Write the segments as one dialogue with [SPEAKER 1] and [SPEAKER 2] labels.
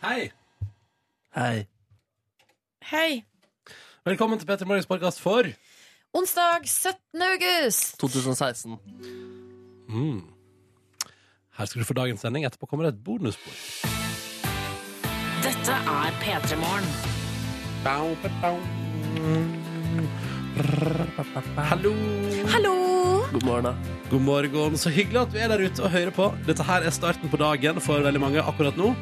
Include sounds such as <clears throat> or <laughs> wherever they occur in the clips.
[SPEAKER 1] Hei!
[SPEAKER 2] Hei.
[SPEAKER 3] Hei.
[SPEAKER 1] Velkommen til Petter Morgens podcast for
[SPEAKER 3] Onsdag 17. august.
[SPEAKER 2] 2016.
[SPEAKER 1] Her skal du få dagens sending. Etterpå kommer det et bonusbord.
[SPEAKER 4] Dette er P3 Morgen.
[SPEAKER 1] Hallo!
[SPEAKER 3] Hallo!
[SPEAKER 2] God morgen, da.
[SPEAKER 1] God morgen. Så hyggelig at du er der ute og hører på. Dette her er starten på dagen for veldig mange akkurat nå.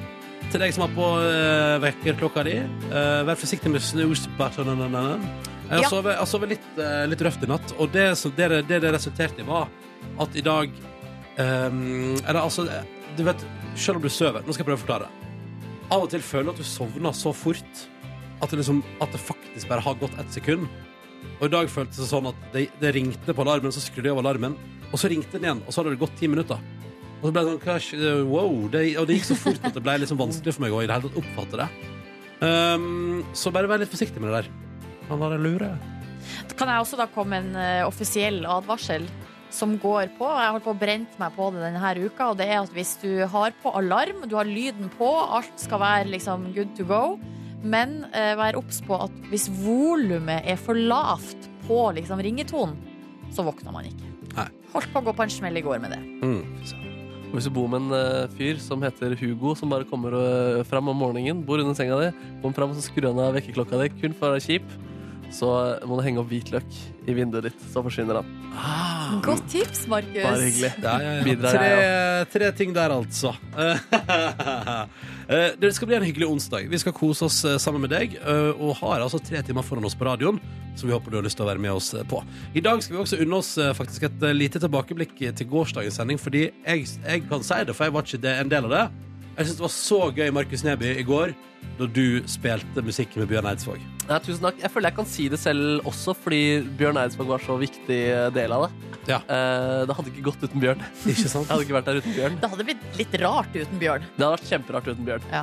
[SPEAKER 1] Til deg som har på eh, vekkerklokka di, eh, vær forsiktig med snusbuttonene. Jeg har
[SPEAKER 3] Ja.
[SPEAKER 1] sovet- jeg har sovet litt, eh, litt røft i natt, og det som- det, det, det resulterte i, var at i dag ehm, Eller altså, du vet Selv om du sover Nå skal jeg prøve å forklare. Av og til føler du at du sovner så fort at det, liksom, at det faktisk bare har gått ett sekund. Og i dag føltes det sånn at det, det ringte på alarmen, så skrudde jeg av alarmen, og så ringte den igjen, og så hadde det gått ti minutter. Og så ble det sånn hva skj- eh, Wow. Det, og det gikk så fort at det ble liksom vanskelig for meg å i det hele tatt oppfatte det. Ehm, så bare vær litt forsiktig med det der. Han har en lure.
[SPEAKER 3] Kan jeg også da komme med en eh, offisiell advarsel som går på? Jeg har holdt på å brent meg på det denne uka, og det er at hvis du har på alarm, du har lyden på, alt skal være liksom good to go, men eh, vær obs på at hvis volumet er for lavt på liksom ringetonen, så våkner man ikke.
[SPEAKER 1] Nei.
[SPEAKER 3] Holdt på å gå på en smell i går med det.
[SPEAKER 1] Mm.
[SPEAKER 2] Og Hvis du bor med en eh, fyr som heter Hugo, som bare kommer eh, fram om morgenen, bor under senga di, kommer fram og så skrur han av vekkerklokka di kun for å være kjip, så eh, må du henge opp hvitløk i vinduet ditt, så forsvinner han.
[SPEAKER 1] Ah.
[SPEAKER 3] Godt tips, Markus.
[SPEAKER 2] Bare hyggelig.
[SPEAKER 1] Ja, ja, ja.
[SPEAKER 2] Bidrar
[SPEAKER 1] Tre, tre ting der, altså. <laughs> Eh, det skal bli en hyggelig onsdag. Vi skal kose oss eh, sammen med deg. eh, Og har altså tre timer foran oss på radioen, som vi håper du har lyst til å være med oss eh, på. I dag skal vi også unne oss eh, faktisk et eh, lite tilbakeblikk til gårsdagens sending, fordi jeg, jeg kan si det, for jeg var ikke det, en del av det. Jeg syns det var så gøy, Markus Neby, i går, da du spilte musikk med Bjørn Eidsvåg.
[SPEAKER 2] Ja, tusen takk. Jeg føler jeg kan si det selv også, fordi Bjørn Eidsvåg var så viktig eh, del av det.
[SPEAKER 1] Ja.
[SPEAKER 2] Eh, det hadde ikke gått uten Bjørn.
[SPEAKER 1] Ikke sant?
[SPEAKER 2] Jeg hadde ikke vært der uten Bjørn.
[SPEAKER 3] Det hadde blitt litt rart uten Bjørn.
[SPEAKER 2] Det hadde vært kjemperart uten Bjørn.
[SPEAKER 3] Ja.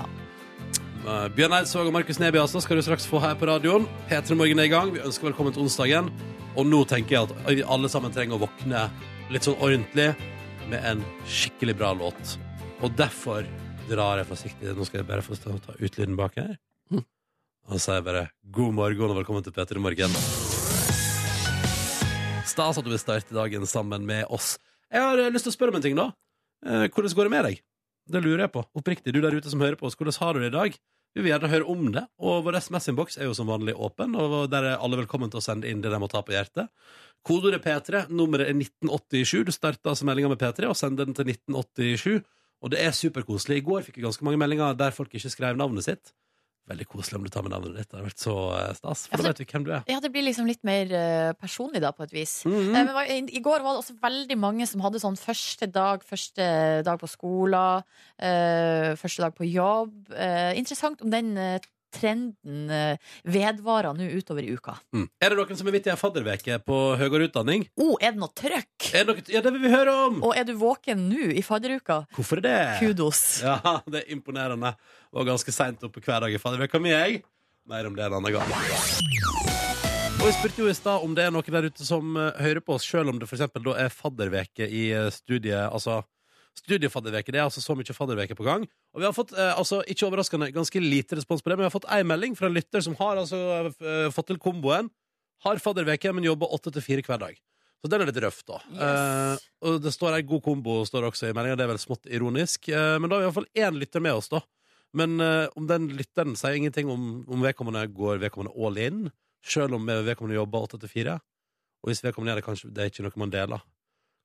[SPEAKER 1] Eh, Bjørn Eidsvåg og Markus Neby altså, skal du straks få her på radioen. P3 Morgen er i gang. Vi ønsker velkommen til onsdagen. Og nå tenker jeg at vi alle sammen trenger å våkne litt sånn ordentlig med en skikkelig bra låt. Og derfor drar jeg forsiktig. Nå skal jeg bare få ta ta ut lyden bak her. Hm. Og så sier jeg bare god morgen og velkommen til P3 Morgen. Stas at du vil starte dagen sammen med oss. Jeg har eh, lyst til å spørre om en ting, da. Eh, Hvordan går det med deg? Det lurer jeg på. Oppriktig, du der ute som hører på oss, hvordan har du det i dag? Vi vil gjerne høre om det, og vår SMS-innboks er jo som vanlig åpen, og der er alle velkommen til å sende inn det de må ta på hjertet. Kodeordet P3, nummeret er 1987. Du starter altså meldinga med P3 og sender den til 1987, og det er superkoselig. I går fikk vi ganske mange meldinger der folk ikke skrev navnet sitt. Veldig koselig om du tar med navnet ditt. Det har vært så eh, stas, for
[SPEAKER 3] Altså-
[SPEAKER 1] da vet vi hvem du er.
[SPEAKER 3] Ja, det blir liksom litt mer eh, personlig da, på et vis.
[SPEAKER 1] Mhm.
[SPEAKER 3] Eh, Men hva- i- I går var det også veldig mange som hadde sånn første dag, første dag på skolen, eh, første dag på jobb. Eh, interessant om den eh, trenden eh, vedvarer nå utover i uka.
[SPEAKER 1] Mm. Er det noen som er midt i ei fadderveke på høyere utdanning?
[SPEAKER 3] Å, oh, er det noe trøkk?
[SPEAKER 1] Er det noe... Ja, det vil vi høre om!
[SPEAKER 3] Og er du våken nå i fadderuka?
[SPEAKER 1] Hvorfor er det?
[SPEAKER 3] Kudos.
[SPEAKER 1] Ja, <laughs> det er imponerende. Og ganske seint oppe hver dag i fadderveka mi, jeg. Mer om det en annen gang. Og Vi spurte jo i stad om det er noen der ute som eh, hører på oss, sjøl om det for eksempel da er fadderveke i eh, studiet. Altså studiefadderveke. Det er altså så mye fadderveke på gang. Og vi har fått, eh, altså ikke overraskende, ganske lite respons på det, men vi har fått ei melding fra en lytter som har altså eh, fått til komboen. Har fadderveke, men jobber åtte til fire hver dag. Så den er litt røff, da.
[SPEAKER 3] Yes.
[SPEAKER 1] Eh, og det står ei god kombo står det også i meldinga, det er vel smått ironisk. Eh, men da har vi iallfall én lytter med oss, da. Men eh, om den lytteren sier ingenting om, om vedkommende går vedkommende all in, sjøl om vedkommende jobber åtte til fire. Og hvis vedkommende gjør det, kanskje det er ikke noe man deler.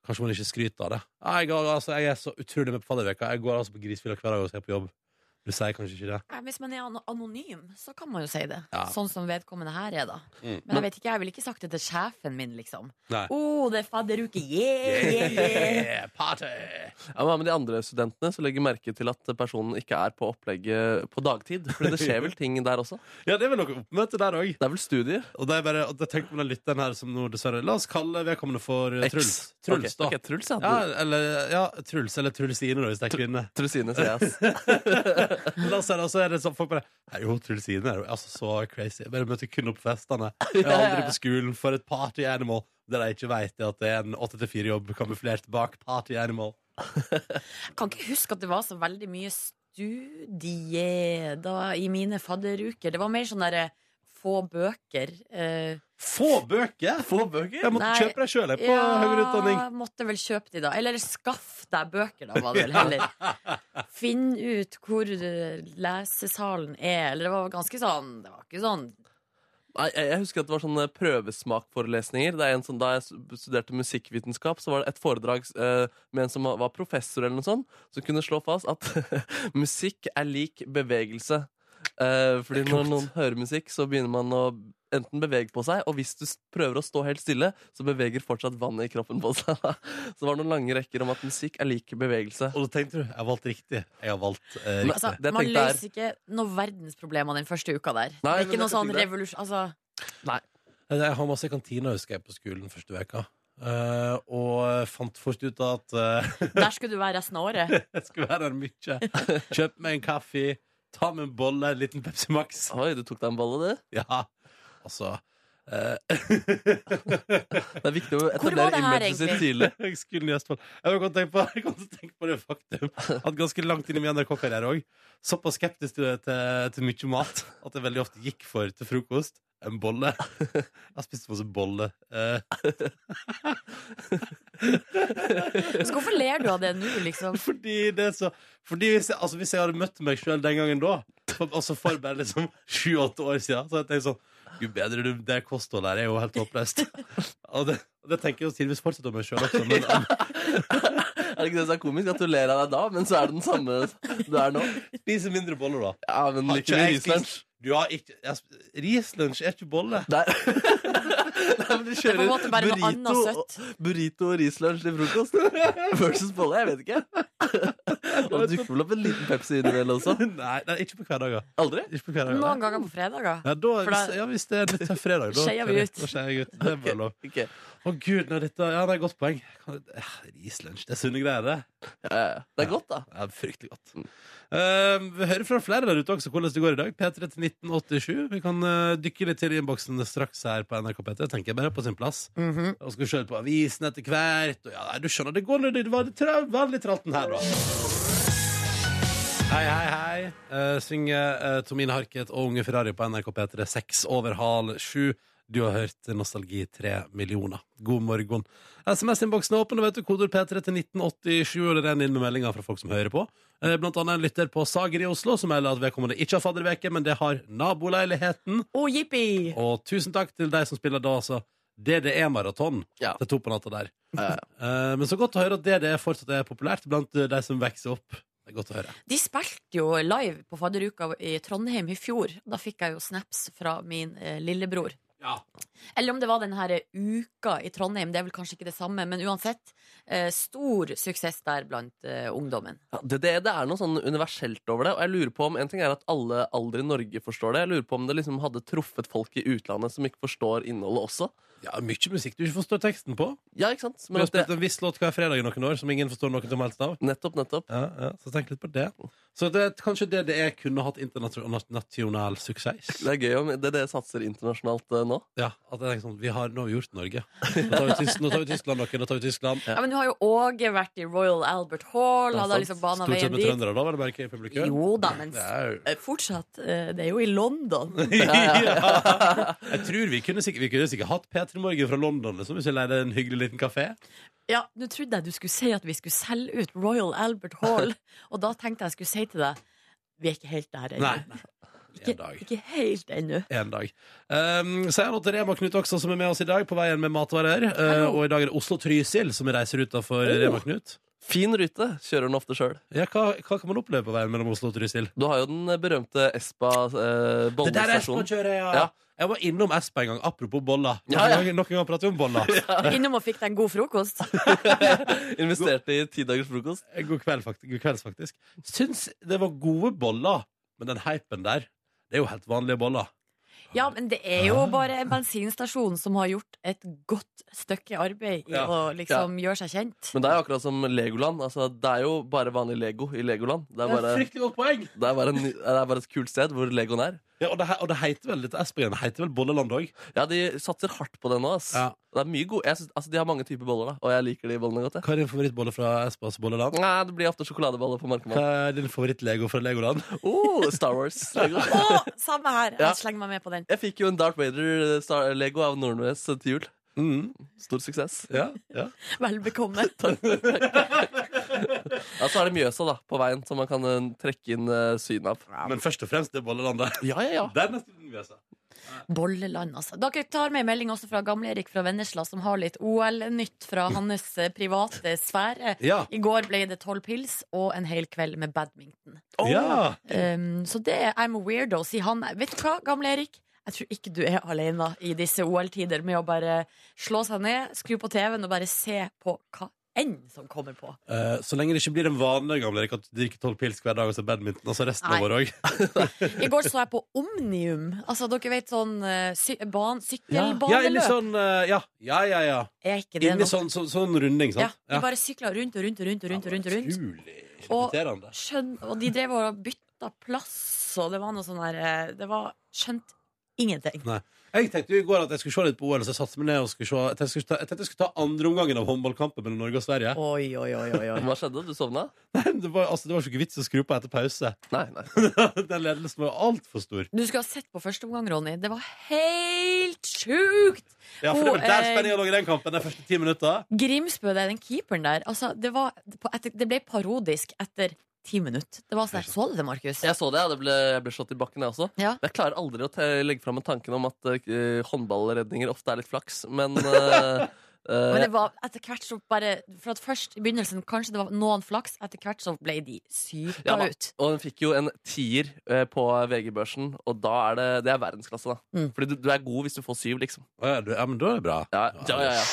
[SPEAKER 1] Kanskje man ikke skryter av det. Nei, Jeg, går, altså, jeg er så utrolig med på fadderveka. Jeg går altså på grisefylla hver dag og ser på jobb. Du sier kanskje ikke det?
[SPEAKER 3] Hvis man er anonym, så kan man jo si det.
[SPEAKER 1] Ja.
[SPEAKER 3] Sånn som vedkommende her er, da.
[SPEAKER 1] Mm.
[SPEAKER 3] Men jeg vet ikke, jeg ville ikke sagt det til sjefen min, liksom.
[SPEAKER 1] Nei.
[SPEAKER 3] Å, det er fadderuke! Yeah, yeah, yeah.
[SPEAKER 1] <laughs> Yeah, party!
[SPEAKER 2] Ja, men hva med de andre studentene så legger merke til at personen ikke er på opplegget på dagtid? Fordi det skjer vel ting der også?
[SPEAKER 1] Ja, det er vel noe oppmøte der òg.
[SPEAKER 2] Det er vel studier?
[SPEAKER 1] Og det er bare, og det tenker man den lytteren her som nå dessverre La oss kalle vedkommende for eh,
[SPEAKER 2] X.
[SPEAKER 1] Truls. Truls,
[SPEAKER 2] Ok, ok,
[SPEAKER 1] da.
[SPEAKER 2] Truls, ja.
[SPEAKER 1] Ja, eller, ja, Truls eller Trulsine, da, hvis det er kvinne.
[SPEAKER 2] Trusine, sier jeg.
[SPEAKER 1] <laughs>
[SPEAKER 2] ass.
[SPEAKER 1] Men da ser jeg, så er det sånn, folk bare Nei, jo, Trulsine er jo altså så crazy. Jeg bare møter kun opp på festene. Jeg er aldri på skolen for et party animal. Det de ikke vet, er at det er en 8-4-jobb kamuflert bak party animal.
[SPEAKER 3] Jeg kan ikke huske at det var så veldig mye studie da, i mine fadderuker. Det var mer sånn derre få bøker. eh,
[SPEAKER 1] Få bøker!
[SPEAKER 2] Få bøker?
[SPEAKER 1] Jeg måtte
[SPEAKER 3] Nei.
[SPEAKER 1] kjøpe deg sjøl på høyere utdanning.
[SPEAKER 3] måtte vel kjøpe de, da. Eller skaff deg bøker, da, var det vel heller. Finn ut hvor eh, lesesalen er. Eller det var ganske sånn Det var ikke sånn
[SPEAKER 2] Nei, jeg, jeg husker at det var sånne prøvesmakforelesninger. Det er en sånn, da jeg s- studerte musikkvitenskap, så var det et foredrag eh, med en som var- var professor, eller noe sånt, som kunne slå fast at <laughs> musikk er lik bevegelse. Eh, fordi når
[SPEAKER 1] Klokt.
[SPEAKER 2] noen hører musikk, så begynner man å enten bevege på seg, og hvis du s- prøver å stå helt stille, så beveger fortsatt vannet i kroppen på seg. <laughs> så det var noen lange rekker om at musikk er lik bevegelse.
[SPEAKER 1] Og da tenkte du jeg har valgt riktig. Jeg har valgt eh,
[SPEAKER 2] Men-
[SPEAKER 1] riktig.
[SPEAKER 3] altså,
[SPEAKER 2] Det jeg
[SPEAKER 3] Man
[SPEAKER 2] tenkte er-
[SPEAKER 3] løser ikke noe verdensproblem av den første uka
[SPEAKER 2] Nei,
[SPEAKER 3] der. det er
[SPEAKER 2] men
[SPEAKER 3] ikke noe
[SPEAKER 2] jeg kan
[SPEAKER 3] sånn
[SPEAKER 2] si det.
[SPEAKER 3] revolusjon Altså,
[SPEAKER 1] Jeg har masse i kantina, husker jeg, på skolen første veka. Eh, og fant fort ut at eh, <laughs>
[SPEAKER 3] der skulle du være resten av året.
[SPEAKER 1] jeg skulle være der mye. Kjøp meg en kaffe, ta med en bolle, en liten Pepsi Max. <laughs>
[SPEAKER 2] Oi, du tok deg en bolle, du.
[SPEAKER 1] Ja, altså eh,
[SPEAKER 2] Det er viktig å
[SPEAKER 3] Hvor var
[SPEAKER 2] etablere
[SPEAKER 3] det her,
[SPEAKER 2] imaget sitt
[SPEAKER 3] egentlig?
[SPEAKER 1] <laughs>
[SPEAKER 2] tidlig.
[SPEAKER 1] Jeg skulle i Østfold. Jeg har godt tenkt på, <laughs> jeg kan tenke på det faktum at ganske langt inn i min NRK-karriere òg, såpass skeptisk til, til, til mye mat at jeg veldig ofte gikk for til frokost en <laughs> bolle. Jeg spiste masse bolle. Eh,
[SPEAKER 3] Så hvorfor ler du av det nå, liksom?
[SPEAKER 1] fordi det er så Fordi hvis jeg, altså, hvis jeg hadde møtt meg sjøl den gangen da, for, altså for bare liksom sju-åtte år siden, så hadde jeg tenkt sånn Gud bedre, du, det kostholdet her er jo helt håpløst. <laughs> Og det, det tenker jeg jo tidvis fortsatt om meg sjøl også, men <laughs>
[SPEAKER 2] Er det ikke det som er komisk? At du ler av deg da, men så er det den samme du er nå.
[SPEAKER 1] spise mindre boller, da.
[SPEAKER 2] Ja, men
[SPEAKER 1] Har
[SPEAKER 2] lykke
[SPEAKER 1] ikke
[SPEAKER 2] med
[SPEAKER 1] jeg
[SPEAKER 2] Island.
[SPEAKER 1] spist- Du har ikke jeg sp- Rislunsj er ikke bolle.
[SPEAKER 2] <laughs> Nei. Nei, men du
[SPEAKER 3] Det er <laughs> på en måte bare noe
[SPEAKER 2] burrito,
[SPEAKER 3] annet søtt.
[SPEAKER 2] burrito og rislunsj til
[SPEAKER 3] <laughs>
[SPEAKER 2] frokost versus bolle. Jeg vet ikke. Og det dukker vel opp en liten Pepsi innimellom også.
[SPEAKER 1] <laughs> Nei, nei, ikke på hverdager.
[SPEAKER 2] Aldri?
[SPEAKER 1] Ikke på hverdager.
[SPEAKER 3] Noen ganger på fredager.
[SPEAKER 1] Ja, da,
[SPEAKER 3] For da-
[SPEAKER 1] hvis, ja, hvis det er litt tøff fredag,
[SPEAKER 3] <laughs>
[SPEAKER 1] da
[SPEAKER 3] Skeier vi ut.
[SPEAKER 1] Da skeier jeg ut. Det er bare lov.
[SPEAKER 2] Ok.
[SPEAKER 1] Å gud, nei, dette Ja, det er et godt poeng. Kan- eh, Rislunsj, det er sunne greier, det.
[SPEAKER 2] Ja, ja, ja. Det er godt, da.
[SPEAKER 1] Ja, fryktelig godt. Eh, vi hører fra flere der ute også hvordan det går i dag. P3 til 1987. Vi kan eh, dykke litt til i innboksen straks her på NRK P3. Tenker jeg bare på sin plass. Og skal se på avisen etter hvert. Og ja, nei, du skjønner, det går når det var litt tra- vanlig tralten her, da. Hei, hei, hei. Eh, synger eh, Tomine Harket og Unge Ferrari på NRK P3 seks over hal sju. Du har hørt Nostalgi 3 millioner. God morgen. SMS-innboksen er åpen, og vet du, koder P3 til 1987, og det renner inn med meldinger fra folk som hører på. Eh, Blant annet en lytter på Sager i Oslo, som melder at vedkommende ikke har fadderveke, men det har naboleiligheten.
[SPEAKER 3] Å, jippi!
[SPEAKER 1] Og tusen takk til deg som spiller da, altså. DDE-maraton
[SPEAKER 2] Ja.
[SPEAKER 1] til to på natta der.
[SPEAKER 2] Ja, ja.
[SPEAKER 1] Eh, Men så godt å høre at DDE fortsatt er populært blant eh, de som vokser opp. Det er godt å høre.
[SPEAKER 3] De spilte jo live på fadderuka i Trondheim i fjor. Da fikk jeg jo snaps fra min eh, lillebror.
[SPEAKER 1] Ja.
[SPEAKER 3] Eller om det var den her uka i Trondheim, det er vel kanskje ikke det samme, men uansett. Eh, stor suksess der blant eh, ungdommen.
[SPEAKER 2] Ja, det, det, det er noe sånn universelt over det, og jeg lurer på om en ting er at alle aldri i Norge forstår det. Jeg lurer på om det liksom hadde truffet folk i utlandet som ikke forstår innholdet også.
[SPEAKER 1] Ja, mye musikk du ikke forstår teksten på.
[SPEAKER 2] Ja, ikke sant?
[SPEAKER 1] Vi
[SPEAKER 2] Men
[SPEAKER 1] har
[SPEAKER 2] at det,
[SPEAKER 1] spilt en viss låt hver fredag i noen år som ingen forstår noe som helst av.
[SPEAKER 2] nettopp, nettopp.
[SPEAKER 1] Ja, ja, så tenk litt på det. Så det er kanskje DDE kunne hatt internasjonal suksess.
[SPEAKER 2] Det er gøy om det, det satser internasjonalt eh, nå.
[SPEAKER 1] Ja, at jeg tenker sånn, vi har, Nå har vi gjort Norge. Nå tar vi, Tysk, nå tar vi Tyskland, dere. Nå tar vi Tyskland.
[SPEAKER 3] Ja, men nå har jo Åge vært i Royal Albert
[SPEAKER 2] Det
[SPEAKER 3] Hall,
[SPEAKER 2] er
[SPEAKER 3] han har liksom
[SPEAKER 2] sant.
[SPEAKER 3] bana
[SPEAKER 1] Stort sett
[SPEAKER 3] veien
[SPEAKER 1] med
[SPEAKER 3] dit.
[SPEAKER 1] trøndere, da, var det bare ikke i publikum?
[SPEAKER 3] Jo da, men
[SPEAKER 1] Det er jo-
[SPEAKER 3] eh, fortsatt. eh, det er jo i London.
[SPEAKER 1] <laughs> ja. <laughs> Jeg tror vi kunne sikkert, vi kunne sikkert hatt P3 Morgen fra London liksom, hvis vi leide en hyggelig liten kafé.
[SPEAKER 3] Ja, nå trodde jeg du skulle si at vi skulle selge ut Royal Albert
[SPEAKER 1] <laughs>
[SPEAKER 3] Hall, og da tenkte jeg skulle si til deg vi er ikke helt der ennå.
[SPEAKER 1] Nei. En
[SPEAKER 3] Ikke,
[SPEAKER 1] dag.
[SPEAKER 3] ikke helt ennå.
[SPEAKER 1] en dag. Um, Sier nå til Rema Knut også, som er med oss i dag, på veien med matvarer. Uh,
[SPEAKER 3] Hallo.
[SPEAKER 1] og i dag er det Oslo-Trysil som reiser utafor
[SPEAKER 2] Oh.
[SPEAKER 1] Rema Knut.
[SPEAKER 2] Fin rute, kjører den ofte sjøl.
[SPEAKER 1] Ja, hva, hva kan man oppleve på veien mellom Oslo og Trysil?
[SPEAKER 2] Du har jo den berømte Espa eh,
[SPEAKER 1] Det der er
[SPEAKER 2] bollestasjonen.
[SPEAKER 1] Espa-kjøret, ja.
[SPEAKER 2] Ja.
[SPEAKER 1] Jeg var innom Espa en gang, apropos boller. Noen
[SPEAKER 2] Ja, ja.
[SPEAKER 1] ganger, noen ganger prater vi om
[SPEAKER 2] <laughs>
[SPEAKER 1] boller.
[SPEAKER 3] Innom og fikk deg en god frokost.
[SPEAKER 2] Investerte i ti dagers frokost.
[SPEAKER 1] God, kveld, faktisk, god kvelds, faktisk. Syns det var gode boller, men den hypen der, det er jo helt vanlige boller.
[SPEAKER 3] Ja, men det er jo bare en bensinstasjon som har gjort et godt stykke arbeid i
[SPEAKER 1] Ja.
[SPEAKER 3] å liksom gjøre seg kjent.
[SPEAKER 2] Men det er jo akkurat som Legoland. Altså, det er jo bare vanlig Lego i Legoland. Det er bare,
[SPEAKER 1] fryktelig godt poeng!
[SPEAKER 2] det er bare, en, det er bare et kult sted hvor Legoen er.
[SPEAKER 1] Ja, og, det, he- og det heter vel dette Espen-greiene heter vel Bolleland òg?
[SPEAKER 2] Ja, de satser hardt på det nå, ass.
[SPEAKER 1] Ja.
[SPEAKER 2] Det er mye god jeg synes, altså, De har mange typer boller, da, og jeg liker de bollene godt. Jeg.
[SPEAKER 1] Hva er din favorittbolle fra Espas Bolleland?
[SPEAKER 2] Nei, det blir ofte sjokoladeboller
[SPEAKER 1] Hva
[SPEAKER 2] på Markemann.
[SPEAKER 1] er din favoritt-Lego fra Legoland?
[SPEAKER 2] Oh, Star Wars. <laughs> Lego.
[SPEAKER 3] Å, samme her!
[SPEAKER 2] Ja.
[SPEAKER 3] Jeg slenger meg med på den.
[SPEAKER 2] Jeg fikk jo en Darth Vader eh, Star Lego av Nordnes til jul.
[SPEAKER 1] Mm.
[SPEAKER 2] Stor suksess.
[SPEAKER 1] Ja, ja.
[SPEAKER 3] Vel bekomme.
[SPEAKER 2] Ja, så er det Mjøsa da, på veien, som man kan eh, trekke inn eh, Syden av.
[SPEAKER 1] Men først og fremst det er Bollelandet.
[SPEAKER 2] Ja, ja, ja.
[SPEAKER 1] Det er nesten den vi har sett.
[SPEAKER 3] Bolleland, altså. Dere tar med en melding også fra Gamle-Erik fra Vennesla, som har litt OL-nytt fra hans eh, private sfære.
[SPEAKER 1] Ja.
[SPEAKER 3] I går ble det tolv pils og en hel kveld med badminton.
[SPEAKER 1] ja.
[SPEAKER 3] Um, så det er I'm a weirdo, sier han. Vet du hva, Gamle-Erik? Jeg tror ikke du er alene i disse OL-tider med å bare slå seg ned, skru på TV-en og bare se på hva enn som kommer på.
[SPEAKER 1] Eh, så lenge det ikke blir en vane gamle Erik, at du drikker tolv pils hver dag og så badminton. Altså resten
[SPEAKER 3] Nei.
[SPEAKER 1] av året òg.
[SPEAKER 3] I går så jeg på Omnium. Altså, dere vet sånn eh, sy ban sykkelbaneløp.
[SPEAKER 1] <laughs> Ja, inni sånn eh, Ja, ja, ja. ja.
[SPEAKER 3] Er ikke det
[SPEAKER 1] Inni
[SPEAKER 3] noe?
[SPEAKER 1] sånn, så, sånn runding,
[SPEAKER 3] Ja,
[SPEAKER 1] sant?
[SPEAKER 3] de bare sykla rundt og rundt og rundt og rundt. Og rundt, og rundt.
[SPEAKER 1] Utrolig
[SPEAKER 3] Og-
[SPEAKER 1] irriterende.
[SPEAKER 3] Skjønn, og de drev og bytta plass, og det var noe sånn her eh, Det var skjønt ingenting.
[SPEAKER 1] Jeg tenkte jo i går at jeg skulle se litt på OL, så jeg satte meg ned og skulle se Jeg tenkte jeg skulle ta, jeg tenkte jeg skulle ta andre omgangen av håndballkampen mellom Norge og Sverige. <laughs>
[SPEAKER 3] Oi, oi, oi, oi, oi.
[SPEAKER 2] Hva skjedde? Du sovna?
[SPEAKER 1] Nei, det var, altså, det var ikke vits å skru på etter pause. <laughs>
[SPEAKER 2] Nei, nei.
[SPEAKER 1] Den ledelsen var altfor stor.
[SPEAKER 3] Du skulle ha sett på første omgang, Ronny. Det var helt sjukt!
[SPEAKER 1] Ja, for det
[SPEAKER 3] Og,
[SPEAKER 1] var
[SPEAKER 3] eh,
[SPEAKER 1] der spenninga lå i den kampen, de første ti minutta.
[SPEAKER 3] Grimsbø, det er den keeperen der. Altså, det, var, på etter, det ble parodisk etter ti minutter. Det var sånn her, Så du det, Markus?
[SPEAKER 2] Jeg så det, ja. det ble, jeg ble slått i bakken, jeg også.
[SPEAKER 3] Ja.
[SPEAKER 2] Jeg klarer aldri å te- legge fram tanken om at eh, håndballredninger ofte er litt flaks, men eh, eh,
[SPEAKER 3] Men det var etter hvert så bare For at først i begynnelsen kanskje det var noen flaks, etter hvert så ble de syka
[SPEAKER 2] Ja, da.
[SPEAKER 3] ut.
[SPEAKER 2] Og hun fikk jo en tier eh, på VG-børsen, og da er det, det er verdensklasse, da.
[SPEAKER 3] Mm.
[SPEAKER 2] Fordi du, du er god hvis du får syv, liksom.
[SPEAKER 1] Å Ja, du, ja, men da er det bra.
[SPEAKER 2] Ja, ja, ja, ja.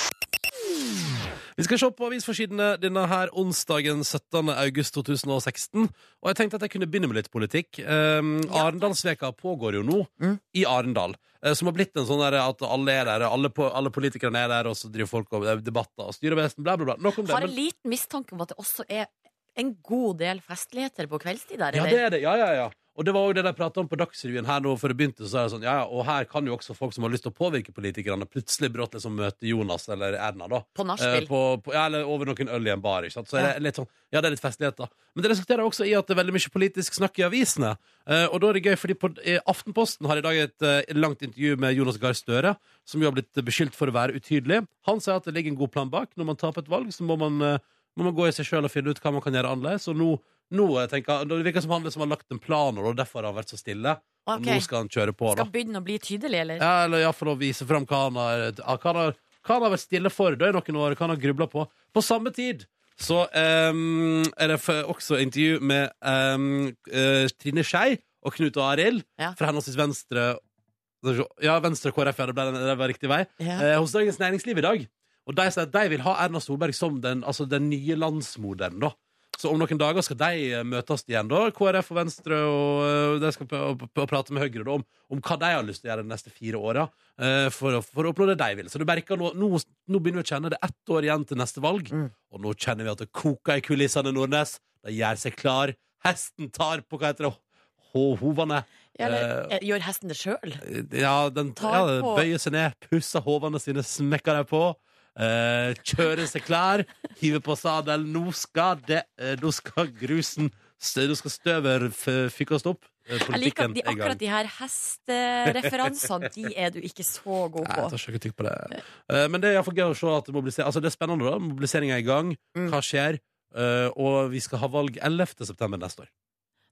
[SPEAKER 1] Vi skal se på avisforsidene denne her onsdagen 17. august 2016. Og jeg tenkte at jeg kunne begynne med litt politikk. Um,
[SPEAKER 3] Ja.
[SPEAKER 1] Arendalsveka pågår jo nå
[SPEAKER 3] Mm.
[SPEAKER 1] i Arendal. eh, Som har blitt en sånn der at alle er der, alle, på, alle politikerne er der, og så driver folk og det er debatter og styrer best, bla, bla, bla. Nok om det.
[SPEAKER 3] Har en
[SPEAKER 1] men-
[SPEAKER 3] liten mistanke om at det også er en god del festligheter på kveldstid der,
[SPEAKER 1] Ja,
[SPEAKER 3] eller?
[SPEAKER 1] det er det. Ja, ja, ja. Og det var jo det de prata om på Dagsrevyen her nå før det begynte. Så er det sånn, ja, ja, og her kan jo også folk som har lyst til å påvirke politikerne, plutselig brått liksom møte Jonas eller Erna, da.
[SPEAKER 3] På
[SPEAKER 1] Eh,
[SPEAKER 3] nachspiel.
[SPEAKER 1] på, på, ja, eller over noen øl i en bar. Ikke sant? Så er det litt sånn, ja, det er litt festlighet, da. Men det resulterer også i at det er veldig mye politisk snakk i avisene. Eh, og da er det gøy, fordi på, eh, Aftenposten har i dag et eh, langt intervju med Jonas Gahr Støre, som jo har blitt beskyldt for å være utydelig. Han sier at det ligger en god plan bak. Når man taper et valg, så må man, eh, må man gå i seg sjøl og finne ut hva man kan gjøre annerledes. Og nå, nå eh, tenker jeg, det virker som han liksom har lagt en plan, og derfor har han vært så stille. Og
[SPEAKER 3] Ok.
[SPEAKER 1] nå skal han kjøre på, da.
[SPEAKER 3] Skal begynne å bli tydelig, eller?
[SPEAKER 1] Ja, eller iallfall å vise fram hva han har ja, Hva han har, hva han har vært stille for det er noen år, hva han har grubla på. På samme tid så ehm, er det f- også intervju med ehm, eh, Trine Skei og Knut og Arild
[SPEAKER 3] Ja.
[SPEAKER 1] fra henholdsvis Venstre Ja, Venstre og KrF, ja, det, ble, det var riktig vei.
[SPEAKER 3] Ja.
[SPEAKER 1] Eh, hos Dagens Næringsliv i dag. Og de sier at de vil ha Erna Solberg som den, altså den nye landsmoderen, da. Så om noen dager skal de eh, møtes igjen, da. KrF og Venstre, og eh, de skal p- p- p- prate med Høyre da, om, om hva de har lyst til å gjøre de neste fire åra eh, for, å- for å oppnå det de vil. Så du merker nå, nå, nå begynner vi å kjenne det er ett år igjen til neste valg,
[SPEAKER 3] Mm.
[SPEAKER 1] og nå kjenner vi at det koker i kulissene, Nordnes. De gjør seg klar. Hesten tar på hva heter det, ho- hovene.
[SPEAKER 3] Ja, eller eh, gjør hesten det sjøl?
[SPEAKER 1] Ja, den
[SPEAKER 3] Tar
[SPEAKER 1] ja, den
[SPEAKER 3] på-
[SPEAKER 1] bøyer seg ned, pusser hovene sine, smekker dem på. eh, kjører seg klar, hiver på sadelen. Nå skal det eh, Nå skal grusen stø- Nå skal støvet f- fykkes opp. Eh,
[SPEAKER 3] Jeg liker
[SPEAKER 1] Politikken
[SPEAKER 3] at
[SPEAKER 1] er i
[SPEAKER 3] de,
[SPEAKER 1] gang.
[SPEAKER 3] akkurat de her hestereferansene, de er du ikke så god
[SPEAKER 1] Nei, altså. jeg
[SPEAKER 3] på.
[SPEAKER 1] tar ikke kritikk på det. Eh, men det er i hvert fall gøy å se at mobilisering Altså, det er spennende, da. Mobiliseringa er i gang.
[SPEAKER 3] Mm.
[SPEAKER 1] Hva skjer? Eh, og vi skal ha valg 11. september neste år.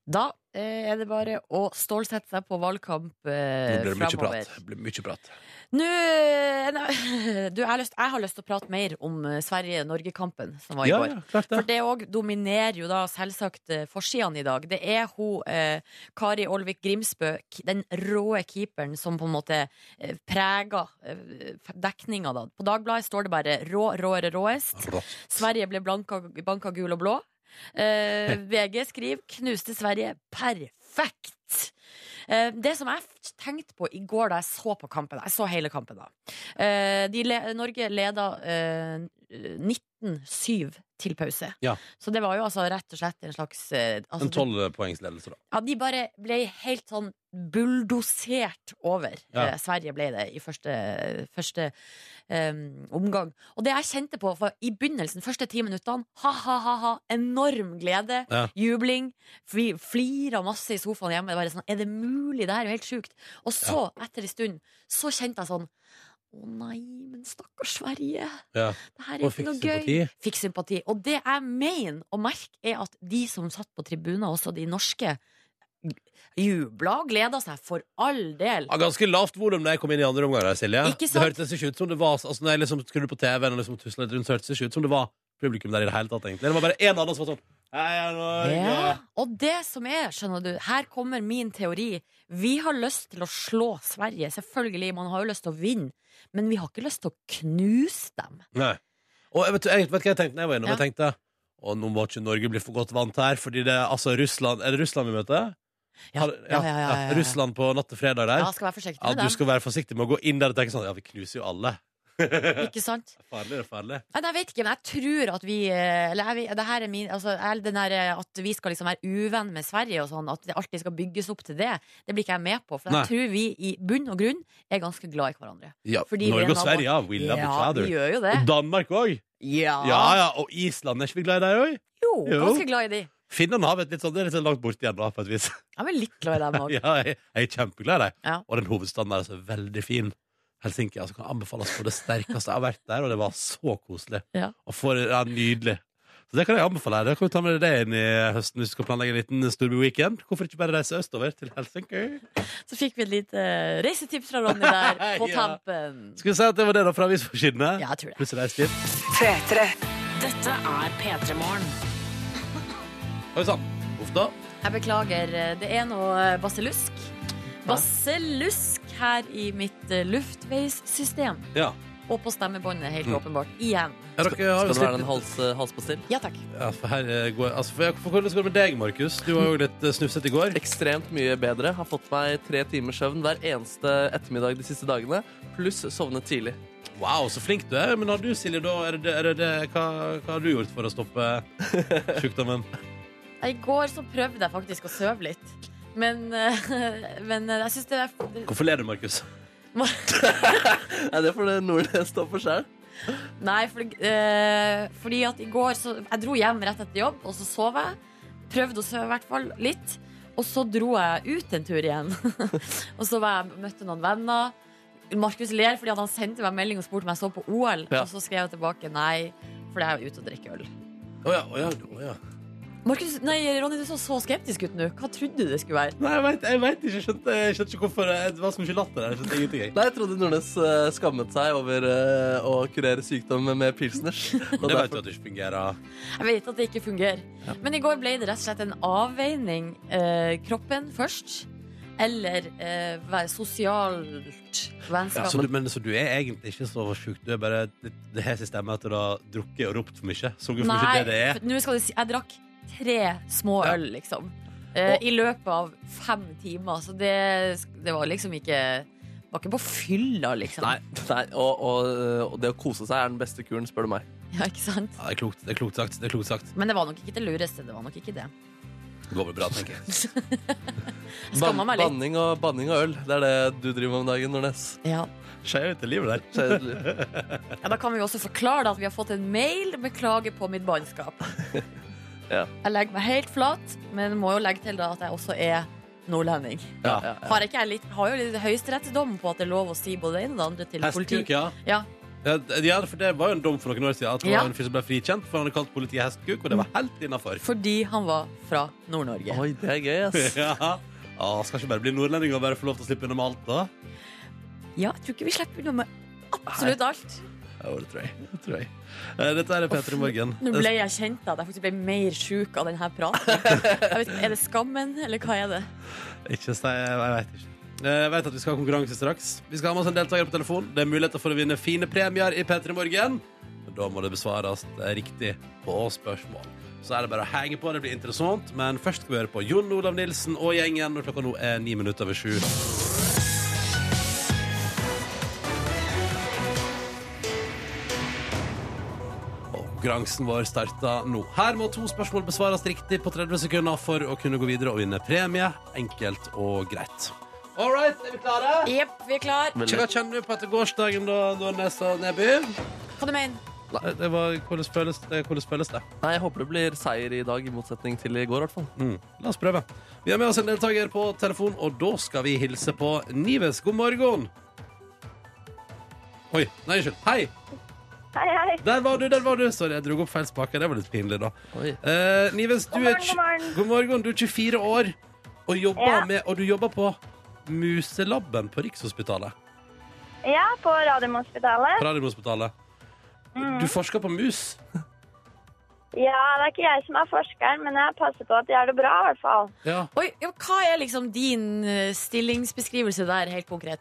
[SPEAKER 3] Da eh, er det bare å stålsette seg på valgkamp
[SPEAKER 1] Nå
[SPEAKER 3] eh,
[SPEAKER 1] blir det mye prat.
[SPEAKER 3] framover.
[SPEAKER 1] Det blir mye prat.
[SPEAKER 3] Nå eh, nei, <laughs> Du, jeg har, lyst, jeg har lyst til å prate mer om eh, Sverige-Norge-kampen som var i
[SPEAKER 1] Ja,
[SPEAKER 3] går.
[SPEAKER 1] ja, klart
[SPEAKER 3] For
[SPEAKER 1] det.
[SPEAKER 3] det òg dominerer jo da selvsagt eh, forsidene i dag. Det er hun eh, Kari Olvik Grimsbø, ki- den råe keeperen, som på en måte eh, preger eh, f- dekninga, da. På Dagbladet står det bare 'rå, råere, råest'. Sverige ble blanka, banka gul og blå. Eh, VG skriver 'knuste Sverige'. Perfekt! Eh, det som jeg f- tenkte på i går da jeg så på kampen Jeg så hele kampen, da. Eh, de le Norge leda eh, eh, 19-7 til pause.
[SPEAKER 1] Ja.
[SPEAKER 3] Så det var jo altså rett og slett en slags eh, altså,
[SPEAKER 1] En tolvpoengsledelse, da.
[SPEAKER 3] ja, De bare ble helt sånn bulldosert over.
[SPEAKER 1] Ja.
[SPEAKER 3] Eh, Sverige ble det i første, første eh, omgang. Og det jeg kjente på for i begynnelsen, første ti minuttene, ha-ha-ha, enorm glede,
[SPEAKER 1] Ja.
[SPEAKER 3] jubling, vi flira masse i sofaen hjemme. Det var bare sånn, Er det mulig? Det her er jo helt sjukt. Og så, etter en stund, så kjente jeg sånn å nei, men stakkars Sverige.
[SPEAKER 1] Ja.
[SPEAKER 3] Det her er
[SPEAKER 1] Og
[SPEAKER 3] ikke
[SPEAKER 1] fikk
[SPEAKER 3] noe gøy
[SPEAKER 1] sympati.
[SPEAKER 3] fikk sympati. Og det jeg mener å merke, er at de som satt på tribunen, også de norske, jubla og gleda seg for all del.
[SPEAKER 1] Ja, ganske lavt volum da jeg kom inn i andre omgang. der, Silje
[SPEAKER 3] Ikke
[SPEAKER 1] Det
[SPEAKER 3] sant?
[SPEAKER 1] hørtes ikke ut som det var Altså Når jeg liksom skrudde på TV-en og liksom tuslet litt rundt, så hørtes det ikke ut som det var publikum der i det hele tatt. egentlig Det var bare én annen som var sånn Hei, jeg er Norge.
[SPEAKER 3] Ja. Og det som er, skjønner du, her kommer min teori. Vi har lyst til å slå Sverige, selvfølgelig. Man har jo lyst til å vinne. Men vi har ikke lyst til å knuse dem.
[SPEAKER 1] Nei. Og jeg vet, jeg vet hva jeg tenkte når jeg var innom?
[SPEAKER 3] Ja.
[SPEAKER 1] Jeg tenkte å, nå må ikke Norge bli for godt vant her, fordi det er altså Russland Er det Russland vi møter? Har-
[SPEAKER 3] ja, ja, ja, ja, ja.
[SPEAKER 1] Russland på natt til fredag der.
[SPEAKER 3] Ja,
[SPEAKER 1] Ja,
[SPEAKER 3] skal være forsiktig med
[SPEAKER 1] du
[SPEAKER 3] dem.
[SPEAKER 1] skal være forsiktig med å gå inn der og tenke sånn Ja, vi knuser jo alle. det
[SPEAKER 3] Ikke sant?
[SPEAKER 1] er farlig, det er farlig.
[SPEAKER 3] Nei, jeg vet ikke, men jeg tror at vi eh, Eller jeg, vet- det her er min altså, jeg- den her, eh, At vi skal liksom være uvenn med Sverige og sånn, at det alltid skal bygges opp til det, det blir ikke jeg med på. For
[SPEAKER 1] Nei.
[SPEAKER 3] jeg tror vi i bunn og grunn er ganske glad i hverandre.
[SPEAKER 1] Ja,
[SPEAKER 3] Fordi vi er
[SPEAKER 1] Norge og
[SPEAKER 3] naboer.
[SPEAKER 1] Sverige, ja. We love each
[SPEAKER 3] ja,
[SPEAKER 1] other.
[SPEAKER 3] vi gjør jo
[SPEAKER 1] Og
[SPEAKER 3] det.
[SPEAKER 1] Danmark òg.
[SPEAKER 3] Ja.
[SPEAKER 1] Ja, ja. Og Island. Er ikke vi glad i deg òg?
[SPEAKER 3] Jo,
[SPEAKER 1] Jo.
[SPEAKER 3] ganske glad i de.
[SPEAKER 1] Finnene har vi et litt sånn, det er litt sånn langt borte igjen, da, på et vis.
[SPEAKER 3] Jeg er vel litt glad i dem òg.
[SPEAKER 1] <laughs> Ja, jeg, jeg er kjempeglad i dem.
[SPEAKER 3] Ja.
[SPEAKER 1] Og den hovedstaden der er så veldig fin. Helsinki altså, kan anbefales på det sterkeste. Jeg har vært der, og det var så koselig.
[SPEAKER 3] Ja.
[SPEAKER 1] Og for, ja, nydelig. Så det kan jeg anbefale deg. Da kan du ta med deg det inn i høsten hvis du skal planlegge en liten storby-weekend. Hvorfor ikke bare reise østover til Helsinki?
[SPEAKER 3] Så fikk vi et lite eh, reisetips fra
[SPEAKER 1] <laughs>
[SPEAKER 3] Ronny der, på
[SPEAKER 1] Ja.
[SPEAKER 3] tampen.
[SPEAKER 1] Skal vi si at det var det da fra avisforsidene?
[SPEAKER 3] Ja, jeg tror det.
[SPEAKER 1] Plutselig reist dit.
[SPEAKER 4] Dette er P3 Morgen.
[SPEAKER 1] Oi sann. Uff da.
[SPEAKER 3] Jeg beklager, eh, det er noe eh, baselusk. Baselusk her i mitt eh, luftveissystem.
[SPEAKER 1] Ja.
[SPEAKER 3] Og på stemmebåndet, helt
[SPEAKER 1] Mm.
[SPEAKER 3] åpenbart. Igjen.
[SPEAKER 1] Ja,
[SPEAKER 2] Skal,
[SPEAKER 1] dere har jo
[SPEAKER 2] skal det være
[SPEAKER 1] slitt
[SPEAKER 2] en
[SPEAKER 1] litt-
[SPEAKER 2] hals, eh, halspastill?
[SPEAKER 3] Ja takk.
[SPEAKER 1] Ja, for her eh, går altså, for, for Hvordan går det med deg, Markus? Du var jo litt eh, snufset i går.
[SPEAKER 2] Ekstremt mye bedre. Har fått meg tre timers søvn hver eneste ettermiddag de siste dagene. Pluss sovnet tidlig.
[SPEAKER 1] Wow, så flink du er. Men har du, Silje, da, er det, er det, det- hva, hva har du gjort for å stoppe sjukdommen?
[SPEAKER 3] I går så prøvde jeg faktisk å sove litt. Men, eh, men jeg syns det er
[SPEAKER 1] <laughs> Hvorfor ler du, Markus?
[SPEAKER 2] Er det fordi Nordnes står for sjøl?
[SPEAKER 3] <laughs> Nei, for, eh, fordi at i går så Jeg dro hjem rett etter jobb, og så sov jeg. Prøvde å sove i hvert fall litt. Og så dro jeg ut en tur igjen. <laughs> og så var jeg, møtte noen venner. Markus ler fordi at han sendte meg en melding og spurte om jeg så på OL.
[SPEAKER 2] Ja.
[SPEAKER 3] Og så skrev jeg tilbake nei, fordi jeg er ute og drikker øl.
[SPEAKER 1] Å ja, å ja, å ja.
[SPEAKER 3] Markus, nei, Ronny, du så så skeptisk ut nå. Hva trodde du det skulle være?
[SPEAKER 1] Nei, jeg veit ikke. Jeg skjønte, jeg skjønte ikke hvorfor eh, det var så mye latter der. Jeg skjønte ingenting. jeg.
[SPEAKER 2] Nei, jeg trodde Nordnes eh, skammet seg over eh, å kurere sykdom med pilsners.
[SPEAKER 1] <laughs> Det vet
[SPEAKER 2] Og
[SPEAKER 1] du
[SPEAKER 2] derfor-
[SPEAKER 1] at det ikke fungerer.
[SPEAKER 3] Jeg vet at det ikke fungerer. Men i går ble det rett og slett en avveining. Eh, kroppen først, eller eh, være sosialt
[SPEAKER 1] Ja,
[SPEAKER 3] vennskap.
[SPEAKER 1] så du, men så du er egentlig ikke så sjuk. Du er bare det, det hes i stemmen at du har drukket og ropt for mye. Så du for mye det det
[SPEAKER 3] Nei,
[SPEAKER 1] er.
[SPEAKER 3] for nå skal du si Jeg drakk tre små
[SPEAKER 1] Ja.
[SPEAKER 3] øl, liksom. Eh,
[SPEAKER 1] Og-
[SPEAKER 3] I løpet av fem timer. Så det, det var liksom ikke det Var ikke på fylla, liksom.
[SPEAKER 2] Nei, nei og, og, eh, og det å kose seg er den beste kuren, spør du meg.
[SPEAKER 3] <laughs> Ja, ikke sant?
[SPEAKER 1] Ja, det er klokt, det er klokt sagt. Det er klokt sagt.
[SPEAKER 3] Men det var nok ikke det lureste. Det var nok ikke det.
[SPEAKER 1] Det går vel bra, tenker jeg.
[SPEAKER 3] Skamma meg litt.
[SPEAKER 2] Banning og, banning og øl, det er det du driver med om dagen, Nordnes.
[SPEAKER 3] Ja.
[SPEAKER 1] Skeiv ut i livet der. <laughs>
[SPEAKER 2] Kjedelig.
[SPEAKER 3] Ja, da kan vi jo også forklare det at vi har fått en mail. Beklager på mitt bannskap.
[SPEAKER 2] Ja.
[SPEAKER 3] Jeg legger meg helt flat, men må jo legge til da at jeg også er nordlending.
[SPEAKER 1] Ja.
[SPEAKER 2] Ja, ja.
[SPEAKER 3] Har, ikke jeg litt, har jo litt høyesterettsdom på at det er lov å si både det ene og det andre til
[SPEAKER 1] Hestkuk,
[SPEAKER 3] politiet.
[SPEAKER 1] ja.
[SPEAKER 3] Ja.
[SPEAKER 1] Ja, d- ja, for det var jo en dom for noen år siden at det
[SPEAKER 3] Ja.
[SPEAKER 1] var en fyr som ble frikjent for han hadde kalt politiet hestkuk, og det var helt innafor. <laughs>
[SPEAKER 3] Fordi han var fra Nord-Norge.
[SPEAKER 2] Oi, det er gøy, ass.
[SPEAKER 1] Ja. Ah, skal ikke bare bli nordlending og bare få lov til å slippe unna med alt, da?
[SPEAKER 3] Ja, jeg tror ikke vi slipper unna med absolutt alt.
[SPEAKER 1] Jo, det tror jeg. Det tror jeg. Eh, Dette er P3 Morgen.
[SPEAKER 3] Nå ble jeg kjent da, at jeg faktisk ble mer sjuk av denne praten. Jeg vet, ikke, er det skammen, eller hva er det?
[SPEAKER 1] Ikke si Jeg veit ikke. Eh, Jeg vet at Vi skal ha konkurranse straks. Vi skal ha med oss en deltaker på telefon. Det er muligheter for å vinne fine premier i P3 Morgen. Men Da må det besvares eh, riktig på spørsmål. Så er det bare å henge på. Det blir interessant. Men først skal vi høre på Jon Olav Nilsen og gjengen når klokka nå er ni minutter over sju. Konkurransen vår starter nå. Her må to spørsmål besvares riktig på 30 sekunder for å kunne gå videre og vinne premie. Enkelt og greit. All right, er vi klare?
[SPEAKER 3] Jepp, vi er klar.
[SPEAKER 2] Veldig.
[SPEAKER 1] Hva kjenner du på etter gårsdagen, da, da Nessa og Neby?
[SPEAKER 3] Hva du mener
[SPEAKER 1] Nei, det var, hvordan, føles, det- hvordan føles det?
[SPEAKER 2] Nei, jeg håper det blir seier i dag, i motsetning til i går, i hvert fall.
[SPEAKER 1] Mm. La oss prøve. Vi har med oss en deltaker på telefon, og da skal vi hilse på Nives. God morgen. Oi. Nei, unnskyld. Hei.
[SPEAKER 5] Hei, hei.
[SPEAKER 1] Der var du, der var du. Sorry, jeg dro opp feil spake. Det var litt pinlig, da.
[SPEAKER 2] Oi.
[SPEAKER 1] Eh, Nives, du
[SPEAKER 5] God
[SPEAKER 1] er
[SPEAKER 5] morgen,
[SPEAKER 1] tj-
[SPEAKER 5] god morgen.
[SPEAKER 1] God morgen. Du er 24 år og jobber,
[SPEAKER 5] Ja.
[SPEAKER 1] med, og du jobber på Muselabben på Rikshospitalet.
[SPEAKER 5] Ja, på Radiumhospitalet. Mm.
[SPEAKER 1] På Radiumhospitalet. Du forsker på mus.
[SPEAKER 5] Ja, det er ikke jeg som er forskeren, men jeg passer på at de har det bra, i hvert fall.
[SPEAKER 1] Ja.
[SPEAKER 3] Oi, ja, Hva er liksom din eh, stillingsbeskrivelse der, helt konkret?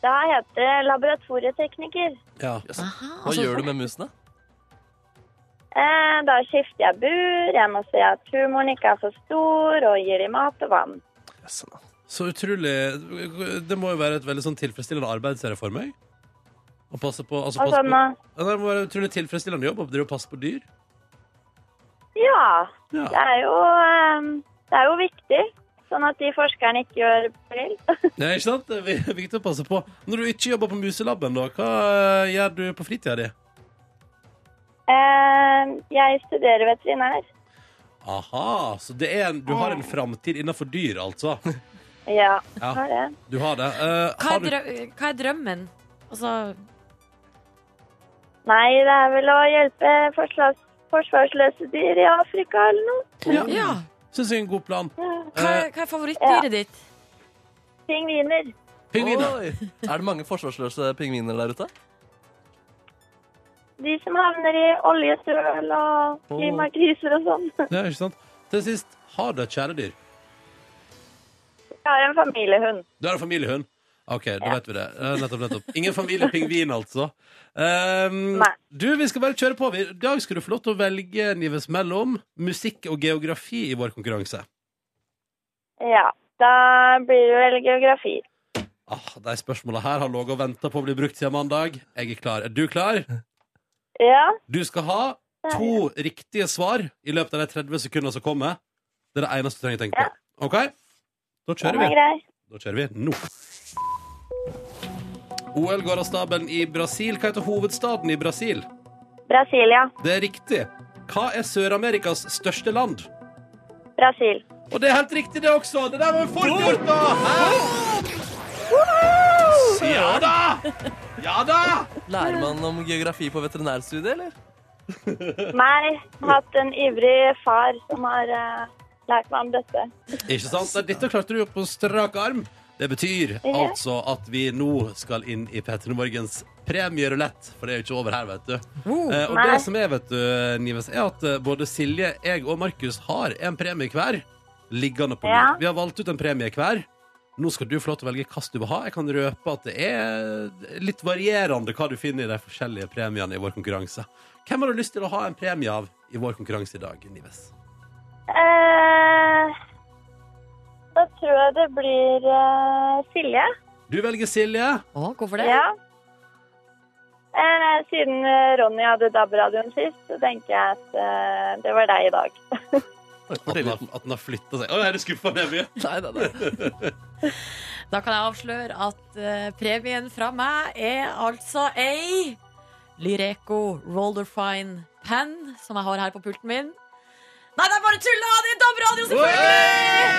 [SPEAKER 5] Det her heter laboratorietekniker.
[SPEAKER 1] ja.
[SPEAKER 2] Jøss.
[SPEAKER 3] Aha,
[SPEAKER 2] Hva
[SPEAKER 3] altså-
[SPEAKER 2] gjør du med musene?
[SPEAKER 5] Eh, da skifter jeg bur, jeg må se at tumoren ikke er for stor, og gir dem mat og vann.
[SPEAKER 1] Så utrolig Det må jo være et veldig sånn tilfredsstillende arbeid, ser jeg for meg. Å passe på, altså,
[SPEAKER 5] Og
[SPEAKER 1] passe
[SPEAKER 5] sånn,
[SPEAKER 1] på.
[SPEAKER 5] og-
[SPEAKER 1] Ja, Det må være en utrolig tilfredsstillende jobb å drive og passe på dyr.
[SPEAKER 5] ja, det
[SPEAKER 1] Ja.
[SPEAKER 5] er jo, eh, det er jo viktig, sånn at de forskerne ikke gjør feil. <laughs>
[SPEAKER 1] Nei, ikke sant? Det er <laughs> viktig å passe på. Når du ikke jobber på Muselabben, da, hva eh, gjør du på fritida di?
[SPEAKER 5] Eh, jeg studerer veterinær.
[SPEAKER 1] Aha, så det er en, du har en framtid innenfor dyr, altså.
[SPEAKER 5] Ja,
[SPEAKER 1] Ja.
[SPEAKER 5] har det.
[SPEAKER 1] Du har det. Eh,
[SPEAKER 3] Hva
[SPEAKER 1] har
[SPEAKER 3] er,
[SPEAKER 1] du,
[SPEAKER 3] drø hva er drømmen? Altså,
[SPEAKER 5] Nei, det er vel å hjelpe forsvars- forsvarsløse dyr i Afrika eller noe.
[SPEAKER 1] ja,
[SPEAKER 3] ja.
[SPEAKER 1] Syns jeg er en god plan. Eh,
[SPEAKER 3] Hva er, hva er favorittdyret ditt?
[SPEAKER 5] Pingviner.
[SPEAKER 1] Pingviner.
[SPEAKER 2] Oi. Er det mange forsvarsløse pingviner der ute?
[SPEAKER 5] De som havner i oljesøl og klimakriser og sånn. <laughs>
[SPEAKER 1] Ja, ikke sant? Til sist, ha det, kjære dyr.
[SPEAKER 5] Jeg har en familiehund.
[SPEAKER 1] Du har en familiehund? OK, da vet vi det. Eh, Nettopp, nettopp. Ingen familiepingvin, altså. Ehm,
[SPEAKER 5] Nei.
[SPEAKER 1] du, vi skal bare kjøre på. Vi- I dag skal du få lov til å velge Nives mellom musikk og geografi i vår konkurranse.
[SPEAKER 5] Ja, da blir det vel geografi.
[SPEAKER 1] Ah, de spørsmåla her har ligget og venta på å bli brukt siden mandag. Jeg er klar. Er du klar?
[SPEAKER 5] Ja,
[SPEAKER 1] Du skal ha to riktige svar i løpet av de 30 sekundene som kommer. Det er det eneste du trenger å tenke på. OK? Da
[SPEAKER 5] den
[SPEAKER 1] kjører vi.
[SPEAKER 5] er grei.
[SPEAKER 1] Da kjører vi nå. OL går av stabelen i Brasil. Hva heter hovedstaden i Brasil?
[SPEAKER 5] Brasilia.
[SPEAKER 1] Det er riktig. Hva er Sør-Amerikas største land?
[SPEAKER 5] Brasil.
[SPEAKER 1] Og det er helt riktig, det også! Det der var jo fort gjort, da! Hæ? Ja da! Ja da!
[SPEAKER 2] Lærer man om geografi på veterinærstudiet, eller?
[SPEAKER 5] Nei, jeg har hatt en ivrig far som har eh, lært meg om dette.
[SPEAKER 1] Ikke sant? Nei, Dette klarte du jo på strak arm. Det betyr altså at vi nå skal inn i P3 Morgens premierulett, for det er jo ikke over her, vet du. Eh, og
[SPEAKER 5] Nei.
[SPEAKER 1] det som er, vet du, Nives, er at eh, både Silje, jeg og Markus har en premie hver liggende på
[SPEAKER 5] Ja.
[SPEAKER 1] lur. Vi har valgt ut en premie hver. Nå skal du få lov til å velge hva du vil ha. Jeg kan røpe at det er litt varierende hva du finner i de forskjellige premiene i vår konkurranse. Hvem har du lyst til å ha en premie av i vår konkurranse i dag, Nives?
[SPEAKER 5] Eh, da tror jeg det blir eh, Silje.
[SPEAKER 1] Du velger Silje.
[SPEAKER 3] Å, hvorfor det?
[SPEAKER 5] Ja. Eh, siden eh, Ronny hadde DAB-radioen sist, så tenker jeg at eh, det var deg i dag.
[SPEAKER 1] At den har, at den har flytta seg. Å, er du skuffa, Neby?
[SPEAKER 2] Nei, nei, nei.
[SPEAKER 3] Da kan jeg avsløre at eh, premien fra meg er altså ei Lyreco Rolderfine Pen, som jeg har her på pulten min. Nei, det er bare tull! da! Det er DAB-radio,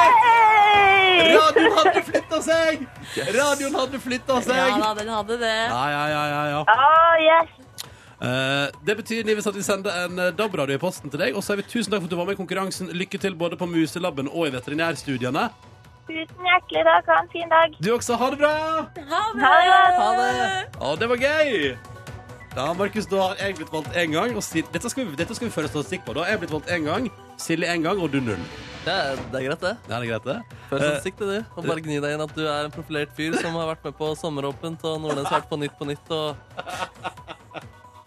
[SPEAKER 5] Hei!
[SPEAKER 1] Radioen hadde flytta seg! Radioen hadde flytta
[SPEAKER 3] selvfølgelig! Ja
[SPEAKER 1] seg!
[SPEAKER 3] da, den hadde det.
[SPEAKER 1] Ja, ja, ja, ja, ja.
[SPEAKER 5] Ah, yes.
[SPEAKER 1] Eh, det betyr Nives, at vi sender en eh, DAB-radio i posten til deg. Og så er vi tusen takk for at du var med i konkurransen. Lykke til både på Muselabben og i veterinærstudiene.
[SPEAKER 5] Tusen hjertelig takk. Ha en fin dag.
[SPEAKER 1] Du også. Ha det bra!
[SPEAKER 3] Ha det!
[SPEAKER 5] Ha
[SPEAKER 1] Å, det var gøy! Ja, Markus, da har jeg blitt valgt én gang. Og Sil dette, skal vi, dette skal vi føre statistikk på. Da har jeg blitt valgt én gang, Silje én gang og du null.
[SPEAKER 2] Det er, det er greit, det.
[SPEAKER 1] Er det greit, det?
[SPEAKER 2] Før statistikk, Eh, det, du. Og bare gni deg inn at du er en profilert fyr som har vært med på Sommeråpent og Nordnes vært på Nytt på Nytt og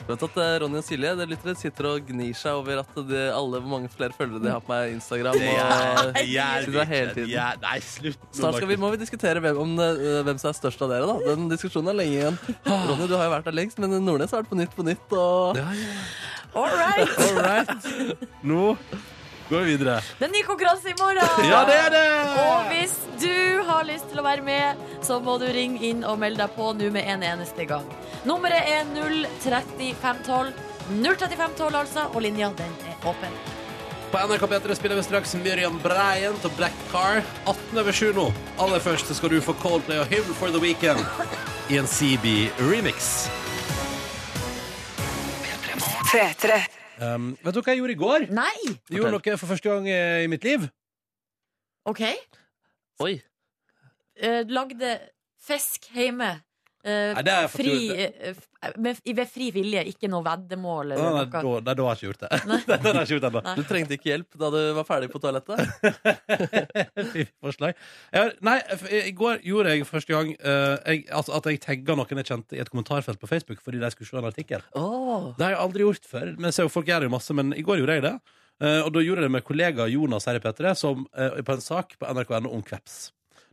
[SPEAKER 2] Vet at eh, Ronny og Silje det lytter, sitter og gnir seg over at de, alle hvor mange flere følgere de har på meg i Instagram. <laughs> Og, sitter der hele tiden.
[SPEAKER 1] Nei, slutt.
[SPEAKER 2] Snart skal vi, må vi diskutere hvem, om, eh, hvem som er størst av dere. da Den diskusjonen er lenge igjen. Ronny, du har jo vært der lengst, men Nordnes har vært på Nytt på Nytt. Og
[SPEAKER 1] Ja, ja.
[SPEAKER 3] All right.
[SPEAKER 1] All right. Nå går vi videre.
[SPEAKER 3] Det er ny konkurranse i morgen.
[SPEAKER 1] Ja, det er det!
[SPEAKER 3] Og hvis du har lyst til å være med, så må du ringe inn og melde deg på nå med en eneste gang. Nummeret er 03512. 03512, altså, og linja den er åpen.
[SPEAKER 1] På NRK P3 spiller vi straks Miriam Bryant og Black Car. 18 over 7 nå. Aller først så skal du få Coldplay og Hymn for the Weekend i en CB-remix.
[SPEAKER 4] P3.
[SPEAKER 1] Um, vet du hva jeg gjorde i går?
[SPEAKER 3] Nei!
[SPEAKER 1] Jeg gjorde noe for første gang eh, i mitt liv.
[SPEAKER 3] OK.
[SPEAKER 2] Oi,
[SPEAKER 3] Eh, lagde fisk hjemme. Eh,
[SPEAKER 1] Nei, det har jeg fått
[SPEAKER 3] fri,
[SPEAKER 1] gjort.
[SPEAKER 3] eh, f- med, ved fri vilje, ikke noe veddemål
[SPEAKER 1] Nei,
[SPEAKER 3] eller
[SPEAKER 1] nei,
[SPEAKER 3] noe.
[SPEAKER 1] da, nei, da har jeg ikke gjort det. Nei. <laughs> da har jeg ikke gjort det ennå.
[SPEAKER 2] Du trengte ikke hjelp da du var ferdig på toalettet?
[SPEAKER 1] Fy forslag. Jeg har- Nei, f- i går gjorde jeg første gang eh, jeg, altså, at jeg tagga noen jeg kjente i et kommentarfelt på Facebook fordi de skulle se en artikkel.
[SPEAKER 2] Åh,
[SPEAKER 1] Det har jeg aldri gjort før. Men jeg ser jo folk gjør det jo masse, men i går gjorde jeg det. Eh, og da gjorde jeg det med kollega Jonas her i P3 som, eh, på en sak på NRK.no om kveps.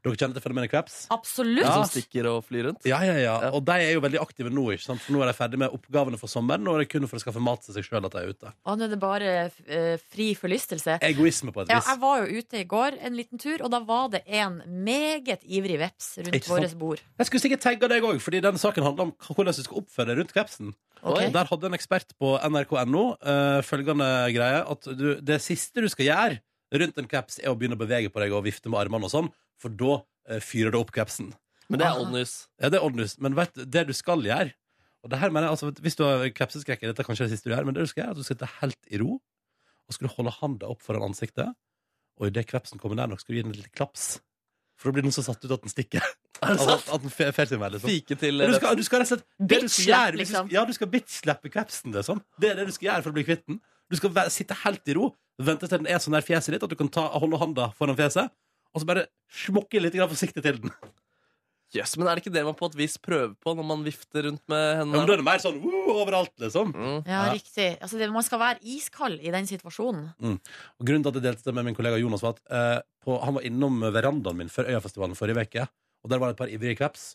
[SPEAKER 1] Dere kjenner til fenomenet kveps?
[SPEAKER 3] Absolutt.
[SPEAKER 2] Som stikker og flyr rundt?
[SPEAKER 1] Ja, ja, ja.
[SPEAKER 2] Ja.
[SPEAKER 1] Og de er jo veldig aktive nå, ikke sant? for nå er de ferdig med oppgavene for sommeren. Og det er kun for å skaffe mat til seg sjøl at de er ute.
[SPEAKER 3] Og nå er det bare eh, fri forlystelse.
[SPEAKER 1] Egoisme på et
[SPEAKER 3] Ja,
[SPEAKER 1] vis.
[SPEAKER 3] jeg var jo ute i går en liten tur, og da var det en meget ivrig veps
[SPEAKER 1] Ikke
[SPEAKER 3] rundt
[SPEAKER 1] sant?
[SPEAKER 3] vårt bord.
[SPEAKER 1] Jeg skulle sikkert tagge deg òg, fordi den saken handler om hvordan du skal oppføre deg rundt krepsen.
[SPEAKER 3] Ok.
[SPEAKER 1] Og Der hadde en ekspert på nrk.no eh, følgende greie at du, det siste du skal gjøre rundt en kreps, er å begynne å bevege på deg og vifte med armene og sånn, for da eh, fyrer det opp krepsen.
[SPEAKER 2] Men det er old news.
[SPEAKER 1] Ja, det er oddnus, men vet du, det du skal gjøre Og det her mener jeg, altså, hvis du har krepseskrekk Dette er kanskje det siste du gjør, men det du skal gjøre er at du skal sitte helt i ro Og skal du holde handa opp foran ansiktet Og i det krepsen kommer nær nok skal du gi den et lite klaps For da blir den så satt ut at den stikker altså, at, at den fer fer til meg liksom
[SPEAKER 2] Fike til
[SPEAKER 1] Men du skal, du skal rett og slett det du skal
[SPEAKER 3] Bitch-slap,
[SPEAKER 1] gjøre- hvis du-
[SPEAKER 3] liksom.
[SPEAKER 1] Ja, du skal bitch-slappe krepsen liksom. Det er det du skal gjøre for å bli kvitt den Du skal være, sitte helt i ro Vente til den er sånn der fjeset ditt At du kan ta, holde handa foran fjeset Og så bare smokke litt grann forsiktig til den
[SPEAKER 2] Yes, men er det ikke det man på et vis prøver på når man vifter rundt med
[SPEAKER 1] Ja, men da
[SPEAKER 2] hendene?
[SPEAKER 1] er det mer sånn «Woo!» overalt, liksom.
[SPEAKER 2] Mm.
[SPEAKER 3] Ja,
[SPEAKER 1] Ja.
[SPEAKER 3] riktig. Altså, det, man skal være iskald i den situasjonen.
[SPEAKER 1] Og grunnen til at jeg delte det med min kollega Jonas, var at eh, på, han var innom verandaen min før Øyafestivalen forrige uke, og der var det et par ivrige kreps.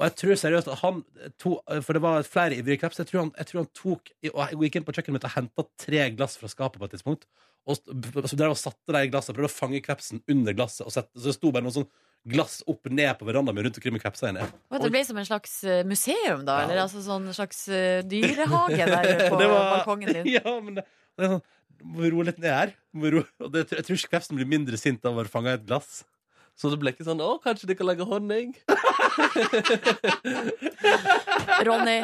[SPEAKER 1] Og jeg tror seriøst at han eh, to, For det var flere ivrige kreps. Jeg tror han, jeg tror han tok Og jeg gikk inn på kjøkkenet mitt og henta tre glass fra skapet på et tidspunkt. Og st- så drev og satte de i glasset, prøvde å fange krepsen under glasset. Og sette, så det sto bare noe sånn glass opp ned på verandaen min rundt omkring med krepsa inni.
[SPEAKER 3] Og det ble som en slags eh, museum, da. Eller altså sånn slags eh, dyrehage
[SPEAKER 1] <laughs>
[SPEAKER 3] der på
[SPEAKER 1] Det var-
[SPEAKER 3] balkongen
[SPEAKER 1] <laughs>
[SPEAKER 3] din.
[SPEAKER 1] Ja, men det, det er sånn Må vi roe litt ned her? Må vi roe- og det, jeg tror ikke krepsen blir mindre sint av å være fanga i et glass.
[SPEAKER 2] Så det ble ikke sånn 'Å, kanskje de kan lage honning'?
[SPEAKER 3] Ronny,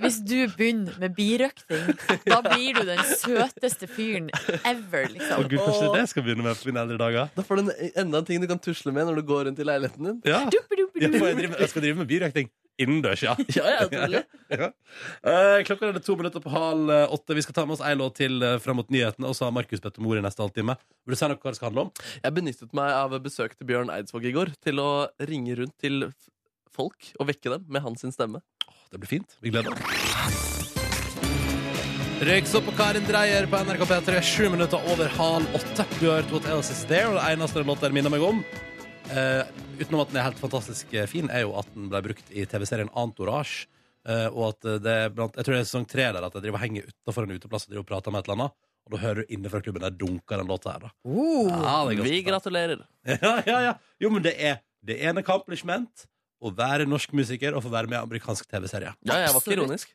[SPEAKER 3] hvis du begynner med birøkting, da blir du den søteste fyren ever,
[SPEAKER 1] Å
[SPEAKER 3] liksom.
[SPEAKER 1] gud, kanskje det er
[SPEAKER 2] Åh.
[SPEAKER 1] det jeg skal begynne med på mine eldre dager?
[SPEAKER 2] Da får du en- enda en ting du kan tusle med når du går rundt i leiligheten din.
[SPEAKER 1] Ja, jeg,
[SPEAKER 3] Duppeduppedum.
[SPEAKER 1] får, jeg, driver, jeg skal drive med birøkting. Innendørs, ja.
[SPEAKER 2] Ja, ja, selvfølgelig.
[SPEAKER 1] ja. Eh, klokka er det to minutter på halv eh, åtte. Vi skal ta med oss ei låt til eh, fram mot nyhetene, og så har Markus bedt om ordet i neste halvtime. Vil du si noe hva det skal handle om?
[SPEAKER 2] Jeg benyttet meg av besøk til Bjørn Eidsvåg i går til å ringe rundt til f- folk og vekke dem med hans sin stemme.
[SPEAKER 1] Det blir fint. Vi gleder oss. Røyks opp på Karin Dreyer på NRK P3, sju minutter over halv åtte. Du har hørt What Else Is There, og det eneste låta den minner meg om, eh, utenom at den er helt fantastisk eh, fin, er jo at den ble brukt i TV-serien Antorage. eh, og at eh, det er blant Jeg tror det er sesong tre der at jeg driver og henger utafor en uteplass og driver og prater med et eller annet, og da hører du inne fra klubben der dunker den låta her, da. <laughs> Ja, det er ganske
[SPEAKER 2] Vi
[SPEAKER 1] bra.
[SPEAKER 2] gratulerer.
[SPEAKER 1] Ja, ja, ja. Jo, men det er det er en accomplishment å være norsk musiker og få være med i amerikansk TV-serie.
[SPEAKER 2] Ja, jeg var ikke
[SPEAKER 3] Absolutt.
[SPEAKER 2] ironisk.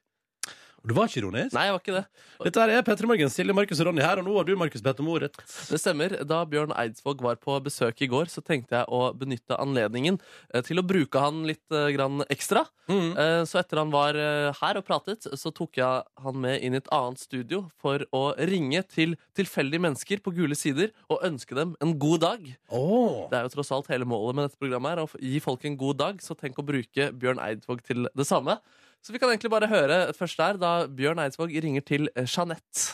[SPEAKER 1] Og det var ikke ironisk.
[SPEAKER 2] Nei, jeg var ikke det.
[SPEAKER 1] Dette her er Petter Morgen, Silje, Markus og Ronny her, og nå har du, Markus, bedt om ordet.
[SPEAKER 2] Det stemmer. Da Bjørn Eidsvåg var på besøk i går, så tenkte jeg å benytte anledningen eh, til å bruke han litt eh, grann ekstra.
[SPEAKER 1] Mm.
[SPEAKER 2] Eh, Så etter han var eh, her og pratet, så tok jeg han med inn i et annet studio for å ringe til tilfeldige mennesker på gule sider og ønske dem en god dag.
[SPEAKER 1] Åh.
[SPEAKER 2] Det er jo tross alt hele målet med dette programmet her, å gi folk en god dag, så tenk å bruke Bjørn Eidsvåg til det samme. Så vi kan egentlig bare høre først der, da Bjørn Eidsvåg ringer til eh, Jeanette.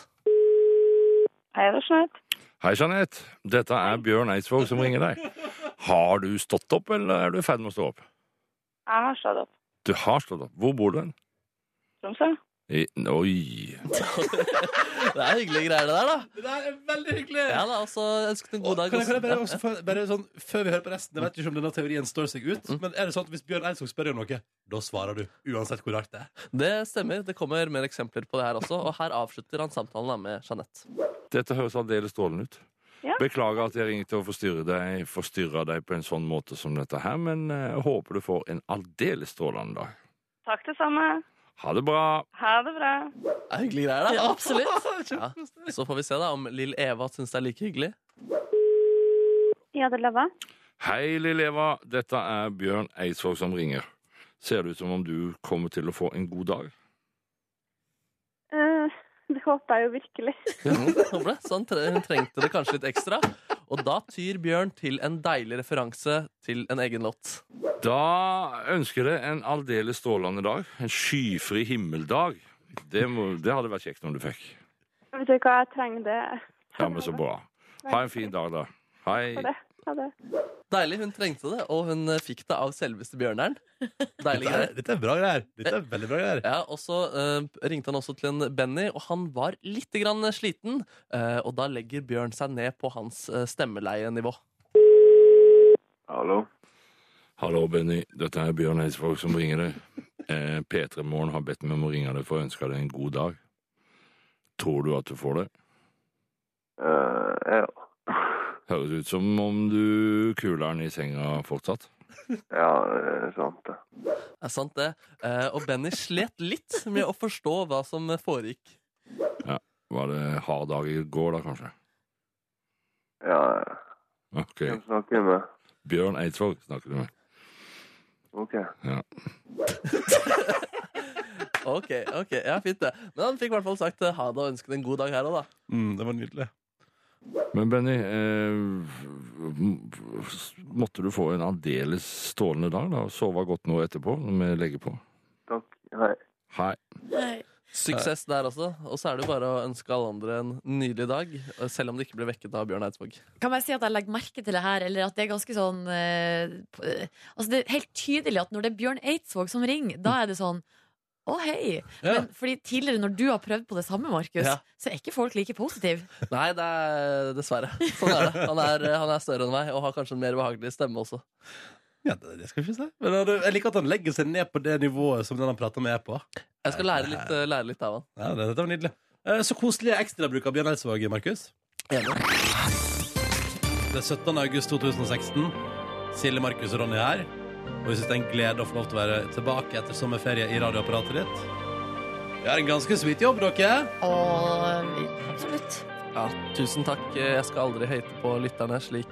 [SPEAKER 5] Hei, det er Jeanette.
[SPEAKER 6] Hei, Jeanette. Dette er Bjørn Eidsvåg som ringer deg. Har du stått opp, eller er du i ferd med å stå opp?
[SPEAKER 5] Jeg har stått opp.
[SPEAKER 6] Du har stått opp. Hvor bor du hen?
[SPEAKER 5] Tromsø?
[SPEAKER 6] I, oi.
[SPEAKER 2] Det er hyggelige greier, det der, da.
[SPEAKER 1] Det der er veldig hyggelig!
[SPEAKER 2] Ja, da, altså, ønsket en
[SPEAKER 1] Og
[SPEAKER 2] god dag.
[SPEAKER 1] Kan jeg, kan jeg bare,
[SPEAKER 2] også.
[SPEAKER 1] også, få- bare sånn, Før vi hører på resten, jeg vet ikke om denne teorien står seg ut, men er det sånn at hvis Bjørn Eidsvåg spør om noe, da svarer du? Uansett hvor rart det er.
[SPEAKER 2] Det stemmer. Det kommer mer eksempler på det her også. Og her avslutter han samtalen da med Jeanette.
[SPEAKER 6] Dette høres aldeles strålende ut.
[SPEAKER 5] Ja.
[SPEAKER 6] Beklager at jeg ringte og forstyrret deg, forstyrret deg på en sånn måte som dette her, men eh, jeg håper du får en aldeles strålende dag.
[SPEAKER 5] Takk det samme.
[SPEAKER 6] Ha det bra!
[SPEAKER 5] Ha det bra.
[SPEAKER 2] Det er hyggelige greier, da.
[SPEAKER 3] Ja,
[SPEAKER 2] <laughs>
[SPEAKER 3] absolutt.
[SPEAKER 2] Ja. Så får vi se da om Lill Eva syns det er like hyggelig.
[SPEAKER 5] Ja, det er Lava.
[SPEAKER 6] Hei, lille Eva. Dette er Bjørn Eidsvåg som ringer. Ser det ut som om du kommer til å få en god dag?
[SPEAKER 5] Eh, det håper jeg jo virkelig.
[SPEAKER 2] <laughs> Håper det. Så han tre hun trengte det kanskje litt ekstra. Og da tyr Bjørn til en deilig referanse til en egen låt.
[SPEAKER 6] Da ønsker jeg deg en aldeles strålende dag. En skyfri himmeldag. Det, må, det hadde vært kjekt om du fikk.
[SPEAKER 5] Vet du hva, jeg trenger det.
[SPEAKER 6] Ja, men så bra. Ha en fin dag, da. Hei.
[SPEAKER 5] Ha det. Ha det.
[SPEAKER 2] Deilig, hun trengte det, og hun eh, fikk det av selveste Bjørneren. Deilig
[SPEAKER 1] Dette er,
[SPEAKER 2] greier.
[SPEAKER 1] dette er bra greier. Dette er veldig bra greier.
[SPEAKER 2] Ja, og så eh, ringte han også til en Benny, og han var litt grann sliten. eh, og da legger Bjørn seg ned på hans eh, stemmeleienivå.
[SPEAKER 7] Hallo?
[SPEAKER 6] Hallo, Benny. Dette er Bjørn Eidsvåg som ringer deg. Eh, P3 Morgen har bedt meg om å ringe deg for å ønske deg en god dag. Tror du at du får det?
[SPEAKER 7] Eh, ja.
[SPEAKER 6] Høres ut som om du kuler den i senga fortsatt.
[SPEAKER 7] ja, det er sant det.
[SPEAKER 2] Det er sant, det. Eh, og Benny slet litt med å forstå hva som foregikk.
[SPEAKER 6] Var det hard dag i går, da, kanskje?
[SPEAKER 7] Ja,
[SPEAKER 6] Ok.
[SPEAKER 7] hvem snakker jeg med?
[SPEAKER 6] Bjørn Eidsvåg snakker du med.
[SPEAKER 7] Ok.
[SPEAKER 2] Ok, ok, ja, fint det. Men han fikk i hvert fall sagt eh, ha det og ønsket en god dag her òg, da.
[SPEAKER 1] Mm, det var nydelig.
[SPEAKER 6] Men Benny, eh, måtte du få en aldeles strålende dag, da? og Sove godt nå etterpå, når vi legger på?
[SPEAKER 7] Takk. Hei.
[SPEAKER 6] Hei.
[SPEAKER 2] Suksess der også. Og så er det jo bare å ønske alle andre en nydelig dag, eh, selv om de ikke ble vekket av Bjørn Eidsvåg.
[SPEAKER 3] Kan jeg si at jeg legger merke til det her, eller at det er ganske sånn eh, p- eh, Altså, det er helt tydelig at når det er Bjørn Eidsvåg som ringer, da er det sånn å, hei!
[SPEAKER 1] Ja.
[SPEAKER 3] Men fordi tidligere, når du har prøvd på det samme, Markus,
[SPEAKER 2] Ja.
[SPEAKER 3] så er ikke folk like positive.
[SPEAKER 2] Nei, det er dessverre. Sånn er det. Han er, han er større enn meg og har kanskje en mer behagelig stemme også.
[SPEAKER 1] Ja, det, det skal vi ikke si. Men han- jeg liker at han legger seg ned på det nivået som den han prater med, er på.
[SPEAKER 2] Jeg skal lære litt, eh, lære litt av han.
[SPEAKER 1] Ja, det, dette var nydelig. Eh, Så koselig ekstrabruk av Bjørn Eidsvåg, Markus.
[SPEAKER 2] Enig.
[SPEAKER 1] Det er 17. august 2016. Silje, Markus og Ronny er her. Og vi synes det er en glede å få lov til å være tilbake etter sommerferie i radioapparatet ditt. Vi har en ganske sweet jobb, dere.
[SPEAKER 3] Og absolutt.
[SPEAKER 2] Ja, tusen takk. Eh, Jeg skal aldri hate på lytterne slik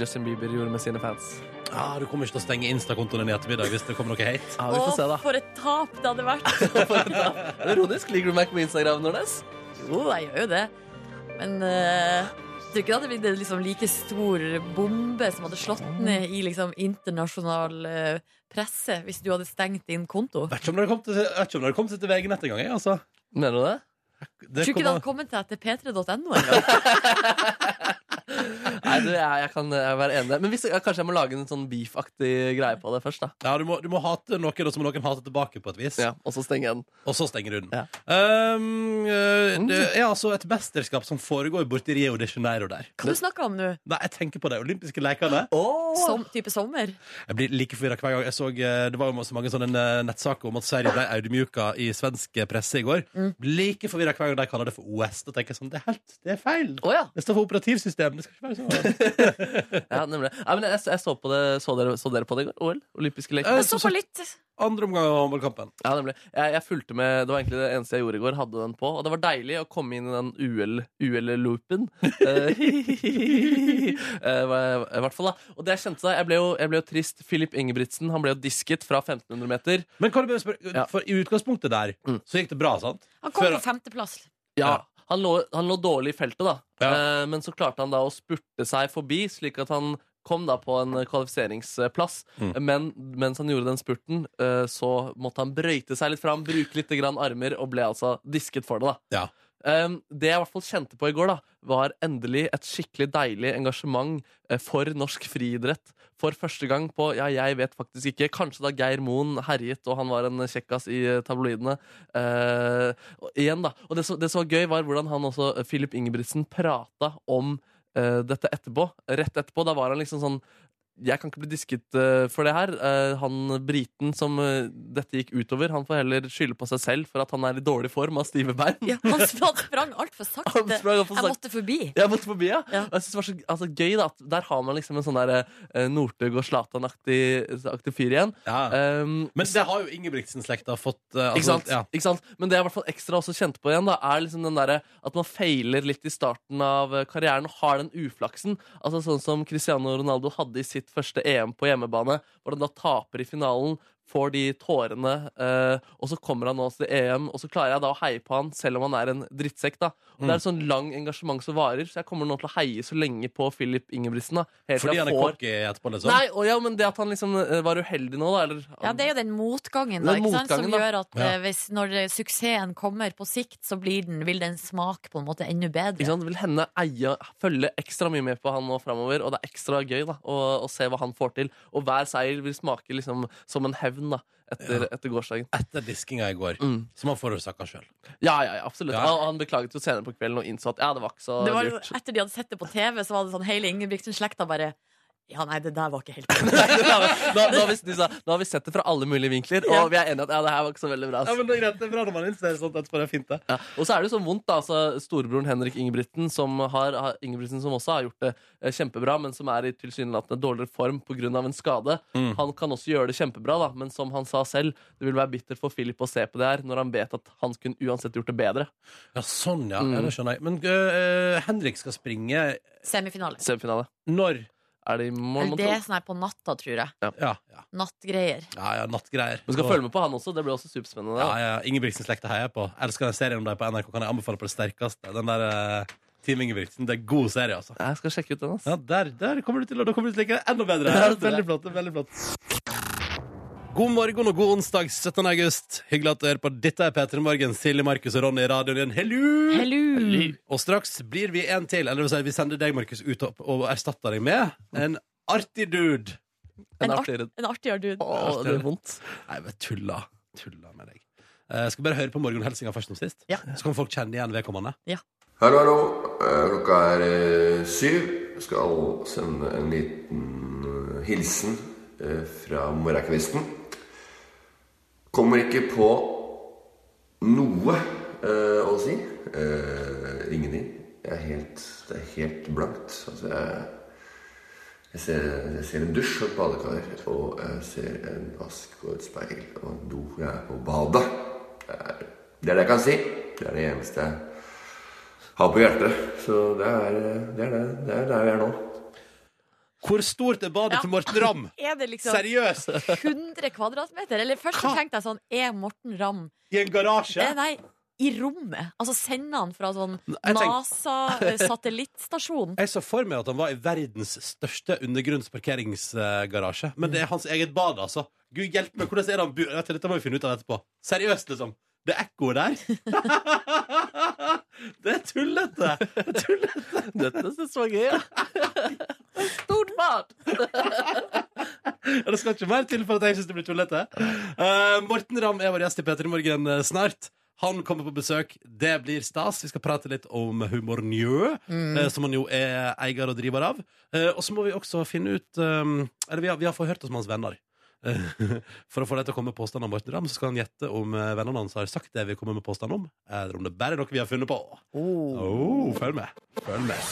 [SPEAKER 2] Justin Bieber gjorde med sine fans.
[SPEAKER 1] Ja, du kommer ikke til å stenge Insta-kontoen din i ettermiddag hvis det kommer noe hate.
[SPEAKER 2] Ja, vi får se, da.
[SPEAKER 3] for et tap det hadde vært!
[SPEAKER 2] <laughs> Er det Ironisk. Liker du meg ikke på Instagram, Nordnes?
[SPEAKER 3] Jo, jeg gjør jo det. Men eh, jeg tror ikke det hadde blitt en liksom like stor bombe som hadde slått
[SPEAKER 2] Mm.
[SPEAKER 3] ned i liksom internasjonal eh, presse hvis du hadde stengt din konto.
[SPEAKER 1] Vet ikke om det har kommet til, vet ikke om det har kommet til VG nett engang. jeg, Altså.
[SPEAKER 2] Mener du det?
[SPEAKER 1] Det
[SPEAKER 3] tror ikke det
[SPEAKER 1] kommer-
[SPEAKER 3] hadde kommet til etter p3.no engang.
[SPEAKER 2] Nei, du, jeg, jeg kan eh, være enig. Men hvis, ja, kanskje jeg må lage en sånn beef-aktig greie på det først, da.
[SPEAKER 1] ja, du, må, du må hate noen, og så må noen hate tilbake på et vis.
[SPEAKER 2] Ja, og så stenge den.
[SPEAKER 1] Og så stenger du den.
[SPEAKER 2] Ja. Mm.
[SPEAKER 1] Um, eh, det er altså et mesterskap som foregår borti Rio de Janeiro der.
[SPEAKER 3] Hva du snakker om nå?
[SPEAKER 1] Nei, jeg tenker på de olympiske lekene.
[SPEAKER 3] Som type sommer?
[SPEAKER 1] Jeg blir like forvirra hver gang. Jeg så, eh, det var jo så mange sånne eh, nettsaker om at Sverige ble audmjuka i svensk eh, presse i går. Blir like forvirra hver gang de kaller det for OS. Da tenker jeg sånn, det er helt, det er feil.
[SPEAKER 2] Å ja.
[SPEAKER 1] Det står for operativsystem. Det skal ikke være sånn. <laughs>
[SPEAKER 2] ja nemlig. Nei, men jeg, jeg så, på det, så, dere, så dere på det i går? OL? Olympiske leker?
[SPEAKER 1] Eh,
[SPEAKER 3] Jeg så på litt.
[SPEAKER 1] Andre omgang av håndballkampen.
[SPEAKER 2] Ja, nemlig. Jeg, jeg fulgte med, Det var egentlig det eneste jeg gjorde i går. Hadde den på. Og det var deilig å komme inn i den UL-loopen. Eh, <laughs> I hvert fall, da. Og det jeg kjente da, jeg ble jo, jeg ble jo trist. Philip Ingebrigtsen han ble jo disket fra 1500 meter.
[SPEAKER 1] Men kan du bare spørre,
[SPEAKER 2] Ja.
[SPEAKER 1] for i utgangspunktet der
[SPEAKER 2] Mm.
[SPEAKER 1] så gikk det bra, sant?
[SPEAKER 3] Han kom
[SPEAKER 1] Før-
[SPEAKER 3] på femteplass.
[SPEAKER 2] Ja,
[SPEAKER 1] Ja.
[SPEAKER 2] han lå, han lå dårlig i feltet, da.
[SPEAKER 1] Ja.
[SPEAKER 2] Eh, men så klarte han da å spurte seg forbi, slik at han kom da på en eh, kvalifiseringsplass.
[SPEAKER 1] Mm.
[SPEAKER 2] Men mens han gjorde den spurten, eh, så måtte han brøyte seg litt fram, bruke litt grann armer, og ble altså disket for det, da.
[SPEAKER 1] Ja.
[SPEAKER 2] Ehm, det jeg i hvert fall kjente på i går, da, var endelig et skikkelig deilig engasjement eh, for norsk friidrett. For første gang på ja, jeg vet faktisk ikke, kanskje da Geir Moen herjet og han var en kjekkas i eh, tabloidene. Eh, og igjen da Og det som, det som var gøy, var hvordan han også, eh, Filip Ingebrigtsen, prata om eh, dette etterpå. Rett etterpå. Da var han liksom sånn jeg kan ikke bli disket eh, for det her. Eh, han briten som eh, dette gikk utover, han får heller skylde på seg selv for at han er i dårlig form av stive bein.
[SPEAKER 3] Ja, han sprang, sprang altfor sakte.
[SPEAKER 2] Han sprang opp og
[SPEAKER 3] Jeg
[SPEAKER 2] sa
[SPEAKER 3] måtte forbi.
[SPEAKER 2] jeg måtte forbi, ja.
[SPEAKER 3] Ja.
[SPEAKER 2] Og jeg synes det var så altså, gøy da at Der har man liksom en sånn der eh, Northug og Zlatan-aktig aktig fyr igjen.
[SPEAKER 1] Ja.
[SPEAKER 2] Um,
[SPEAKER 1] Men det har jo Ingebrigtsen-slekta fått. eh, altså,
[SPEAKER 2] ikke sant?
[SPEAKER 1] Ja.
[SPEAKER 2] ikke sant? Men det jeg i hvert fall ekstra også kjente på igjen, da, er liksom den derre at man feiler litt i starten av eh, karrieren og har den uflaksen. Altså Sånn som Cristiano Ronaldo hadde i sitt første EM på hjemmebane, hvor han da taper i finalen, får de tårene, eh, og så kommer han nå til EM, og så klarer jeg da å heie på han, selv om han er en drittsekk. da. Og
[SPEAKER 1] Mm.
[SPEAKER 2] Det er et sånn lang engasjement som varer, så jeg kommer nå til å heie så lenge på Philip Ingebrigtsen. da. Helt til
[SPEAKER 1] Fordi
[SPEAKER 2] jeg
[SPEAKER 1] han er
[SPEAKER 2] får...
[SPEAKER 1] cocky etterpå, liksom?
[SPEAKER 2] Nei, og ja, men det at han liksom eh, var uheldig nå, da, eller
[SPEAKER 3] Ja, Det er jo den motgangen, da,
[SPEAKER 2] Den
[SPEAKER 3] ikke sant? som
[SPEAKER 2] motgangen, da.
[SPEAKER 3] gjør at
[SPEAKER 1] Ja.
[SPEAKER 3] eh, hvis, når eh, suksessen kommer på sikt, så blir den, vil den smake på en måte enda bedre.
[SPEAKER 2] Ikke sant? Vil henne eie, følge ekstra mye med på han nå framover, og det er ekstra gøy da, å, å se hva han får til. Og hver seier vil smake liksom, som en hevn da, etter, etter gårsdagen.
[SPEAKER 1] Etter diskinga i går,
[SPEAKER 2] Mm.
[SPEAKER 1] som han forårsaka sjøl.
[SPEAKER 2] Ja, ja, ja, absolutt.
[SPEAKER 1] Ja.
[SPEAKER 2] Og han beklaget jo senere på kvelden og innså at ja, det var ikke så
[SPEAKER 3] Det var jo,
[SPEAKER 2] lurt.
[SPEAKER 3] etter de hadde sett det på TV, så var det sånn hele Ingebrigtsen-slekta bare Ja, nei, det der var ikke helt bra.
[SPEAKER 2] <laughs> Nei, nå, nå, har vi, de sa, nå har vi sett det fra alle mulige vinkler, og
[SPEAKER 3] Ja.
[SPEAKER 2] vi er enige at ja, det her var ikke så veldig bra. ass.
[SPEAKER 1] men det er greit, det er bra når man innser sånt etterpå. Det er fint, det.
[SPEAKER 2] Ja. Og så er det jo så vondt, da. Altså, storebroren Henrik Ingebrigtsen som, har, har, Ingebrigtsen, som også har gjort det eh, kjempebra, men som er i tilsynelatende dårligere form pga. en skade.
[SPEAKER 1] Mm.
[SPEAKER 2] Han kan også gjøre det kjempebra, da, men som han sa selv, det vil være bittert for Philip å se på det her når han vet at han kunne uansett gjort det bedre.
[SPEAKER 1] Ja, sånn, ja.
[SPEAKER 2] Mm.
[SPEAKER 1] ja det skjønner jeg. Men øh, Henrik skal springe
[SPEAKER 3] Semifinale.
[SPEAKER 2] Semifinale.
[SPEAKER 1] når
[SPEAKER 2] Er det i morgen?
[SPEAKER 3] Eller
[SPEAKER 2] mon
[SPEAKER 3] det
[SPEAKER 2] tro?
[SPEAKER 3] er sånn her på natta, tror jeg.
[SPEAKER 1] Ja, ja,
[SPEAKER 3] Nattgreier.
[SPEAKER 1] ja, ja nattgreier.
[SPEAKER 2] Vi skal følge med på han også. Det blir også superspennende.
[SPEAKER 1] Ja, ja, Ingebrigtsen-slekta heier jeg på. Elsker den serien om deg på NRK. Kan jeg anbefale på det sterkeste. Den der eh, Team Ingebrigtsen. Det er god serie, altså.
[SPEAKER 2] Jeg skal sjekke ut den. ass.
[SPEAKER 1] Ja, der, der kommer du til, og da kommer du til å like det enda bedre.
[SPEAKER 2] Ja, det tror jeg.
[SPEAKER 1] Veldig flott. veldig flott. God morgen og god onsdag 17. august. Hyggelig at du hører på. Dette er P3 Morgen. Silje, Markus og Ronny i radioen igjen. Hello!
[SPEAKER 3] Hello!
[SPEAKER 1] Og straks blir vi en til. Eller det vil si, vi sender deg, Markus, ut opp og erstatter deg med en artig dude.
[SPEAKER 2] En
[SPEAKER 3] En art-
[SPEAKER 2] artigere
[SPEAKER 3] En artigere dude.
[SPEAKER 2] Å, det er vondt.
[SPEAKER 1] Nei, men tulla. Tulla med deg. Eh, skal vi bare høre på morgenhelsinga først som sist?
[SPEAKER 3] Ja.
[SPEAKER 1] Så kan folk kjenne igjen vedkommende.
[SPEAKER 8] Hallo, hallo. Eh, Klokka er eh, syv. Skal sende en liten eh, hilsen eh, fra morgenkvisten. Kommer ikke på noe eh, å si. Eh, ingenting. Jeg er helt, det er helt blankt. Altså, jeg, jeg, ser, jeg ser en dusj og et badekar. Og jeg ser en vask og et speil og en do. Jeg er på badet. Det er det, er det jeg kan si. Det er det eneste jeg har på hjertet. Så det er det, er det, det er der vi er nå.
[SPEAKER 1] Hvor stort er badet
[SPEAKER 3] Ja.
[SPEAKER 1] til Morten
[SPEAKER 3] <laughs>
[SPEAKER 1] Ramm?
[SPEAKER 3] Er det liksom
[SPEAKER 1] Seriøst!
[SPEAKER 3] 100 kvadratmeter? Eller først så
[SPEAKER 1] Hva?
[SPEAKER 3] tenkte jeg sånn, er Morten Ramm
[SPEAKER 1] I en garasje?
[SPEAKER 3] Eh, Nei, i rommet. Altså sende han fra sånn
[SPEAKER 1] jeg tenk-
[SPEAKER 3] NASA-satellittstasjon.
[SPEAKER 1] Jeg så for meg at han var i verdens største undergrunnsparkeringsgarasje. Men det er hans eget bad, altså. Gud hjelpe meg, hvordan er det han bor? Vet du, Dette må vi finne ut av etterpå. Seriøst, liksom. Det er ekkoet
[SPEAKER 3] <laughs>
[SPEAKER 1] der. <laughs> det er tullete! Det er tullete.
[SPEAKER 2] Dette synes jeg var gøy. Ja. Stort bad!
[SPEAKER 1] Ja, Det skal ikke mer til for at jeg syns det blir tullete. Eh, Morten Ramm er vår gjest i P3 Morgen eh, snart. Han kommer på besøk. Det blir stas. Vi skal prate litt om Humor Njø, eh, som han jo er eier og driver av. Eh, og så må vi også finne ut eh, Eller vi har, vi har forhørt oss med hans venner. Eh, <laughs> For å få deg til å komme med påstand om Morten Ramm, så skal han gjette om eh, vennene hans har sagt det vi kommer med påstand om, eller om det bare er noe vi har funnet på. Oh, følg med. Følg med.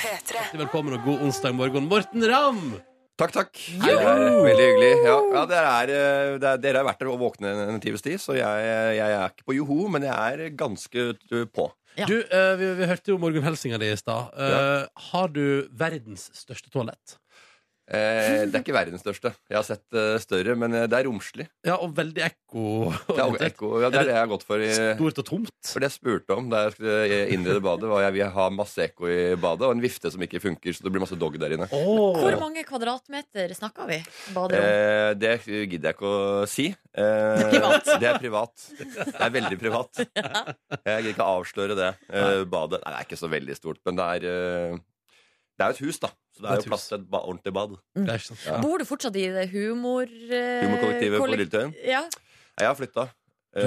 [SPEAKER 1] Hjertelig Velkommen og god onsdag morgen, Morten Ramm!
[SPEAKER 9] Takk, takk. Hei, det er veldig hyggelig. Ja, ja, dere, er, eh, det er, dere har vært der og våkne en, en times tid, så jeg, jeg er ikke på joho, men jeg er ganske eh, på.
[SPEAKER 3] Ja.
[SPEAKER 1] Du, eh, vi, vi hørte jo Morgan Helsinga di i stad. Eh, Har du verdens største toalett?
[SPEAKER 9] Eh, det er ikke verdens største. Jeg har sett eh, større, men eh, det er romslig.
[SPEAKER 1] Ja, og veldig ekko.
[SPEAKER 9] Det er, også ekko, ja, det, er det jeg har gått for. i-
[SPEAKER 1] Stort og tomt.
[SPEAKER 9] For det jeg spurte om da jeg skulle innrede badet, var jeg vil ha masse ekko i badet og en vifte som ikke funker, så det blir masse dog der inne.
[SPEAKER 3] Hvor mange kvadratmeter snakker vi? Baderom?
[SPEAKER 9] Eh, det gidder jeg ikke å si. Eh,
[SPEAKER 3] Privat.
[SPEAKER 9] det er privat. Det er veldig
[SPEAKER 3] <laughs>
[SPEAKER 9] privat. Jeg gidder ikke å avsløre det. Eh, badet Nei, det er ikke så veldig stort, men det er eh, Det er jo et hus, da. Så det
[SPEAKER 1] Det er
[SPEAKER 9] er
[SPEAKER 1] et
[SPEAKER 9] jo plass til et ba ordentlig bad.
[SPEAKER 1] Det er ikke sant.
[SPEAKER 9] Ja.
[SPEAKER 3] Bor du fortsatt i det humor... eh,
[SPEAKER 9] Humorkollektivet på
[SPEAKER 3] kollek-
[SPEAKER 9] Lilletøyen.
[SPEAKER 3] Ja.
[SPEAKER 9] Jeg har flytta. Eh,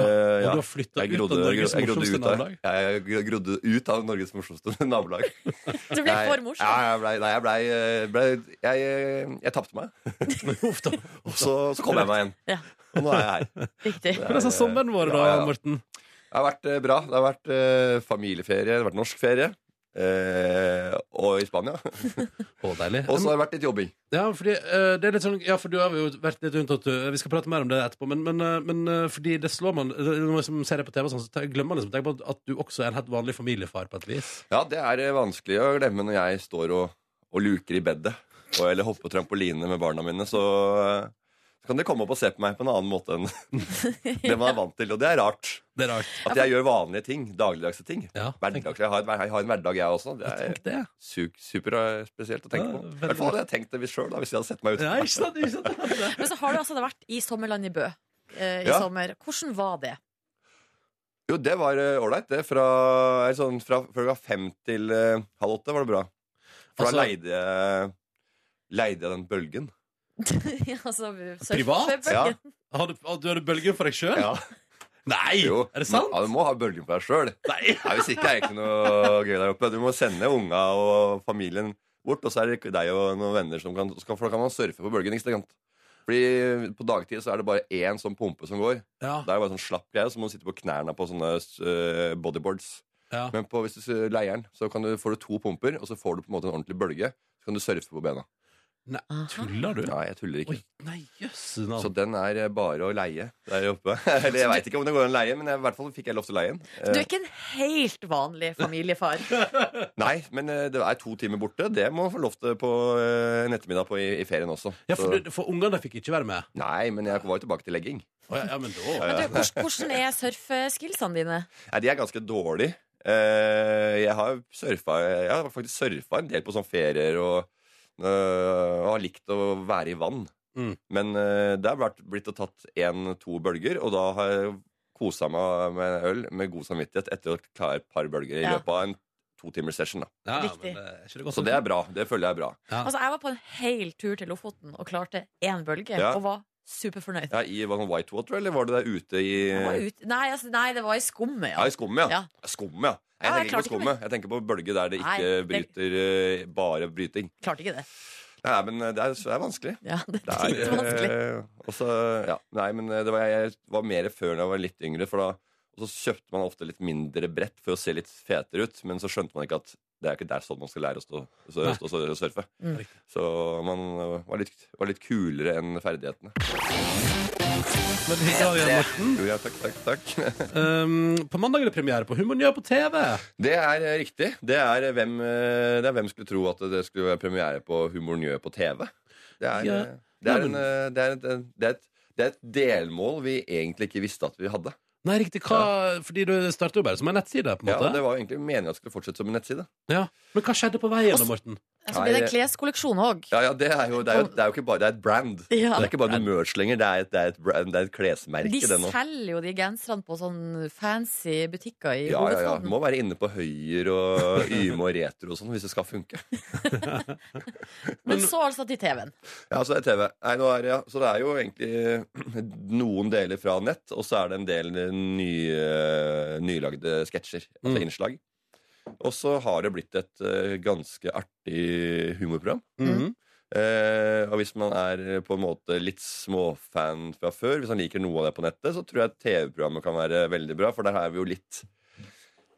[SPEAKER 1] Ja, Og
[SPEAKER 9] ja.
[SPEAKER 1] du har flytta
[SPEAKER 9] Jeg
[SPEAKER 1] ut
[SPEAKER 9] grodde,
[SPEAKER 1] av
[SPEAKER 9] jeg,
[SPEAKER 1] Norges
[SPEAKER 9] grodde, jeg, grodde
[SPEAKER 1] morsomste
[SPEAKER 9] ut av, <laughs>
[SPEAKER 1] nabolag.
[SPEAKER 9] jeg, jeg grodde ut av Norges morsomste <laughs> nabolag.
[SPEAKER 3] Det <laughs> ble
[SPEAKER 9] Nei,
[SPEAKER 3] for morsomt.
[SPEAKER 9] Ja, jeg ble, nei, jeg ble, eh, ble Jeg, eh, jeg, jeg tapte meg.
[SPEAKER 1] Uff da.
[SPEAKER 9] Og så, så kom jeg meg igjen.
[SPEAKER 3] Ja.
[SPEAKER 9] Og nå er jeg her.
[SPEAKER 3] Riktig.
[SPEAKER 1] Men altså, sommeren vår, da,
[SPEAKER 9] Ja, ja.
[SPEAKER 1] Morten.
[SPEAKER 9] Det har vært eh, bra. Det har vært eh, familieferie, det har vært norsk ferie. Eh, og i <laughs> Spania.
[SPEAKER 1] Å, deilig.
[SPEAKER 9] Og så har det vært litt jobbing.
[SPEAKER 1] Ja, fordi, eh, det er litt sånn, ja, for du har jo vært litt rundt at du, Vi skal prate mer om det etterpå, men, men, eh, men eh, fordi det slår man Når man liksom ser det på TV, og sånn, så te- glemmer man liksom tenker på at du også er en helt vanlig familiefar på et vis.
[SPEAKER 9] Ja, det er eh, vanskelig å glemme når jeg står og, og luker i bedet. Og, eller hopper på trampoline med barna mine. Så, eh, så kan de komme opp og se på meg på en annen måte enn <laughs> det man er vant til. Og det er rart.
[SPEAKER 1] Det er rart.
[SPEAKER 9] At jeg gjør vanlige ting. Dagligdagse ting.
[SPEAKER 1] Ja, tenk,
[SPEAKER 9] Hverdagslige. Jeg har, et- jeg har en hverdag, jeg også. Det er
[SPEAKER 1] tenk det.
[SPEAKER 9] su superspesielt å tenke
[SPEAKER 1] Ja,
[SPEAKER 9] på. I
[SPEAKER 1] veldig
[SPEAKER 9] hvert fall hadde jeg tenkt det selv, da, hvis jeg hadde sett meg ut.
[SPEAKER 1] Ja, ikke sant? Ikke sant?
[SPEAKER 3] Men så har du altså vært i sommerland i Bø eh, i
[SPEAKER 9] Ja.
[SPEAKER 3] sommer. Hvordan var det? <laughs>
[SPEAKER 9] Jo, det var eh, ålreit, det. Fra, eller sånn, fra, fra klokka fem til eh, halv åtte var det bra. For
[SPEAKER 1] Altså-
[SPEAKER 9] da leide jeg, leide jeg den bølgen.
[SPEAKER 3] altså,
[SPEAKER 1] Privat?
[SPEAKER 9] Ja,
[SPEAKER 3] surfebølgen.
[SPEAKER 1] <laughs> Har du, har du hadde bølgen for deg sjøl?
[SPEAKER 9] ja,
[SPEAKER 1] Nei!
[SPEAKER 9] jo.
[SPEAKER 1] <laughs> Er det sant?
[SPEAKER 9] Ja, du må ha bølgen for deg sjøl.
[SPEAKER 1] Nei.
[SPEAKER 9] Hvis ikke er det ikke noe gøy der oppe. Du må sende unga og familien bort, og så er det deg og noen venner som kan skal- For da kan man surfe på bølgen. Ikke sant? Fordi på dagtid så er det bare én sånn pumpe som går.
[SPEAKER 1] Ja.
[SPEAKER 9] Da er det bare sånn slapp greie, så må du sitte på knærne på sånne eh, bodyboards.
[SPEAKER 1] Ja.
[SPEAKER 9] Men på, hvis du s- leier den, så kan du, får du to pumper, og så får du på en måte en ordentlig bølge. Så kan du surfe på bena.
[SPEAKER 1] Nei, tuller du?
[SPEAKER 9] Nei, jeg tuller ikke.
[SPEAKER 1] Oi, nei, jøss.
[SPEAKER 9] Så
[SPEAKER 1] navn.
[SPEAKER 9] den er eh, bare å leie der oppe. <laughs> Eller jeg veit ikke om det går an å leie, men jeg, i hvert fall fikk jeg lov til å leie den. Eh,
[SPEAKER 3] Du er ikke en helt vanlig
[SPEAKER 9] <laughs>
[SPEAKER 3] familiefar.
[SPEAKER 9] Nei, men eh, det er to timer borte. Det må man få lov til på eh, en ettermiddag på i, i ferien også.
[SPEAKER 1] Ja, for,
[SPEAKER 9] Så-
[SPEAKER 1] du- for ungene fikk ikke være med.
[SPEAKER 9] Nei, men jeg var jo tilbake til legging.
[SPEAKER 1] Å, ja, ja, men da
[SPEAKER 3] Men du, hvordan, hvordan er surfeskillsene dine?
[SPEAKER 9] Nei, de er ganske dårlige. Eh, jeg har surfa Jeg har faktisk surfa en del på sånne ferier og, eh, og har likt å være i vann.
[SPEAKER 1] Mm.
[SPEAKER 9] Men eh, det har vært- blitt og tatt én-to bølger, og da har jeg kosa meg med øl med god samvittighet etter å klare et par bølger i
[SPEAKER 3] Ja.
[SPEAKER 9] løpet av en to timers session. Da.
[SPEAKER 1] ja,
[SPEAKER 3] Riktig.
[SPEAKER 1] men, eh, er ikke det godt
[SPEAKER 9] Så det er bra. Det føler jeg er bra.
[SPEAKER 1] Ja.
[SPEAKER 3] Altså, jeg var på en hel tur til Lofoten og klarte én bølge,
[SPEAKER 9] Ja.
[SPEAKER 3] og var superfornøyd.
[SPEAKER 9] Ja, i, var det Whitewater, eller var det der ute i
[SPEAKER 3] Jeg var ut- Nei, altså, nei, det var i skummet,
[SPEAKER 9] Ja,
[SPEAKER 3] ja.
[SPEAKER 9] i skummet, ja.
[SPEAKER 3] Ja.
[SPEAKER 9] Skummet, ja. Jeg
[SPEAKER 3] Ja, jeg
[SPEAKER 9] tenker
[SPEAKER 3] klarte
[SPEAKER 9] ikke på
[SPEAKER 3] ikke meg.
[SPEAKER 9] skummet. Jeg tenker på bølger der det ikke
[SPEAKER 3] Nei, det-
[SPEAKER 9] bryter eh, Bare bryting.
[SPEAKER 3] Klarte ikke det.
[SPEAKER 9] Nei, men eh, det er, det er vanskelig.
[SPEAKER 3] Ja, <laughs> det
[SPEAKER 9] Det
[SPEAKER 3] er litt vanskelig.
[SPEAKER 9] eh, og så- ja, nei, men eh, det var, jeg var mer før da jeg var litt yngre. For da, og så kjøpte man ofte litt mindre brett for å se litt fetere ut. Men så skjønte man ikke at det er ikke der sånn man skal lære å stå,
[SPEAKER 1] Nei.
[SPEAKER 9] stå, stå, stå og surfe.
[SPEAKER 3] Mm.
[SPEAKER 9] Så man eh, var litt, var litt kulere enn ferdighetene.
[SPEAKER 1] Men hyggelig å ha deg igjen, Morten.
[SPEAKER 9] Jo, ja, takk, takk, takk.
[SPEAKER 1] Um, på mandag er det premiere på Humornytt på TV.
[SPEAKER 9] Det er eh, riktig. Det er, eh, hvem, eh, det er hvem skulle tro at det skulle være premiere på Humor Njø på TV. Det er,
[SPEAKER 1] Ja.
[SPEAKER 9] eh, det er,
[SPEAKER 1] Ja,
[SPEAKER 9] en,
[SPEAKER 1] men-
[SPEAKER 9] eh, det er, et, det er, et, det er et delmål vi egentlig ikke visste at vi hadde.
[SPEAKER 1] Nei, riktig. Hva, Fordi du starter jo bare som en nettside. på en
[SPEAKER 9] Ja,
[SPEAKER 1] måte
[SPEAKER 9] og det var jo egentlig meningen at det skulle fortsette som en nettside.
[SPEAKER 1] Ja, Men hva skjedde på veien da, Morten?
[SPEAKER 3] Så ble Altså, det en
[SPEAKER 9] Nei,
[SPEAKER 3] kleskolleksjon òg.
[SPEAKER 9] Ja, ja, det er jo, det er jo, det er jo ikke bare, det er et brand.
[SPEAKER 3] Ja.
[SPEAKER 9] Det er ikke bare noe merch lenger, det er et, det er et, brand, det er et
[SPEAKER 3] De
[SPEAKER 9] klesmerke. det nå.
[SPEAKER 3] selger jo de genserne på sånn fancy butikker i
[SPEAKER 9] Ja, ja, ja. Du
[SPEAKER 3] hovedstaden.
[SPEAKER 9] må være inne på høyer og Yme og retro og sånn hvis det skal funke.
[SPEAKER 3] Men så altså til
[SPEAKER 9] <laughs>
[SPEAKER 3] TV-en.
[SPEAKER 9] Ja, så er det TV. Nei, nå er det, ja. Så det er jo egentlig <clears throat> noen deler fra nett, og så er det en del eh, nye, nylagde sketsjer, altså
[SPEAKER 1] Mm.
[SPEAKER 9] innslag. Og så har det blitt et eh, ganske artig humorprogram.
[SPEAKER 1] Mhm.
[SPEAKER 9] Eh, og hvis man er på en måte litt småfan fra før, hvis han liker noe av det på nettet, så tror jeg TV-programmet kan være veldig bra, for der er vi jo litt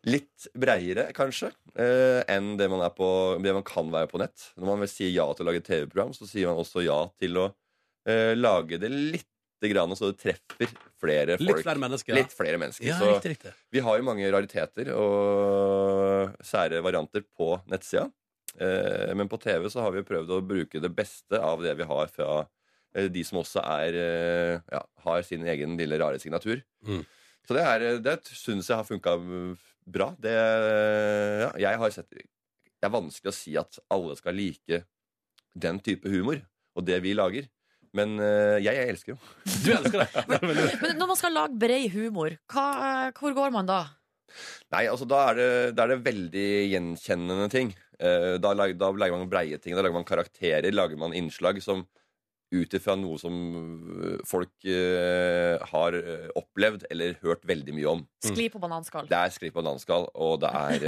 [SPEAKER 9] Litt breiere, kanskje, eh, enn det man, er på, det man kan være på nett. Når man vel sier ja til å lage TV-program, så sier man også ja til å eh, lage det lite grann, så det treffer flere folk.
[SPEAKER 1] Litt flere mennesker. ja.
[SPEAKER 9] Litt flere mennesker.
[SPEAKER 1] Ja,
[SPEAKER 9] så
[SPEAKER 1] riktig, riktig.
[SPEAKER 9] vi har jo mange rariteter og sære varianter på nettsida. Eh, Men på TV så har vi jo prøvd å bruke det beste av det vi har fra eh, de som også er, eh, ja, har sin egen lille rare signatur.
[SPEAKER 1] Mm.
[SPEAKER 9] Så det, er, eh, det syns jeg har funka bra. Det, ja, jeg har sett Det er vanskelig å si at alle skal like den type humor og det vi lager. Men eh, jeg, jeg elsker jo.
[SPEAKER 1] Du elsker det!
[SPEAKER 3] Men når man skal lage brei humor, hva, eh, hvor går man da?
[SPEAKER 9] Nei, altså da er det, da er det veldig gjenkjennende ting. Eh, da, lag, da lager man breie ting, da lager man karakterer, lager man innslag som ut ifra noe som øh, folk øh, har øh, opplevd eller hørt veldig mye om.
[SPEAKER 3] Skli på bananskall.
[SPEAKER 9] Mm. Det er skriv på landskall, og det er,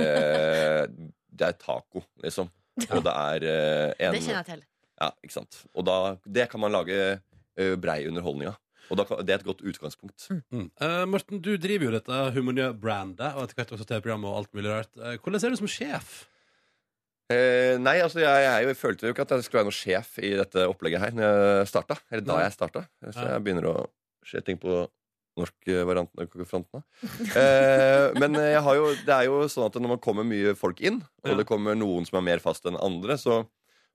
[SPEAKER 9] øh, <laughs> det er taco, liksom. Og det er øh, en
[SPEAKER 3] Det kjenner jeg til.
[SPEAKER 9] Ja, ikke sant. Og da, det kan man lage øh, brei underholdning av. Og da, kan- det er et godt utgangspunkt.
[SPEAKER 1] Mm. Eh, Morten, du driver jo dette humornø-brandet og etter hvert også TV-programmet og alt mulig rart. Eh, hvordan er du som sjef?
[SPEAKER 9] Eh, nei, altså jeg, jeg, er jo- jeg følte jo ikke at jeg skulle være noen sjef i dette opplegget her Når jeg starta. Eller da
[SPEAKER 1] Nei.
[SPEAKER 9] jeg starta. Så
[SPEAKER 1] Ja.
[SPEAKER 9] jeg begynner å se ting på norsk eh, variant eh, front nå.
[SPEAKER 1] <laughs>
[SPEAKER 9] Eh, men eh, jeg har jo, det er jo sånn at når man kommer mye folk inn, og
[SPEAKER 1] Ja.
[SPEAKER 9] det kommer noen som er mer fast enn andre, så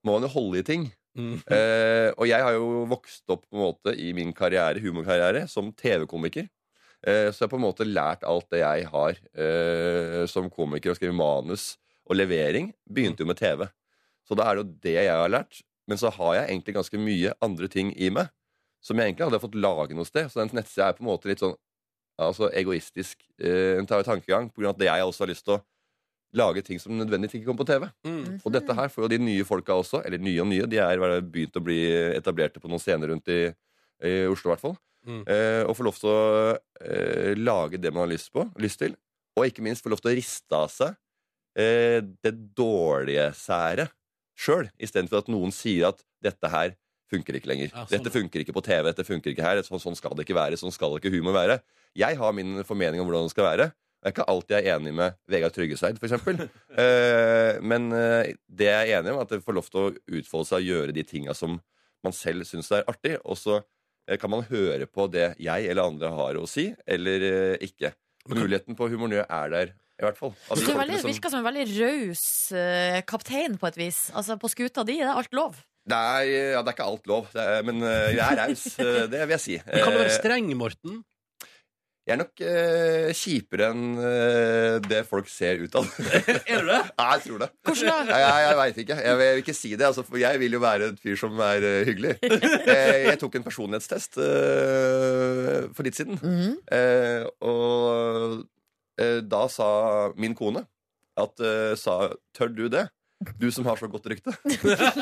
[SPEAKER 9] må man jo holde i ting.
[SPEAKER 1] Mm.
[SPEAKER 9] <laughs> Eh, og jeg har jo vokst opp på en måte i min karriere, humorkarriere som TV-komiker. Eh, så jeg har på en måte lært alt det jeg har eh, som komiker, å skrive manus og levering. Begynte jo med TV. Så da er det jo det jeg har lært. Men så har jeg egentlig ganske mye andre ting i meg som jeg egentlig hadde fått lage noe sted. Så den nettsida er på en måte litt sånn altså egoistisk eh, en tar- tankegang, på grunn av at jeg også har lyst til å lage ting som nødvendigvis ikke kommer på TV.
[SPEAKER 3] Mhm.
[SPEAKER 1] Mm.
[SPEAKER 9] Og dette her får jo de nye folka også, eller nye og nye, de er vel begynt å bli etablerte på noen scener rundt i, i Oslo, i hvert fall.
[SPEAKER 1] Mm.
[SPEAKER 9] Eh, og få lov til å eh, lage det man har lyst, på, lyst til, og ikke minst få lov til å riste av seg eh, det dårlige særet sjøl, istedenfor at noen sier at dette her funker ikke lenger.
[SPEAKER 1] Ja, sånn,
[SPEAKER 9] Dette
[SPEAKER 1] ja.
[SPEAKER 9] funker ikke på TV, dette funker ikke her, sånn, sånn skal det ikke være, sånn skal ikke humor være. Jeg har min formening om hvordan det skal være. og Jeg er ikke alltid er enig med Vegard
[SPEAKER 1] <laughs>
[SPEAKER 9] Tryggeseid, f.eks. Eh, men eh, det jeg er enig om, er at det får lov til å utfolde seg og gjøre de tinga som man selv syns er artig. Og så eh, kan man høre på det jeg eller andre har å si, eller eh, ikke. Muligheten på Humor Nø er der, i hvert fall. Altså, Av de
[SPEAKER 3] Du er veldig,
[SPEAKER 9] folkene som-
[SPEAKER 3] virker som en veldig raus eh, kaptein, på et vis. Altså, på skuta di det er alt lov.
[SPEAKER 9] det, er, ja, det er ikke alt lov, det er, men eh, jeg er raus. eh, det vil jeg si.
[SPEAKER 1] <laughs> Men kan du være
[SPEAKER 9] Eh,
[SPEAKER 1] streng, Morten?
[SPEAKER 9] Jeg er nok eh, kjipere enn eh, det folk ser ut av.
[SPEAKER 1] <laughs> Er du
[SPEAKER 9] <laughs>
[SPEAKER 1] det?
[SPEAKER 9] Nei, jeg tror det.
[SPEAKER 3] Hvordan da?
[SPEAKER 9] Jeg, jeg, jeg veit ikke. Jeg vil, jeg vil ikke si det. Altså, for jeg vil jo være en fyr som er eh, hyggelig.
[SPEAKER 3] <laughs>
[SPEAKER 9] Eh, jeg tok en personlighetstest eh, for litt siden.
[SPEAKER 3] Mhm.
[SPEAKER 9] Eh, og eh, da sa min kone at eh, sa, Tør du det? Du som har så godt
[SPEAKER 1] <laughs>
[SPEAKER 9] rykte. <laughs>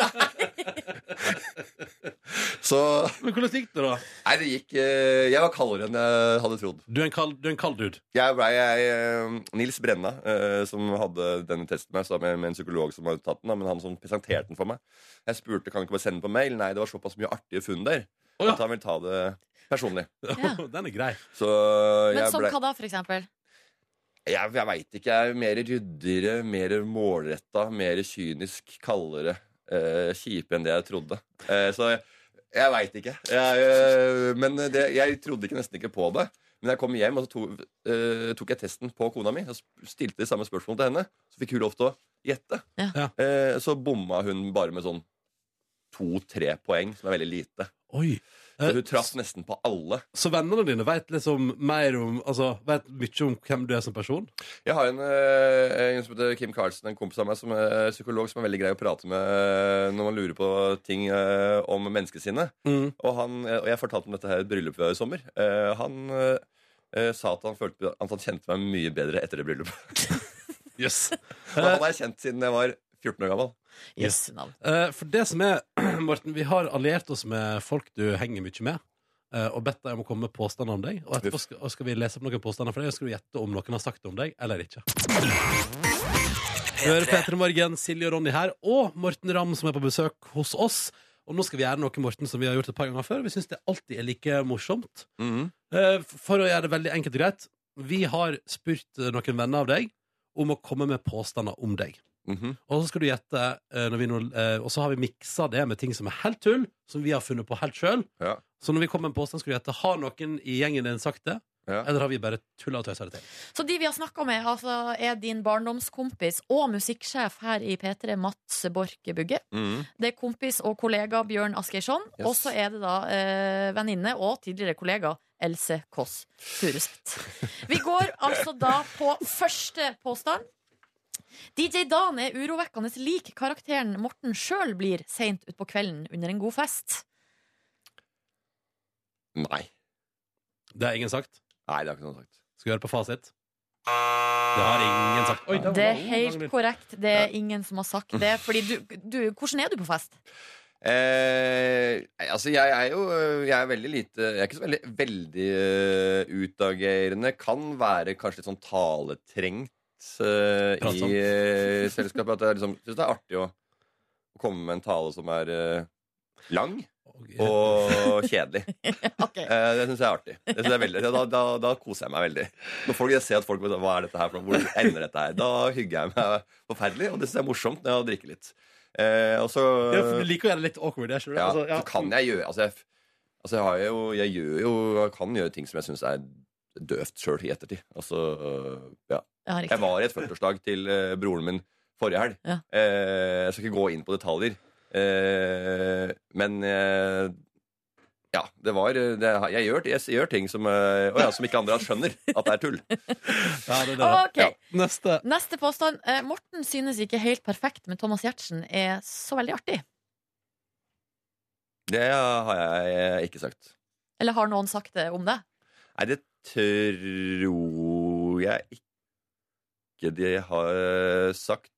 [SPEAKER 9] så
[SPEAKER 1] Men hvordan gikk det, da?
[SPEAKER 9] Nei, det gikk eh, Jeg var kaldere enn jeg hadde trodd.
[SPEAKER 1] Du er en kald, du er en kald dude.
[SPEAKER 9] Jeg ble jeg, eh, Nils Brenna, eh, som hadde denne testen med, så med, med en psykolog som hadde tatt den, da, men han som presenterte den for meg. Jeg spurte kan du ikke bare sende den på mail. Nei, det var såpass mye artige funn der
[SPEAKER 1] Å, ja.
[SPEAKER 9] at han ville ta det personlig.
[SPEAKER 3] Ja.
[SPEAKER 1] <laughs> Den er grei.
[SPEAKER 9] Så eh,
[SPEAKER 3] Men sånn
[SPEAKER 9] jeg
[SPEAKER 3] som
[SPEAKER 9] ble
[SPEAKER 3] hva da, for eksempel?
[SPEAKER 9] Jeg, jeg veit ikke. Jeg er mer ryddigere, mer målretta, mer kynisk, kaldere, eh, kjipe enn det jeg trodde. Eh, så jeg, jeg veit ikke. Jeg, eh, men det, jeg trodde ikke, nesten ikke på det. Men jeg kom hjem, og så to, eh, tok jeg testen på kona mi. Og sp- stilte de samme spørsmål til henne. Så fikk hun lov til å gjette.
[SPEAKER 3] Ja.
[SPEAKER 1] Ja.
[SPEAKER 9] Eh, så bomma hun bare med sånn to-tre poeng, som er veldig lite.
[SPEAKER 1] Oi.
[SPEAKER 9] Så
[SPEAKER 1] Eh,
[SPEAKER 9] hun traff nesten på alle.
[SPEAKER 1] Så vennene dine vet liksom mer om Altså, vet mye om hvem du er som person?
[SPEAKER 9] Jeg har en, eh, en som heter Kim Carlsen, en kompis av meg som er psykolog, som er veldig grei å prate med eh, når man lurer på ting eh, om menneskesinnet.
[SPEAKER 1] Mm.
[SPEAKER 9] Og, han, eh, og jeg fortalte om dette her i et bryllup vi var i sommer. Eh, Han eh, eh, sa at han følte at han kjente meg mye bedre etter det bryllupet.
[SPEAKER 1] Yes.
[SPEAKER 9] Og han har jeg kjent siden jeg var 14 år gammel.
[SPEAKER 3] Yes. navn.
[SPEAKER 1] Eh, for det som er, <clears throat> Morten, vi har alliert oss med folk du henger mye med. eh, og bedt deg om å komme med påstander om deg. Og etterpå skal, og skal vi lese opp noen påstander for deg, og skal du gjette om noen har sagt det om deg eller ikke. Hører Peter Morgen, Silje og Ronny her, og Morten Ramm som er på besøk hos oss. Og nå skal vi gjøre noe Morten, som vi har gjort et par ganger før. Vi syns det alltid er like morsomt. Eh, For å gjøre det veldig enkelt og greit, vi har spurt eh, noen venner av deg om å komme med påstander om deg.
[SPEAKER 9] Mhm.
[SPEAKER 1] Og så skal du gjette eh, når vi nå, eh, Og så har vi miksa det med ting som er helt tull Som vi har funnet på helt selv
[SPEAKER 9] Ja.
[SPEAKER 1] Så når vi kommer med en påstand skal du gjette Har noen i gjengen din sagt det?
[SPEAKER 9] Ja.
[SPEAKER 1] Eller har vi bare tulla og tøysa det til?
[SPEAKER 3] Så de vi har snakka med, altså, er din barndomskompis og musikksjef her i P3, Mats Borch Bugge.
[SPEAKER 9] Mm.
[SPEAKER 3] Det er kompis og kollega Bjørn Asgeirsson.
[SPEAKER 9] Yes.
[SPEAKER 3] Og så er det da eh, venninne og tidligere kollega Else Kåss Furuseth. Vi går altså da på første påstand. DJ Dan er urovekkende lik karakteren Morten sjøl blir seint utpå kvelden under en god fest.
[SPEAKER 9] Nei.
[SPEAKER 1] Det har ingen sagt.
[SPEAKER 9] Nei, det har ikke noen sagt.
[SPEAKER 1] Skal vi høre på fasit? Det har ingen sagt. Oi, der var
[SPEAKER 3] Det er
[SPEAKER 1] det
[SPEAKER 3] helt
[SPEAKER 1] lang lyd.
[SPEAKER 3] korrekt. Det er ingen som har sagt det. Fordi du, du Hvordan er du på fest?
[SPEAKER 9] Eh, nei, altså, jeg er jo eh, Jeg er veldig lite Jeg er ikke så veldig, veldig eh, utagerende. Kan være kanskje litt sånn taletrengt eh, i
[SPEAKER 1] Pratsom.
[SPEAKER 9] eh,
[SPEAKER 1] <laughs>
[SPEAKER 9] selskapet. At jeg liksom syns det er artig å komme med en tale som er eh, lang
[SPEAKER 1] <laughs>
[SPEAKER 9] og kjedelig.
[SPEAKER 3] Ok.
[SPEAKER 9] Eh, det syns jeg er artig. Det synes jeg er veldig, da, da, da koser jeg meg veldig. Når folk, jeg ser at folk sånn, Hva er dette her for noe? Hvor ender dette her? Da hygger jeg meg forferdelig, og det syns jeg er morsomt når jeg drikker litt. Eh, og så
[SPEAKER 1] Ja, for Du liker å gjøre det litt awkward. Jeg, skjønner det.
[SPEAKER 9] ja,
[SPEAKER 1] Altså, ja.
[SPEAKER 9] så kan jeg gjøre Altså, jeg, altså jeg, har jo, jeg gjør jo Jeg kan gjøre ting som jeg syns er døvt sjøl i ettertid. Altså, øh, ja.
[SPEAKER 3] Ja, riktig.
[SPEAKER 9] Jeg var i et 40-årsdag til øh, broren min forrige helg.
[SPEAKER 3] Ja.
[SPEAKER 9] Eh, jeg skal ikke gå inn på detaljer. Eh, men eh, ja, det var det, jeg, gjør, jeg gjør ting som, øh, å ja, som ikke andre skjønner at det er tull.
[SPEAKER 1] Ja, det er det.
[SPEAKER 3] Ok,
[SPEAKER 9] Ja.
[SPEAKER 1] Neste.
[SPEAKER 3] Neste påstand. Eh, Morten synes ikke helt perfekt, men Thomas Giertsen er så veldig artig.
[SPEAKER 9] Det har jeg ikke sagt.
[SPEAKER 3] Eller har noen sagt det om deg?
[SPEAKER 9] Nei, det tror jeg ikke de har sagt.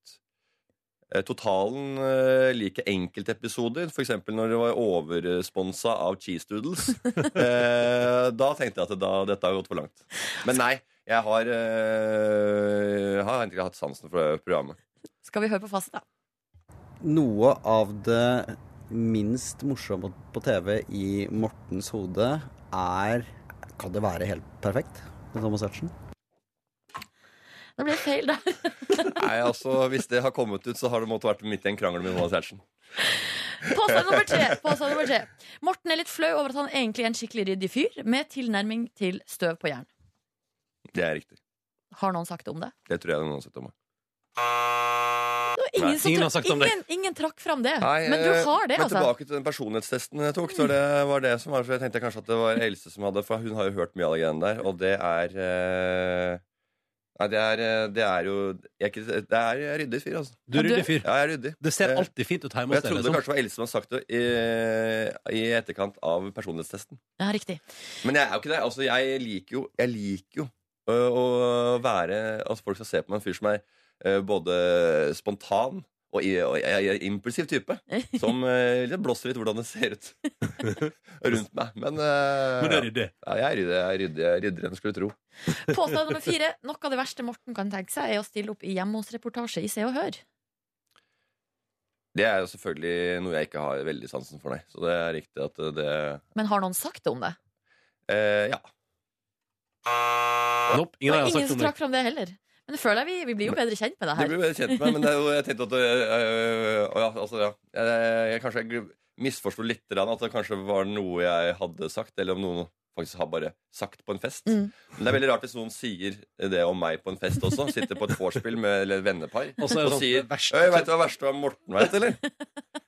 [SPEAKER 9] Eh, Totalen eh, liker enkeltepisoder, f.eks. når det var oversponsa av cheese doodles. Eh, da tenkte jeg at da, dette har gått for langt. Men nei, jeg har, eh, har egentlig ikke hatt sansen for det programmet.
[SPEAKER 3] Skal vi høre på fasit, da?
[SPEAKER 10] Noe av det minst morsomme på TV i Mortens hode er Kan det være helt perfekt? med Thomas Hertzen?
[SPEAKER 3] Det ble feil der.
[SPEAKER 9] Nei, altså, Hvis det har kommet ut, så har det måttet vært midt i en krangel med Jonas Gjertsen.
[SPEAKER 3] Påstand nummer tre. Påstand nummer tre. Morten er litt flau over at han egentlig er en skikkelig ryddig fyr, med tilnærming til støv på jern.
[SPEAKER 9] Det er riktig.
[SPEAKER 3] Har noen sagt det om det?
[SPEAKER 9] Det tror jeg noen har sett om meg.
[SPEAKER 3] Det var ingen,
[SPEAKER 9] Nei,
[SPEAKER 3] som
[SPEAKER 1] ingen
[SPEAKER 3] trakk-
[SPEAKER 1] har sagt om det.
[SPEAKER 3] ingen, ingen trakk fram det.
[SPEAKER 9] Nei,
[SPEAKER 3] men du
[SPEAKER 9] eh,
[SPEAKER 3] har det,
[SPEAKER 9] men
[SPEAKER 3] altså.
[SPEAKER 9] tilbake til den personlighetstesten jeg tok. Så det var det som var, for Jeg tenkte kanskje at det var Else som hadde For hun har jo hørt mye av det greiene der. Og det er eh, Nei, det er, eh, det er jo jeg er ikke, Det er jeg er ryddig fyr, altså.
[SPEAKER 1] Du er ryddig fyr.
[SPEAKER 9] Ja, jeg er ryddig.
[SPEAKER 1] Det ser alltid fint ut
[SPEAKER 9] Og
[SPEAKER 1] hjemme
[SPEAKER 9] jeg
[SPEAKER 1] hos deg.
[SPEAKER 9] trodde
[SPEAKER 1] Liksom.
[SPEAKER 9] kanskje det var Else som hadde sagt det i, i etterkant av personlighetstesten.
[SPEAKER 3] Ja, riktig.
[SPEAKER 9] Men jeg er jo ikke det. Altså, jeg liker jo, jeg liker jo ø, å være At folk skal se på meg en fyr som er ø, både spontan og, i- og jeg, jeg, impulsiv type. Som ø, litt blåser litt hvordan det ser ut rundt meg. Men, ø,
[SPEAKER 1] Men det er ryddig.
[SPEAKER 9] ja, jeg er ryddig, jeg er ryddig, jeg er ryddigere enn du skulle tro.
[SPEAKER 3] Påstand nummer fire. Noe av det verste Morten kan tenke seg, er å stille opp i Hjemme hos-reportasje i Se og Hør.
[SPEAKER 9] Det er jo selvfølgelig noe jeg ikke har veldig sansen for, nei. Så det er riktig at ø, det
[SPEAKER 3] Men har noen sagt det om det?
[SPEAKER 9] eh, Ja.
[SPEAKER 1] Nope, ingen
[SPEAKER 3] Det
[SPEAKER 1] har
[SPEAKER 3] var ingen
[SPEAKER 1] sagt
[SPEAKER 3] som
[SPEAKER 1] om det.
[SPEAKER 3] trakk fram det heller. Men det føler jeg vi, vi blir jo bedre kjent med det
[SPEAKER 9] Det
[SPEAKER 3] her.
[SPEAKER 9] blir jeg kjent med, men det er jo, jeg tenkte at øh, øh, ja, altså, ja. Jeg, jeg kanskje jeg gl- misforsto litt grann at det kanskje var noe jeg hadde sagt, eller om noen faktisk har bare sagt på en fest.
[SPEAKER 3] Mm.
[SPEAKER 9] Men det er veldig rart hvis noen sier det om meg på en fest også. Sitter på et vorspiel med eller et vennepar
[SPEAKER 1] Og så er det
[SPEAKER 9] og
[SPEAKER 1] sånn,
[SPEAKER 9] sier
[SPEAKER 1] det verste-
[SPEAKER 9] «Øy, Vet du hva verste var Morten veit, eller?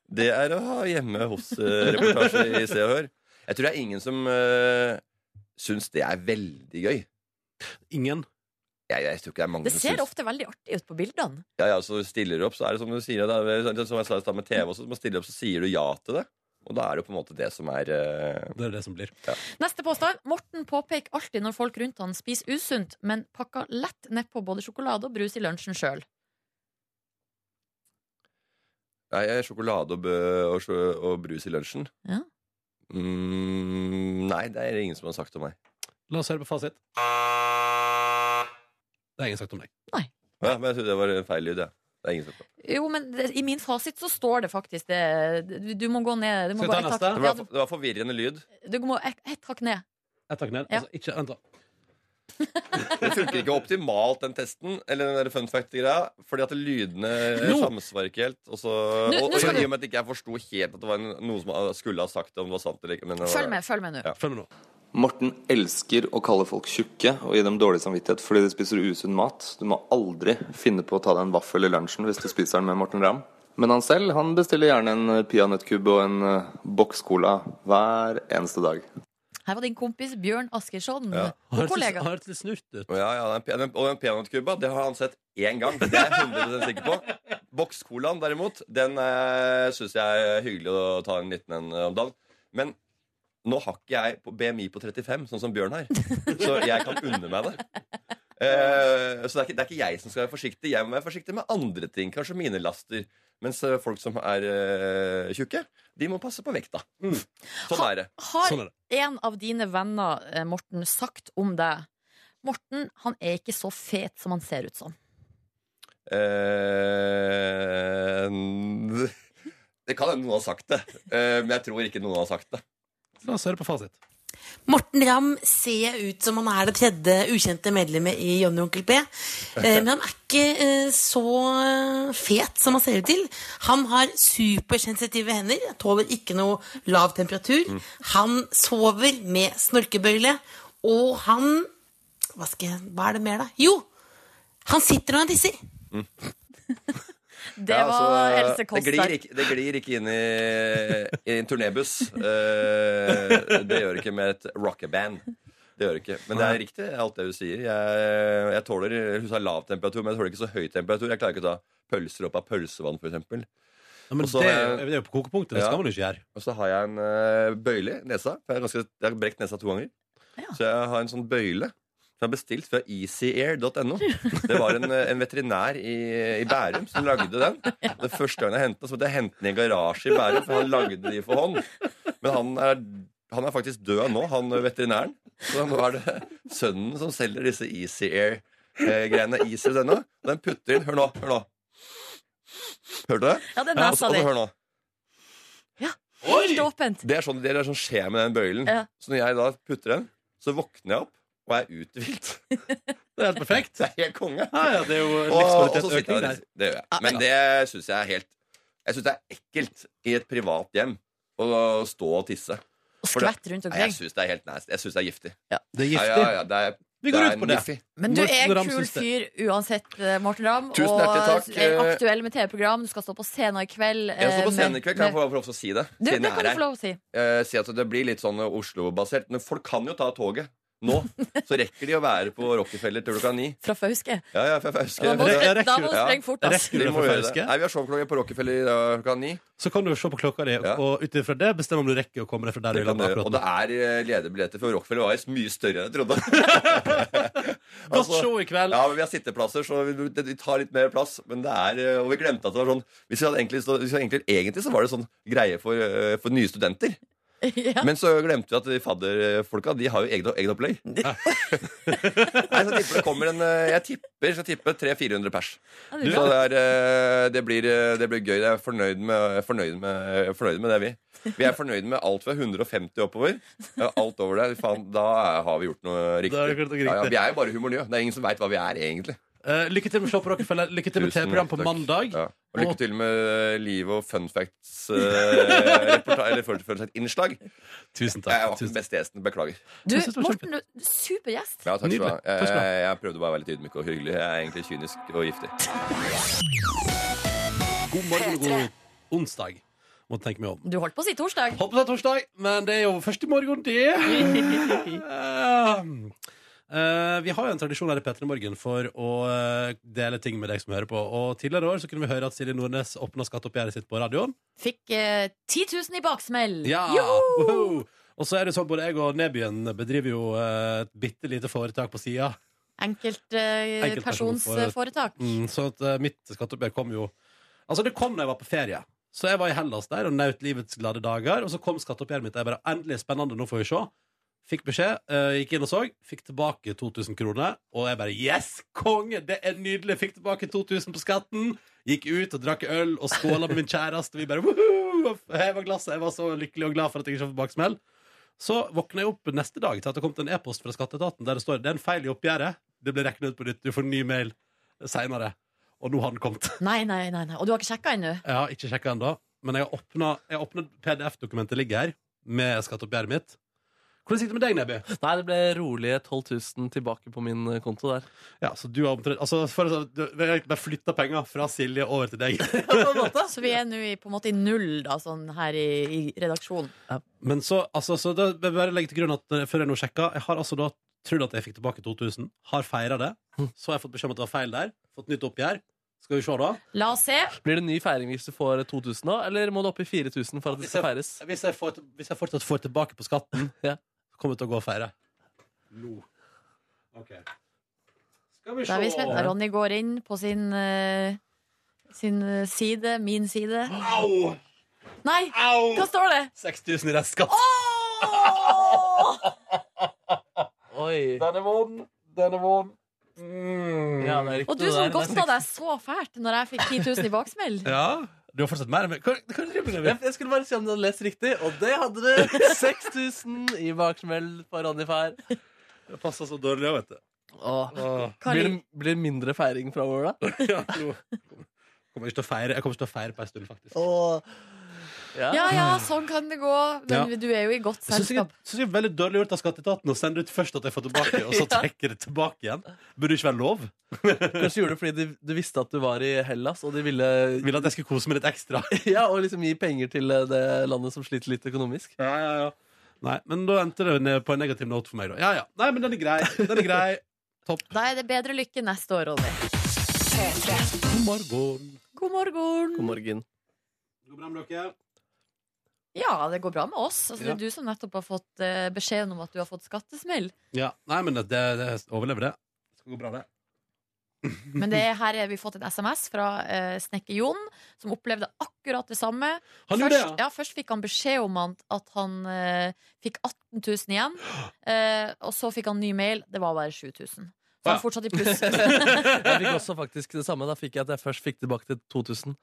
[SPEAKER 9] Det er å ha hjemme hos-reportasje i Se og Hør. Jeg tror det er ingen som øh, syns det er veldig gøy.
[SPEAKER 1] Ingen.
[SPEAKER 9] Jeg, jeg tror ikke det er mange
[SPEAKER 3] Det
[SPEAKER 9] som
[SPEAKER 3] ser
[SPEAKER 9] syns-
[SPEAKER 3] ofte veldig artig ut på bildene.
[SPEAKER 9] Ja, ja, så stiller du opp, så er det som du sier det er, det er Som jeg sa i stad med TV også, man stiller opp, så sier du ja til det. Og da er det jo på en måte det som er eh,
[SPEAKER 1] Det er det som blir.
[SPEAKER 3] Neste påstand. Morten påpeker alltid når folk rundt han spiser usunt, men pakker lett nedpå både sjokolade og brus i lunsjen sjøl.
[SPEAKER 9] Nei, jeg er sjokolade og, bø, og, sjo- og brus i lunsjen.
[SPEAKER 3] Ja.
[SPEAKER 9] Mm, nei, det er det ingen som har sagt om meg.
[SPEAKER 1] La oss høre på fasit. Det har ingen sagt om deg.
[SPEAKER 9] Ja, men jeg trodde det var en feil lyd, ja. Det er ingen som
[SPEAKER 3] Jo, men det, i min fasit så står det faktisk det. Du, du må gå ned. Du må
[SPEAKER 1] Skal vi
[SPEAKER 3] gå
[SPEAKER 1] ta
[SPEAKER 3] ett
[SPEAKER 1] neste?
[SPEAKER 3] hakk
[SPEAKER 9] det
[SPEAKER 3] ja,
[SPEAKER 9] var, det var forvirrende lyd.
[SPEAKER 3] du, du må ett ett hakk ned.
[SPEAKER 1] Ett hakk ned.
[SPEAKER 3] Ja.
[SPEAKER 1] Altså, ikke, vent da.
[SPEAKER 9] Det funker ikke optimalt, den testen, eller den der fun fact-greia, fordi at lydene eh,
[SPEAKER 1] Nå!
[SPEAKER 9] samsvarer ikke helt. Og, så,
[SPEAKER 3] Nå-
[SPEAKER 9] og,
[SPEAKER 3] nå
[SPEAKER 9] og
[SPEAKER 3] skal
[SPEAKER 9] i
[SPEAKER 3] du-
[SPEAKER 9] og med eh, at ikke jeg forsto helt at det var en- noen som skulle ha sagt det, om det var sant eller ikke. Men det var,
[SPEAKER 3] Følg med, følg med nå.
[SPEAKER 9] Ja.
[SPEAKER 1] Følg med nå.
[SPEAKER 11] Morten elsker å kalle folk tjukke og gi dem dårlig samvittighet fordi de spiser usunn mat. Du må aldri finne på å ta deg en vaffel i lunsjen hvis du spiser den med Morten Ramm. Men han selv han bestiller gjerne en peanøttkubbe og en eh, boks cola hver eneste dag.
[SPEAKER 3] Her var din kompis Bjørn Askersson.
[SPEAKER 9] Ja.
[SPEAKER 3] Og kollega.
[SPEAKER 1] hørt litt snurt ut.
[SPEAKER 9] Ja, ja, den, pe- den, og den peanøttkubba, det har han sett én gang. Det er jeg 100 sikker på. Bokscolaen, derimot, den eh, syns jeg er hyggelig å ta en liten en eh, om dagen. Men nå har ikke jeg på BMI på 35, sånn som Bjørn her. Så jeg kan unne meg det. Eh, så det er, ikke, det er ikke jeg som skal være forsiktig. Jeg må være forsiktig med andre ting. Kanskje mine laster. Mens eh, folk som er eh, tjukke, de må passe på vekta. Sånn er det.
[SPEAKER 3] Har en av dine venner, eh, Morten, sagt om deg Morten han er ikke så fet som han ser ut som.
[SPEAKER 9] Eh, <laughs> n- det kan hende noen har sagt det, eh, men jeg tror ikke noen har sagt det.
[SPEAKER 1] La oss høre på fasit.
[SPEAKER 12] Morten Ramm ser ut som han er det tredje ukjente medlemmet i Johnny og Onkel P. Eh, Men han er ikke eh, så eh, fet som han ser ut til. Han har supersensitive hender, tåler ikke noe lav temperatur. Han sover med snorkebøyle, og han hva, skal jeg, hva er det mer, da? Jo! Han sitter og han tisser.
[SPEAKER 3] Det
[SPEAKER 9] Ja,
[SPEAKER 3] var
[SPEAKER 9] altså,
[SPEAKER 3] Else Kåss
[SPEAKER 9] det glir,
[SPEAKER 3] der.
[SPEAKER 9] ikke, det glir ikke inn i, i en turnébuss. Eh, det gjør det ikke med et rockeband. Det gjør det ikke. Men det er riktig, alt det du sier. Jeg, jeg tåler hun sa lav temperatur, men jeg tåler ikke så høy temperatur. Jeg klarer ikke å ta pølser opp av pølsevann, f.eks.
[SPEAKER 1] Ja, men
[SPEAKER 9] Og så
[SPEAKER 1] det,
[SPEAKER 9] har jeg-
[SPEAKER 1] det er jo på kokepunktet. Det skal man jo ikke gjøre.
[SPEAKER 9] Og så har jeg en eh, bøyle i nesa. For jeg, er ganske, jeg har brekt nesa to ganger. Så jeg har en sånn bøyle. Som jeg har bestilt fra easyair.no. Det var en, eh, en veterinær i, i Bærum som lagde den. Den første gangen jeg hentet den, så måtte jeg hente den i en garasje i Bærum. For han lagde de for hånd. Men han er, han er faktisk død nå, han eh, veterinæren. Så nå er det sønnen som selger disse eh, easyair-greiene. Easyair.no. Den putter inn Hør nå. Hør nå. Hørte du det?
[SPEAKER 3] Ja, det er nesa
[SPEAKER 9] Og så- og
[SPEAKER 3] di.
[SPEAKER 9] så altså, Hør nå.
[SPEAKER 3] Helt åpent.
[SPEAKER 9] Det er sånn, det er sånn skje med den bøylen.
[SPEAKER 3] Ja.
[SPEAKER 9] Så når jeg da putter den, så våkner jeg opp og er
[SPEAKER 3] <laughs>
[SPEAKER 9] uthvilt. Det er helt perfekt. Det er helt konge.
[SPEAKER 1] det er sånn jo
[SPEAKER 9] og, og så
[SPEAKER 1] livskvalitetsøkning
[SPEAKER 9] sitter jeg
[SPEAKER 1] der.
[SPEAKER 9] og Det gjør
[SPEAKER 3] Ah,
[SPEAKER 9] jeg. Men det syns jeg er helt Jeg syns det er ekkelt i et privat hjem å stå og tisse.
[SPEAKER 3] Og
[SPEAKER 9] For det-
[SPEAKER 3] skvett rundt
[SPEAKER 9] Nei,
[SPEAKER 3] omkring.
[SPEAKER 9] Jeg syns det er helt nasty. Jeg syns det er giftig.
[SPEAKER 1] Det er giftig.
[SPEAKER 9] Ja, ja, ja, det er,
[SPEAKER 1] Vi går
[SPEAKER 9] det
[SPEAKER 1] ut
[SPEAKER 9] er
[SPEAKER 1] på det.
[SPEAKER 9] niffy.
[SPEAKER 3] Men du er en kul
[SPEAKER 1] det.
[SPEAKER 3] fyr uansett, eh, Morten Ramm.
[SPEAKER 9] Tusen
[SPEAKER 3] og
[SPEAKER 9] hjertelig takk. eh,
[SPEAKER 3] er aktuell med TV-program. Du skal stå på scenen i kveld.
[SPEAKER 9] Jeg står
[SPEAKER 3] eh,
[SPEAKER 9] på scenen
[SPEAKER 3] med-
[SPEAKER 9] i kveld. Kan jeg
[SPEAKER 3] med-
[SPEAKER 9] få lov til å si det?
[SPEAKER 3] Du,
[SPEAKER 9] Siden
[SPEAKER 3] det
[SPEAKER 9] jeg
[SPEAKER 3] kan
[SPEAKER 9] er
[SPEAKER 3] du
[SPEAKER 9] her.
[SPEAKER 3] få lov å si.
[SPEAKER 9] eh, si at det blir litt sånn eh, Oslo-basert. Men folk kan jo ta toget nå. Så rekker de å være på Rockefeller til klokka ni.
[SPEAKER 3] Fra Fauske.
[SPEAKER 9] Ja, ja, for jeg husker
[SPEAKER 3] Da må du-
[SPEAKER 9] Ja,
[SPEAKER 3] da må du
[SPEAKER 9] ja.
[SPEAKER 3] sprenge fort, ass.
[SPEAKER 1] Rekker du
[SPEAKER 9] Vi
[SPEAKER 1] det
[SPEAKER 9] må
[SPEAKER 1] for
[SPEAKER 9] gjøre det.
[SPEAKER 1] ferske?
[SPEAKER 9] Nei, vi har showklokka på Rockefeller i dag klokka ni.
[SPEAKER 1] Så kan du jo se på klokka di, og ut ifra det bestemme om du rekker å komme deg fra der du
[SPEAKER 9] Det kan
[SPEAKER 1] lander
[SPEAKER 9] du gjøre.
[SPEAKER 1] akkurat
[SPEAKER 9] Og
[SPEAKER 1] nå.
[SPEAKER 9] det er eh, lederbilletter for Rockefeller Ice mye større enn jeg trodde. Godt
[SPEAKER 1] show i kveld.
[SPEAKER 9] altså- Ja, men Vi har sitteplasser, så vi, det- vi tar litt mer plass. Men det er, eh, Og vi glemte at det var sånn hvis vi hadde egentlig, så, hvis vi hadde egentlig, egentlig så var det sånn greie for, eh, for nye studenter.
[SPEAKER 3] Ja.
[SPEAKER 9] Men så glemte vi at de fadderfolka De har jo eget, eget opplegg. Nei, så tipper det kommer en eh, Jeg tipper skal tippe 300-400 pers.
[SPEAKER 1] Ja,
[SPEAKER 9] Så
[SPEAKER 1] det
[SPEAKER 9] det,
[SPEAKER 1] er bra.
[SPEAKER 9] er, eh, det, blir, eh, det blir gøy. Jeg er fornøyd med, fornøyd med, fornøyd med det, vi. Vi er fornøyd med alt fra 150 oppover. Ja, Alt over der. Faen, da er- har vi gjort noe riktig.
[SPEAKER 1] Da har vi gjort noe
[SPEAKER 9] Ja, ja,
[SPEAKER 1] riktig.
[SPEAKER 9] vi er jo bare humornøye. Det er ingen som veit hva vi er, egentlig.
[SPEAKER 1] Eh, lykke til med Show på Rockefeller. Lykke til med
[SPEAKER 9] Tusen
[SPEAKER 1] TV-program på
[SPEAKER 9] takk.
[SPEAKER 1] mandag.
[SPEAKER 9] Ja. Og lykke til med livet og fun facts. eh, reporta- eller fun fun fact-innslag.
[SPEAKER 1] Tusen
[SPEAKER 9] takk. Jeg var ikke den beste gjesten. Beklager.
[SPEAKER 3] Du, Morten, du, super gjest.
[SPEAKER 9] Ja, takk skal du ha.
[SPEAKER 1] Nydelig. Takk skal du ha.
[SPEAKER 9] Jeg, jeg prøvde å være veldig ydmyk og hyggelig. Jeg er egentlig kynisk og giftig.
[SPEAKER 1] God morgen og god onsdag. Må tenke meg om.
[SPEAKER 3] Du holdt på å si torsdag.
[SPEAKER 1] Håper det er torsdag, men det er jo først i morgen, det. Eh, vi har jo en tradisjon her i P3 Morgen for å eh, dele ting med deg som hører på. Og tidligere år så kunne vi høre at Silje Nordnes åpna skatteoppgjøret sitt på radioen.
[SPEAKER 3] Fikk eh, 10 000 i baksmell.
[SPEAKER 1] Ja!
[SPEAKER 3] Joho!
[SPEAKER 1] Woho! Og så er det sånn, både jeg og Nebyen bedriver jo eh, et bitte lite foretak på sida.
[SPEAKER 3] eh, Enkeltpersonsforetak.
[SPEAKER 1] Mm, så at, eh, mitt skatteoppgjør kom jo Altså, det kom da jeg var på ferie. Så jeg var i Hellas der og nøt livets glade dager. Og så kom skatteoppgjøret mitt. og Jeg bare, Endelig spennende, nå får vi se. Fikk beskjed, eh, gikk inn og så. Fikk tilbake 2000 kroner. Og jeg bare Yes, konge! Det er nydelig! Fikk tilbake 2000 på skatten. Gikk ut og drakk øl og skåla med min kjæreste. Vi bare woohoo! Heva glasset. Jeg var så lykkelig og glad for at jeg ikke fikk baksmell. Så våkna jeg opp neste dag til at det kom til en e-post fra skatteetaten der det står det er en feil i oppgjøret. Det ble regnet ut på nytt. Du får ny mail seinere. Og nå har den kommet.
[SPEAKER 3] Nei, nei, nei, nei. Og du har ikke sjekka ennå?
[SPEAKER 1] Jeg har ikke sjekka ennå, men jeg har åpna PDF-dokumentet ligger her med skatteoppgjøret mitt. Hvordan gikk det med deg, Nebby?
[SPEAKER 2] Nei, det ble rolige 12 000 tilbake på min konto der.
[SPEAKER 1] Ja, så du har omtrent Altså, for, å si- du, vi har bare flytta penger fra Silje over til deg.
[SPEAKER 3] Så vi er nå i, på en måte i null da, sånn her i, i redaksjonen.
[SPEAKER 1] <laughs> Men så, altså, så da, jeg bare legge til grunn at eh, før jeg nå sjekka Jeg har altså da trodd at jeg fikk tilbake 2000. Har feira det. Så har jeg fått beskjed om at det var feil der. Fått nytt oppgjør. Skal vi se, da.
[SPEAKER 3] La oss se.
[SPEAKER 2] Blir det ny feiring hvis du får 2000 nå, eller må du opp i 4000 for at det skal feires?
[SPEAKER 1] Hvis jeg, får, hvis jeg fortsatt får tilbake på <laughs> skatten, så kommer jeg til å gå og feire. Nå. Ok. Skal vi
[SPEAKER 3] Da er vi spent. Ronny går inn på sin, eh, sin eh, side, min side.
[SPEAKER 1] Au!
[SPEAKER 3] Nei, hva står det?
[SPEAKER 1] 6000 i restskatt.
[SPEAKER 2] Oi.
[SPEAKER 1] Den er vond. Den er vond. Mm.
[SPEAKER 2] Ja, det er
[SPEAKER 3] Og du som godta deg så fælt når jeg fikk 10 000 i baksmell.
[SPEAKER 1] Ja, du har fortsatt mer. Men hva, hva er det du driver
[SPEAKER 2] Jeg,
[SPEAKER 1] med?
[SPEAKER 2] jeg skulle bare se om du hadde lest riktig, og det hadde du! 6000 i baksmell på Ronny Fær.
[SPEAKER 1] Det passer så dårlig òg, vet du.
[SPEAKER 2] Blir det blir det mindre feiring fra vår, da?
[SPEAKER 1] ja, nå kommer jeg ikke til å feire Jeg kommer ikke til å feire på en stund, faktisk.
[SPEAKER 3] Ja ja, sånn kan det gå. Men
[SPEAKER 1] Ja.
[SPEAKER 3] du er jo i godt
[SPEAKER 1] Jeg synes jeg,
[SPEAKER 3] selskap.
[SPEAKER 1] synes jeg er veldig dårlig gjort av skatteetaten å sende ut først at jeg får tilbake, og
[SPEAKER 3] <laughs>
[SPEAKER 1] så
[SPEAKER 2] Ja.
[SPEAKER 1] trekke det tilbake igjen. Burde ikke være lov.
[SPEAKER 2] Kanskje gjorde det fordi de, du visste at du var i Hellas, og de ville <laughs>
[SPEAKER 1] Ville at jeg skulle kose meg litt ekstra.
[SPEAKER 2] ja, Og liksom gi penger til eh, det landet som sliter litt økonomisk.
[SPEAKER 1] Ja, ja, ja. Nei, men da endte det ned på en negativ note for meg, da. Ja, ja. Nei, men den er grei. Den er grei.
[SPEAKER 3] Da er det bedre lykke neste år, Ronny.
[SPEAKER 1] God morgen.
[SPEAKER 3] God morgen.
[SPEAKER 2] God morgen.
[SPEAKER 1] Går det bra med dere?
[SPEAKER 3] Ja, det går bra med oss. Altså, det
[SPEAKER 1] Ja.
[SPEAKER 3] er du som nettopp har fått eh, beskjeden om at du har fått skattesmell.
[SPEAKER 1] Ja. Nei, men det, det, det overlever det. Det skal gå bra, det.
[SPEAKER 3] Men det er her har vi fått en SMS fra eh, snekker Jon, som opplevde akkurat det samme.
[SPEAKER 1] Han gjorde
[SPEAKER 3] først,
[SPEAKER 1] det,
[SPEAKER 3] ja, først fikk han beskjed om han, at han eh, fikk 18
[SPEAKER 1] <gasps>
[SPEAKER 3] 000 igjen, eh, og så fikk han ny mail. Det var bare 7000. Så han fortsatte i
[SPEAKER 1] <laughs>
[SPEAKER 3] pluss.
[SPEAKER 2] jeg fikk også faktisk det samme. Da fikk jeg at jeg først fikk tilbake til 2000,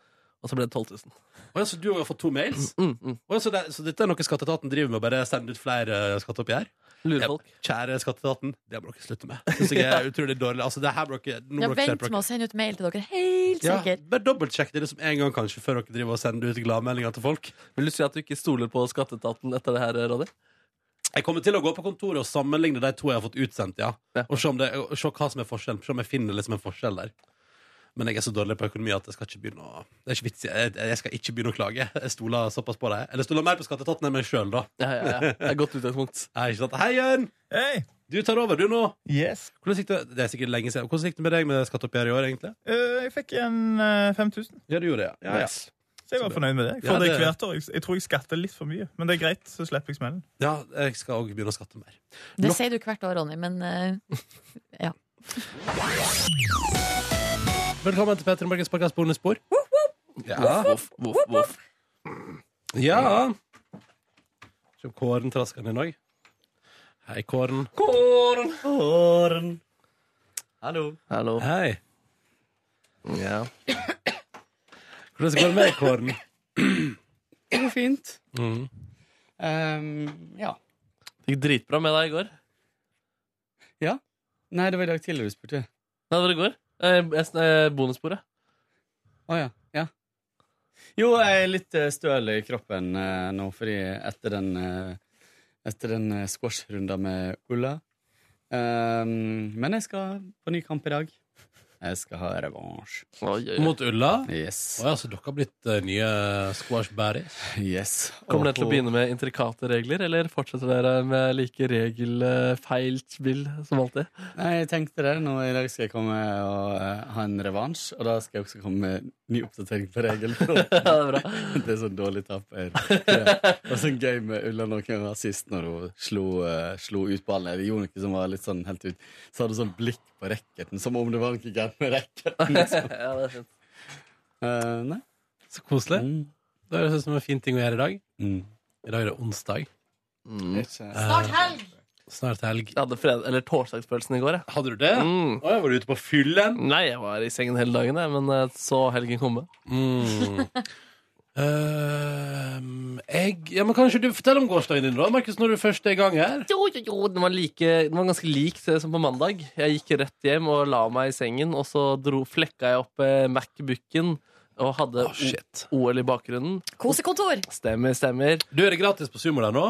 [SPEAKER 2] og så ble det 12 000.
[SPEAKER 1] Å ja, så du har fått to mails?
[SPEAKER 3] Mm,
[SPEAKER 1] Å ja, så, det, så dette er noe skatteetaten driver med, å bare sende ut flere eh, skatteoppgjør?
[SPEAKER 2] Lurer folk.
[SPEAKER 1] Kjære skatteetaten, det må dere slutte med. Synes jeg er utrolig dårlig. Altså, det her må dere, nå
[SPEAKER 3] Ja,
[SPEAKER 1] må dere
[SPEAKER 3] vent
[SPEAKER 1] skjerpe
[SPEAKER 3] med
[SPEAKER 1] dere.
[SPEAKER 3] å sende ut mail til dere, helt
[SPEAKER 1] Ja,
[SPEAKER 3] sikkert.
[SPEAKER 1] bare dobbeltsjekk det liksom en gang kanskje før dere driver og sender ut gladmeldinger til folk.
[SPEAKER 2] Vil du si at du ikke stoler på skatteetaten etter det her, Ronny?
[SPEAKER 1] Jeg kommer til å gå på kontoret og sammenligne de to jeg har fått utsendt, ja. Og se, om det, og se hva som er forskjellen. Se om jeg finner liksom en forskjell der. Men jeg er så dårlig på økonomi at jeg skal ikke begynne å Det er ikke vits i. Jeg, jeg skal ikke begynne å klage. Jeg stoler såpass på deg. Eller jeg stoler mer på skatteetaten enn meg sjøl, da.
[SPEAKER 2] Ja, ja, ja. Det er godt utgangspunkt.
[SPEAKER 1] Nei, ikke sant. Hei, Jørn! Du tar over, du, nå. Hvordan gikk det, det er sikkert lenge siden. Hvordan gikk det med deg med skatteoppgjøret i år, egentlig?
[SPEAKER 13] Eh, Jeg fikk en eh, 5000.
[SPEAKER 1] Ja, du gjorde det, ja. Ja,
[SPEAKER 13] Yes. Så jeg var
[SPEAKER 1] Så bra.
[SPEAKER 13] fornøyd med det. Jeg
[SPEAKER 1] Ja,
[SPEAKER 13] får det
[SPEAKER 1] det-
[SPEAKER 13] hvert år. Jeg- Jeg tror jeg skatter litt for mye, men det er greit, så slipper jeg smellen.
[SPEAKER 1] Ja, jeg skal òg begynne å skatte mer.
[SPEAKER 3] Det sier du hvert år, Ronny, men eh, ja.
[SPEAKER 1] Velkommen til Petter Morgens podcast bonusspor. Ja.
[SPEAKER 2] Voff, voff, voff.
[SPEAKER 1] Ja. Se om Kåren trasker ned i dag. Hei, Kåren.
[SPEAKER 2] Kåren!
[SPEAKER 1] Kåren.
[SPEAKER 2] Hallo. Hallo.
[SPEAKER 1] Hei.
[SPEAKER 2] Ja.
[SPEAKER 1] Hvordan går det med deg, Kåren?
[SPEAKER 14] <clears throat> Det går fint.
[SPEAKER 1] Mhm.
[SPEAKER 14] Ehm, ja.
[SPEAKER 2] Det gikk dritbra med deg i går.
[SPEAKER 14] ja. Nei, det var i dag tidligere du spurte.
[SPEAKER 2] Nei, det var i går. Eh, jeg sn- eh, Bonussporet.
[SPEAKER 14] Å ja. ja. Jo, jeg er litt eh, støl i kroppen eh, nå, fordi etter den, eh, etter den eh, squash-runda med Ulla Ehm, Men jeg skal på ny kamp i dag. Jeg skal ha revansj.
[SPEAKER 2] oi, oi.
[SPEAKER 1] Mot Ulla?
[SPEAKER 14] Yes.
[SPEAKER 1] Å ja, så dere har blitt eh, nye squash baddies?
[SPEAKER 14] Yes.
[SPEAKER 2] Kommer dere til å begynne med intrikate regler, eller fortsetter dere med like regelfeilt spill som <laughs> alltid?
[SPEAKER 14] Nei, jeg tenkte det. Nå I dag skal jeg komme og eh, ha en revansj, og da skal jeg også komme med ny oppdatering
[SPEAKER 2] <laughs>
[SPEAKER 14] på regelen. det er bra. <laughs> Det er sånn dårlig taper. Det var sånn gøy med Ulla noen ganger sist når hun slo, eh, slo ut ballen. Eller gjorde noe som var litt sånn helt ut. Så hadde hun sånn blikk på racketen, som om det var noe gærent med racketen. Liksom.
[SPEAKER 2] ja, det er fint.
[SPEAKER 14] Eh, nei.
[SPEAKER 1] Så koselig.
[SPEAKER 14] Mm.
[SPEAKER 1] Det høres ut som en fin ting å gjøre i dag. I dag er det onsdag.
[SPEAKER 2] Mm. Snart
[SPEAKER 3] helg.
[SPEAKER 1] Snart helg. Mm.
[SPEAKER 2] Jeg hadde fred eller torsdagspølsen i går. Jeg. Mm.
[SPEAKER 1] Hadde du det? var du ute på fyllen?
[SPEAKER 2] Nei, jeg var i sengen hele dagen, jeg, men eh, så helgen komme.
[SPEAKER 1] <laughs> Mm. Ehm, jeg, ja, men kanskje du forteller om gårsdagen din, da, Markus, når du først er i gang her?
[SPEAKER 2] Jo, jo, jo, den var, like, den var ganske lik det som på mandag. Jeg gikk rett hjem og la meg i sengen, og så dro, flekka jeg opp eh, Macbooken og hadde
[SPEAKER 1] Mm.
[SPEAKER 2] O- OL i bakgrunnen.
[SPEAKER 3] Kosekontor!
[SPEAKER 2] Stemmer, stemmer.
[SPEAKER 1] Du, er det gratis på Sumo der nå?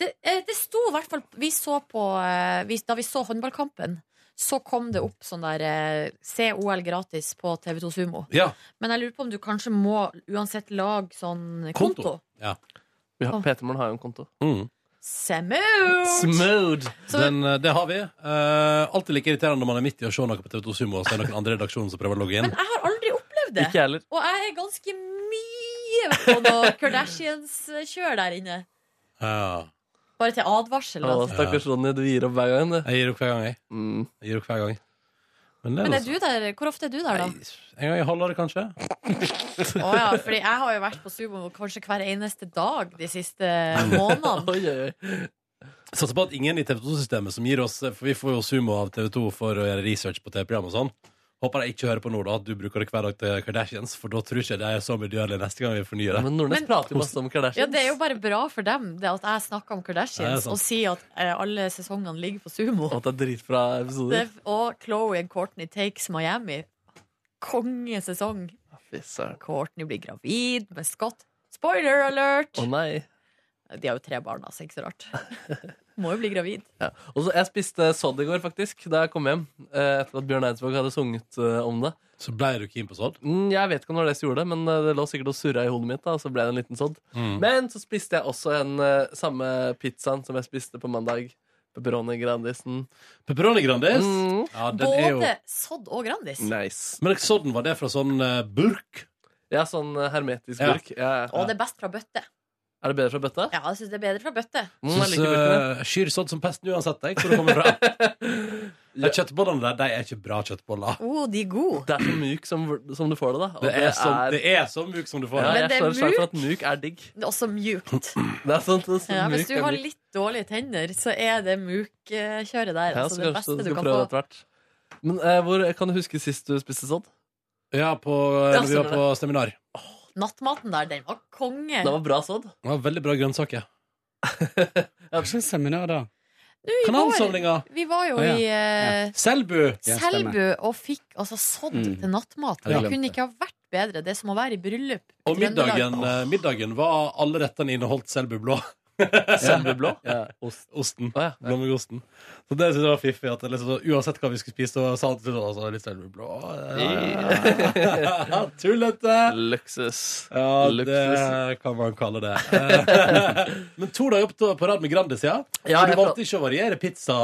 [SPEAKER 3] Det, eh, det sto i hvert fall vi så på, eh, vi, Da vi så håndballkampen, så kom det opp sånn der eh, Se OL gratis på TV2 Sumo.
[SPEAKER 1] Ja.
[SPEAKER 3] Men jeg lurer på om du kanskje må uansett lage sånn konto.
[SPEAKER 2] Konto.
[SPEAKER 1] Ja.
[SPEAKER 2] Petermann har jo en konto.
[SPEAKER 3] Smooth!
[SPEAKER 1] Smooth!
[SPEAKER 3] Så-
[SPEAKER 1] Mm. Den, eh, det har vi. Uh, alltid like irriterende når man er midt i å se noe på TV2 Sumo, og så er det noen andre i redaksjonen som prøver å
[SPEAKER 3] <laughs>
[SPEAKER 1] logge inn.
[SPEAKER 3] Jeg har aldri opplevd det.
[SPEAKER 1] Ikke jeg heller.
[SPEAKER 3] Og jeg er ganske mye på noe Kardashians-kjør der inne.
[SPEAKER 1] Ja.
[SPEAKER 3] Bare til advarsel.
[SPEAKER 2] Å,
[SPEAKER 3] altså.
[SPEAKER 2] Stakkars Ronny, du gir opp hver gang. Du. Mm.
[SPEAKER 1] Jeg gir opp hver gang, jeg. Jeg gir opp hver gang. Men det er
[SPEAKER 3] Men
[SPEAKER 1] noe
[SPEAKER 3] er du der, hvor ofte er du der, da?
[SPEAKER 1] sånn. En gang i halvåret, kanskje.
[SPEAKER 3] Å
[SPEAKER 2] <laughs>
[SPEAKER 3] ja, fordi jeg har jo vært på Sumo kanskje hver eneste dag de siste månedene.
[SPEAKER 1] Satser på at ingen i TV2-systemet som gir oss eh, For vi får jo sumo av TV2 for å gjøre research på TV-program og sånn. Håper jeg ikke hører på nå da at du bruker det hver dag til Kardashians, for da tror ikke jeg det er så medgjørlig neste gang vi fornyer det.
[SPEAKER 2] Men Nordnes
[SPEAKER 3] Men-
[SPEAKER 2] prater jo masse om Kardashian.
[SPEAKER 3] Ja, Det er jo bare bra for dem det at jeg snakker om
[SPEAKER 2] Ja, det er
[SPEAKER 3] Kardashians
[SPEAKER 2] sant.
[SPEAKER 3] og sier at eh, alle sesongene ligger på Sumo.
[SPEAKER 2] Og at det er dritbra episoder.
[SPEAKER 3] Det- Og Chloé and Courtney Takes Miami. Kongesesong.
[SPEAKER 2] Fy søren.
[SPEAKER 3] Courtney blir gravid med Scott. Spoiler alert!
[SPEAKER 2] Å nei.
[SPEAKER 3] De har jo tre barn, altså. Ikke så rart. Må jo bli gravid.
[SPEAKER 2] Ja. Og så Jeg spiste sodd i går, faktisk, da jeg kom hjem. eh, Etter at Bjørn Eidsvåg hadde sunget eh, om det.
[SPEAKER 1] Så blei du keen på sodd?
[SPEAKER 2] Mm, jeg vet ikke om det var det som gjorde det, men eh, det lå sikkert og surra i hodet mitt. da, og så ble det en liten sodd.
[SPEAKER 3] Mm.
[SPEAKER 2] Men så spiste jeg også en eh, samme pizzaen som jeg spiste på mandag. Pepperoni Grandisen. Mm.
[SPEAKER 1] Pepperoni Grandis? Ja, den er jo
[SPEAKER 3] Mm. Både Sodd og Grandis.
[SPEAKER 2] Nice.
[SPEAKER 1] Men sodden, var det fra sånn eh, burk?
[SPEAKER 2] Ja, sånn eh, hermetisk
[SPEAKER 1] Ja.
[SPEAKER 2] burk. Ja.
[SPEAKER 3] Og det er best fra bøtte.
[SPEAKER 2] Er det bedre fra bøtta? Mm,
[SPEAKER 3] Ja, jeg syns det er bedre fra bøtte.
[SPEAKER 1] Syns eh, skyr sodd som pesten uansett, jeg, hvor det <laughs> kommer fra. De kjøttbollene der, de er ikke bra kjøttboller.
[SPEAKER 3] Oh, de er gode.
[SPEAKER 2] Det er så myk som, som du får det, da. Og
[SPEAKER 1] Det er, som, det er så mjuk som du får
[SPEAKER 2] Ja,
[SPEAKER 3] Men
[SPEAKER 2] jeg
[SPEAKER 3] det er
[SPEAKER 2] står slag for
[SPEAKER 3] myk.
[SPEAKER 2] at myk er digg.
[SPEAKER 3] Det er også mjukt.
[SPEAKER 2] Det er sånn, det er sånn
[SPEAKER 3] Ja, hvis
[SPEAKER 2] myk
[SPEAKER 3] du
[SPEAKER 2] er
[SPEAKER 3] har
[SPEAKER 2] myk.
[SPEAKER 3] litt dårlige tenner, så er det muk-kjøret der.
[SPEAKER 2] Ja,
[SPEAKER 3] Altså
[SPEAKER 2] så
[SPEAKER 3] det
[SPEAKER 2] kanskje
[SPEAKER 3] beste
[SPEAKER 2] du
[SPEAKER 3] du
[SPEAKER 2] skal
[SPEAKER 3] kan
[SPEAKER 2] prøve
[SPEAKER 3] få.
[SPEAKER 2] etter hvert. Men eh, hvor, kan du huske sist du spiste sodd?
[SPEAKER 1] Ja, på, eh,
[SPEAKER 2] Ja,
[SPEAKER 1] når vi var
[SPEAKER 2] stemmer
[SPEAKER 1] på seminar.
[SPEAKER 3] Nattmaten der, den var konge.
[SPEAKER 2] bra sodd.
[SPEAKER 1] Det var veldig bra grønnsaker.
[SPEAKER 14] Hvilket seminar, da?
[SPEAKER 3] Du, i
[SPEAKER 1] Kanalsamlinga.
[SPEAKER 3] vår- Vi var jo
[SPEAKER 1] Å, ja.
[SPEAKER 3] i eh,
[SPEAKER 1] Selbu!
[SPEAKER 3] Selbu og fikk altså sodd
[SPEAKER 1] Mm.
[SPEAKER 3] til nattmat.
[SPEAKER 1] Ja,
[SPEAKER 3] Det
[SPEAKER 1] jeg glemte.
[SPEAKER 3] kunne ikke ha vært bedre. Det er som å være i bryllup. i
[SPEAKER 1] Og middagen,
[SPEAKER 3] Trøndelag.
[SPEAKER 1] eh, middagen var alle rettene inneholdt Selbu blå.
[SPEAKER 2] Selbu blå?
[SPEAKER 1] Osten. Blåmuggosten. Så det synes jeg var fiffig. At det liksom, så uansett hva vi skulle spise, så sa han til oss litt Selbu blå. Ja. <laughs> Tullete!
[SPEAKER 2] Luksus.
[SPEAKER 1] Ja,
[SPEAKER 2] Luksus.
[SPEAKER 1] det kan man kalle det. Eh, <laughs> Men to dager på, på rad med Grandis, ja?
[SPEAKER 2] Ja,
[SPEAKER 1] så du
[SPEAKER 2] jeg
[SPEAKER 1] valgte ikke å variere pizza?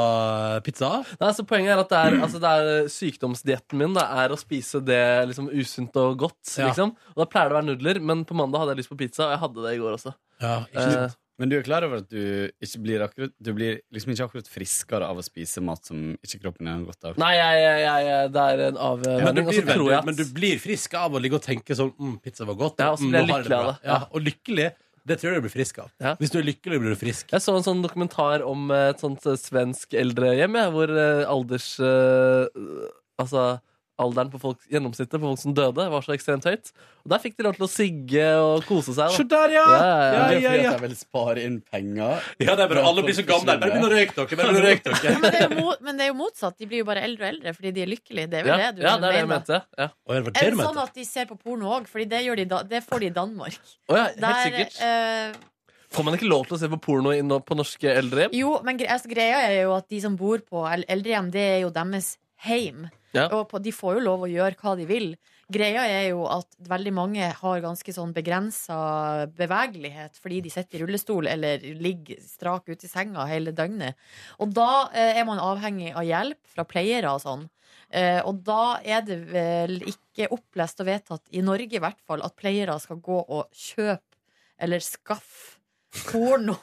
[SPEAKER 1] pizza?
[SPEAKER 2] Nei, altså Poenget er at det er, altså, det er sykdomsdietten min. Det er å spise det liksom usunt og godt.
[SPEAKER 1] Ja.
[SPEAKER 2] liksom Og Da pleier det å være nudler, men på mandag hadde jeg lyst på pizza, og jeg hadde det i går også.
[SPEAKER 14] Ikke sant?
[SPEAKER 2] Eh,
[SPEAKER 14] Men du er klar over at du ikke blir akkurat Du blir liksom ikke akkurat friskere av å spise mat som ikke kroppen din har godt av?
[SPEAKER 2] Nei, jeg, jeg, jeg, det er en
[SPEAKER 1] men, du
[SPEAKER 2] avvenning. og så
[SPEAKER 1] blir,
[SPEAKER 2] tror jeg
[SPEAKER 1] veldig,
[SPEAKER 2] at-
[SPEAKER 1] men du blir frisk av å ligge og tenke sånn mm, 'Pizza var godt.'
[SPEAKER 2] Ja, og så
[SPEAKER 1] mm,
[SPEAKER 2] blir
[SPEAKER 1] nå har
[SPEAKER 2] jeg
[SPEAKER 1] jeg
[SPEAKER 2] lykkelig av
[SPEAKER 1] bra.
[SPEAKER 2] det.
[SPEAKER 1] Ja, og lykkelig, det tror jeg du blir frisk av. Hvis du er lykkelig, blir du frisk.
[SPEAKER 2] Jeg så en sånn dokumentar om eh, et sånt eh, svensk eldrehjem, jeg, hvor eh, alders... eh, Altså alderen på folk, gjennomsnittet på folk som døde, var så ekstremt høyt. Og der fikk de lov til å sigge og kose seg. da.
[SPEAKER 1] Se der, ja!
[SPEAKER 14] Men Det er
[SPEAKER 2] ja,
[SPEAKER 14] fordi
[SPEAKER 2] ja.
[SPEAKER 14] at jeg vil spare inn penger.
[SPEAKER 1] Ja, det er bare alle blir så gamle. Bare begynn å røyke dere! Bare begynn å røyke
[SPEAKER 2] <laughs>
[SPEAKER 1] dere.
[SPEAKER 3] Men det, er jo mot, men det er jo motsatt. De blir jo bare eldre og eldre fordi de er lykkelige. Det er vel
[SPEAKER 2] ja,
[SPEAKER 3] det du
[SPEAKER 2] ja, det er det jeg
[SPEAKER 3] mener.
[SPEAKER 2] mente. Ja.
[SPEAKER 3] Er det sånn at de ser på porno òg? For det, gjør de da, det får de i Danmark.
[SPEAKER 2] Å ja, helt
[SPEAKER 3] Der,
[SPEAKER 2] sikkert.
[SPEAKER 3] eh,
[SPEAKER 2] Får man ikke lov til å se på porno i no- på norske eldrehjem?
[SPEAKER 3] Jo, men gre altså, greia er jo at de som bor på el- eldrehjem, det er jo deres heim.
[SPEAKER 2] Ja.
[SPEAKER 3] Og på, de får jo lov å gjøre hva de vil. Greia er jo at veldig mange har ganske sånn begrensa bevegelighet fordi de sitter i rullestol eller ligger strak ute i senga hele døgnet. Og da eh, er man avhengig av hjelp fra pleiere og sånn. Eh, og da er det vel ikke opplest og vedtatt, i Norge i hvert fall, at pleiere skal gå og kjøpe eller skaffe porno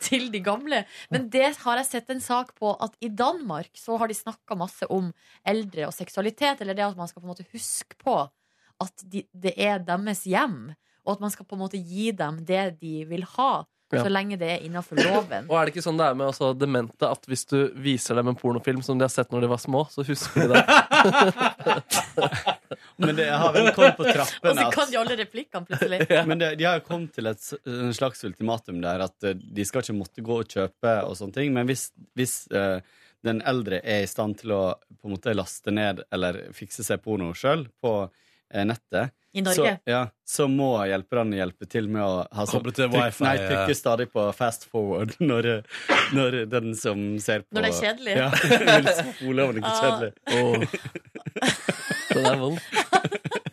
[SPEAKER 3] til de gamle. Men det har jeg sett en sak på at i Danmark så har de snakka masse om eldre og seksualitet, eller det at man skal på en måte huske på at de, det er deres hjem, og at man skal på en måte gi dem det de vil ha,
[SPEAKER 2] Ja.
[SPEAKER 3] så lenge det er innafor loven.
[SPEAKER 1] <laughs>
[SPEAKER 2] Og er det ikke sånn det er med også demente at hvis du viser dem en pornofilm som de har sett når de var små, så husker de
[SPEAKER 3] <laughs>
[SPEAKER 2] det?
[SPEAKER 14] Men det har vel kommet på trappene
[SPEAKER 3] <laughs> Og så
[SPEAKER 14] at-
[SPEAKER 3] Altså, kan de alle replikkene
[SPEAKER 1] <laughs>
[SPEAKER 3] plutselig.
[SPEAKER 14] Men det, de har jo kommet til et s- en slags ultimatum der at eh, de skal ikke måtte gå og kjøpe og sånne ting, men hvis, hvis eh, den eldre er i stand til å på en måte laste ned eller fikse seg porno sjøl på eh, nettet,
[SPEAKER 3] I Norge?
[SPEAKER 14] Så, ja, så må hjelperne hjelpe til med å ha sånn
[SPEAKER 1] Koble til wifi,
[SPEAKER 14] Nei,
[SPEAKER 1] ja.
[SPEAKER 14] trykke stadig på fast forward når, når den som ser på
[SPEAKER 3] Når det er kjedelig.
[SPEAKER 14] Ja, vil spole over noe kjedelig.
[SPEAKER 2] Den er vond.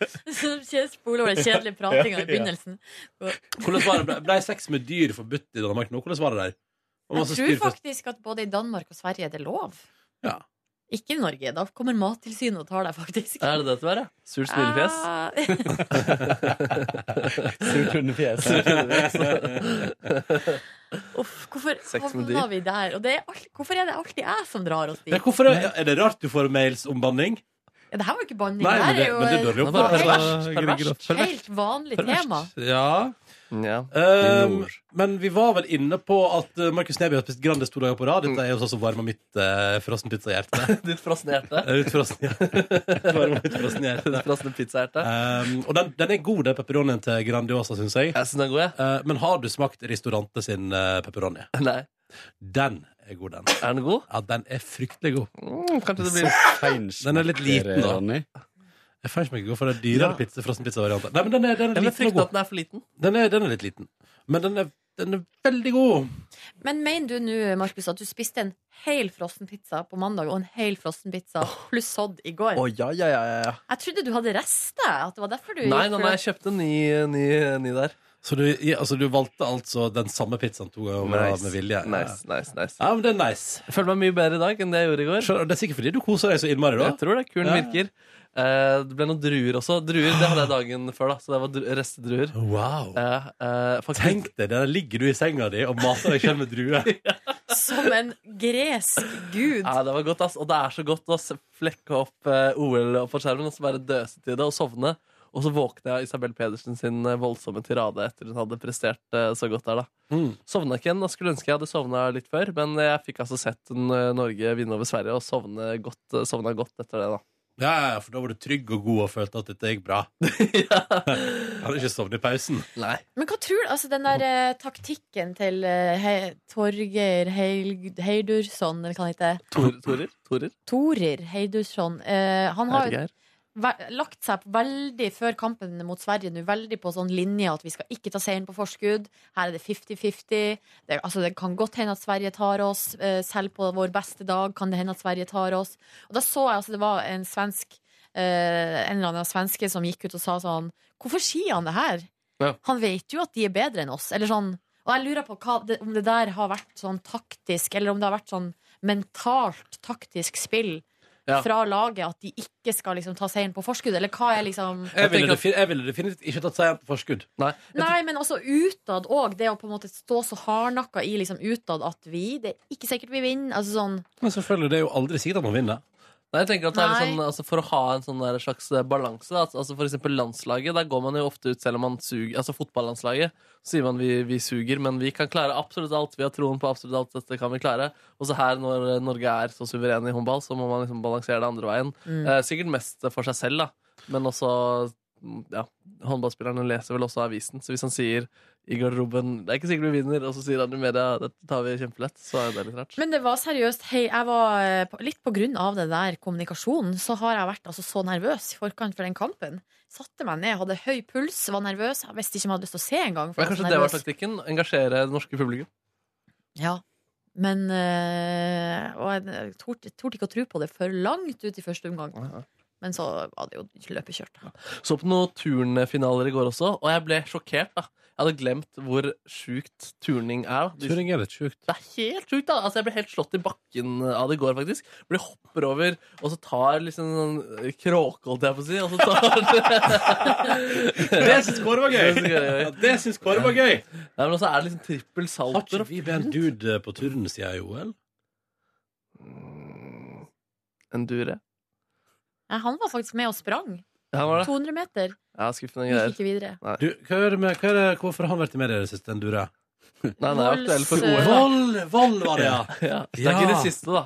[SPEAKER 3] <laughs> Spol over den
[SPEAKER 1] <laughs>
[SPEAKER 3] kjedelige pratinga i begynnelsen.
[SPEAKER 1] Hvordan var det? Ble, ble sex med dyr forbudt i Danmark nå? Hvordan var det der? Og
[SPEAKER 3] Jeg
[SPEAKER 1] masse
[SPEAKER 3] tror
[SPEAKER 1] styr for-
[SPEAKER 3] faktisk at både i Danmark og Sverige er det lov.
[SPEAKER 1] Ja.
[SPEAKER 3] Ikke i Norge. Da kommer Mattilsynet og tar deg, faktisk.
[SPEAKER 2] Er det det til å være? Surt smilefjes?
[SPEAKER 3] Ah.
[SPEAKER 14] Surt hundefjes.
[SPEAKER 2] Surt hundefjes.
[SPEAKER 3] <laughs> Uff, hvorfor
[SPEAKER 1] Sex med
[SPEAKER 3] havna
[SPEAKER 1] dyr.
[SPEAKER 3] vi der? Og det er alt, hvorfor er det alltid jeg som drar oss dit?
[SPEAKER 1] Ja, hvorfor er, er det rart du får mails om banning?
[SPEAKER 3] Ja, det her var jo ikke banning.
[SPEAKER 1] Nei,
[SPEAKER 3] her
[SPEAKER 1] men det,
[SPEAKER 3] jo eh,
[SPEAKER 1] men det er dårlig
[SPEAKER 3] et
[SPEAKER 1] oppførsel.
[SPEAKER 3] helt, helt vanlig tema.
[SPEAKER 1] Ja.
[SPEAKER 2] i
[SPEAKER 1] Ehm, men vi var vel inne på at eh, Markus Neby har spist Grandis to dager på rad. Dette er jo sånn som varmer mitt uh,
[SPEAKER 2] <laughs>
[SPEAKER 1] frossenpizzahjerte.
[SPEAKER 2] Ditt frosne hjerte?
[SPEAKER 1] Eh, Ut
[SPEAKER 2] <laughs>
[SPEAKER 1] frosne Varmer mitt frosne hjerte.
[SPEAKER 2] Frosne pizzahjerte.
[SPEAKER 1] Ehm, og den, den er god, den pepperonien til Grandiosa, syns jeg. Eh, men har du smakt Ristorante sin uh, pepperoni?
[SPEAKER 2] Nei.
[SPEAKER 1] Den er god, den.
[SPEAKER 2] Er den god?
[SPEAKER 1] Ja, den er fryktelig god.
[SPEAKER 2] Mm, kanskje det blir-
[SPEAKER 1] Så feinsmaker- Den er litt liten, da.
[SPEAKER 14] Ronny.
[SPEAKER 1] Jeg fant meg ikke god for det er dyrere
[SPEAKER 2] Ja.
[SPEAKER 1] pizza, frossenpizza-varianter. Nei, men den er, den er
[SPEAKER 2] Jeg
[SPEAKER 1] liten og
[SPEAKER 2] frykter
[SPEAKER 1] god.
[SPEAKER 2] at den er for liten.
[SPEAKER 1] Den er, den er litt liten. Men den er, den er veldig god.
[SPEAKER 3] Men mener du nå, Markus, at du spiste en hel frossenpizza på mandag og en hel frossenpizza pluss sodd i går?
[SPEAKER 2] ja, ja, ja, ja.
[SPEAKER 3] Jeg trodde du hadde rester. At det var derfor du
[SPEAKER 2] Nei,
[SPEAKER 3] gikk
[SPEAKER 2] nei,
[SPEAKER 3] for
[SPEAKER 2] nei,
[SPEAKER 3] det.
[SPEAKER 2] jeg kjøpte en ny, ny, ny der.
[SPEAKER 1] Så du, ja, altså, du valgte altså den samme pizzaen to ganger over rad med vilje? Ja.
[SPEAKER 2] Nice, nice, nice.
[SPEAKER 1] Ja, men det er nice.
[SPEAKER 2] Jeg føler meg mye bedre i dag enn det jeg gjorde i går.
[SPEAKER 1] det er sikkert fordi du koser deg så innmari da.
[SPEAKER 2] Jeg tror det. Kulen
[SPEAKER 1] Ja.
[SPEAKER 2] virker. Eh, det ble noen druer også. Druer det hadde jeg dagen før, da, så det var dru- restedruer.
[SPEAKER 1] Wow.
[SPEAKER 2] Eh, eh, faktisk-
[SPEAKER 1] Tenk deg, der ligger du i senga di og mater deg selv med <laughs> druer.
[SPEAKER 3] Som en gresk gud.
[SPEAKER 2] Ja, det var godt, ass. Og det er så godt å se- flekke opp eh, OL opp på skjermen og så bare døse til det og sovne. Og så våkna jeg av Isabel Pedersen sin eh, voldsomme tirade etter hun hadde prestert eh, så godt der, da.
[SPEAKER 1] Mm.
[SPEAKER 2] Sovna ikke igjen. Jeg skulle ønske jeg hadde sovna litt før, men jeg fikk altså sett en, eh, Norge vinne over Sverige og sovne godt, eh, sovna godt etter det, da.
[SPEAKER 1] Ja, ja, for da var du trygg og god og følte at dette gikk bra. <laughs> Hadde ikke sovnet i pausen.
[SPEAKER 2] Nei.
[SPEAKER 3] Men hva tror du, altså den der eh, taktikken til eh, He- Torgeir Heil- Heidursson, eller hva han heter?
[SPEAKER 2] Tor, torer? Torer?
[SPEAKER 3] Torir Heidursson. Eh, han har
[SPEAKER 2] Heidegeir.
[SPEAKER 3] ve- lagt seg på veldig, før kampen mot Sverige nå, veldig på sånn linje at vi skal ikke ta seieren på forskudd. Her er det 50-50. Det, altså, det kan godt hende at Sverige tar oss. Eh, selv på vår beste dag kan det hende at Sverige tar oss. Og da så jeg altså, det var en svensk eh, en eller annen svenske som gikk ut og sa sånn Hvorfor sier han det her?
[SPEAKER 2] Ja.
[SPEAKER 3] Han vet jo at de er bedre enn oss. Eller sånn. Og jeg lurer på hva, det, om det der har vært sånn taktisk, eller om det har vært sånn mentalt taktisk spill
[SPEAKER 1] Ja.
[SPEAKER 3] fra laget, at de ikke skal liksom ta seieren på forskudd, eller hva er liksom
[SPEAKER 1] Jeg ville, defi- jeg ville definitivt ikke tatt seieren på forskudd.
[SPEAKER 2] Nei.
[SPEAKER 3] Nei, men også utad òg. Det å på en måte stå så hardnakka i liksom utad at vi Det er ikke sikkert vi vinner. Altså sånn
[SPEAKER 1] Men selvfølgelig, det er jo aldri sikkert at man vinner.
[SPEAKER 2] Nei, jeg tenker at det er litt
[SPEAKER 3] Nei.
[SPEAKER 2] sånn, altså For å ha en sånn der slags balanse da, altså For eksempel landslaget, der går man jo ofte ut Selv om man suger, altså fotballandslaget Så sier man vi, vi suger, men vi kan klare absolutt alt Vi har troen på absolutt alt, dette kan vi klare Og så her når eh, Norge er så suveren i håndball Så må man liksom balansere det andre veien
[SPEAKER 1] Mm.
[SPEAKER 2] eh, Sikkert mest for seg selv da Men også, mm, ja Håndballspillerne leser vel også avisen Så hvis han sier i garderoben Det er ikke sikkert vi vinner, og så sier han i media Dette tar vi kjempelett, så er det litt rart
[SPEAKER 3] Men det var seriøst. Hei, jeg var eh, på- Litt på grunn av den der kommunikasjonen så har jeg vært altså, så nervøs i forkant for den kampen. Satte meg ned, hadde høy puls, var nervøs. Jeg visste ikke om jeg hadde lyst til å se engang.
[SPEAKER 2] Men kanskje det var taktikken, engasjere det norske publikum
[SPEAKER 3] Ja. Men eh, Og jeg torde torde ikke å tro på det før langt ut i første omgang. Men så var det jo løpekjørt. da.
[SPEAKER 2] Så på noen turnfinaler i går også, og jeg ble sjokkert. da Jeg hadde glemt hvor sjukt turning er. da.
[SPEAKER 1] Turning er litt sjukt.
[SPEAKER 2] Det er helt sjukt, da! Altså, jeg ble helt slått i bakken av det i går, faktisk. Hvor de hopper over, og så tar liksom en sånn kråke, holdt jeg <laughs> på å si. Og så tar
[SPEAKER 1] Det syns Kåre var gøy. Ja, det syns Kåre var gøy.
[SPEAKER 2] Nei, men også er det liksom trippel salto.
[SPEAKER 1] Har ikke vi med en dude på turen siden OL?
[SPEAKER 2] En dure?
[SPEAKER 3] Nei, han var faktisk med og sprang.
[SPEAKER 2] Ja, han var det.
[SPEAKER 3] 200 meter.
[SPEAKER 2] Ja, skuffende
[SPEAKER 3] Gikk
[SPEAKER 2] greier.
[SPEAKER 3] ikke videre.
[SPEAKER 1] Du, hva er det med, hva er det, hvorfor har han vært i media i det siste, den dure?
[SPEAKER 2] Nei, han er aktuell for OL.
[SPEAKER 1] Volds-
[SPEAKER 2] da.
[SPEAKER 1] Vold, vold var det, ja.
[SPEAKER 2] ja. Det er ikke det siste, da.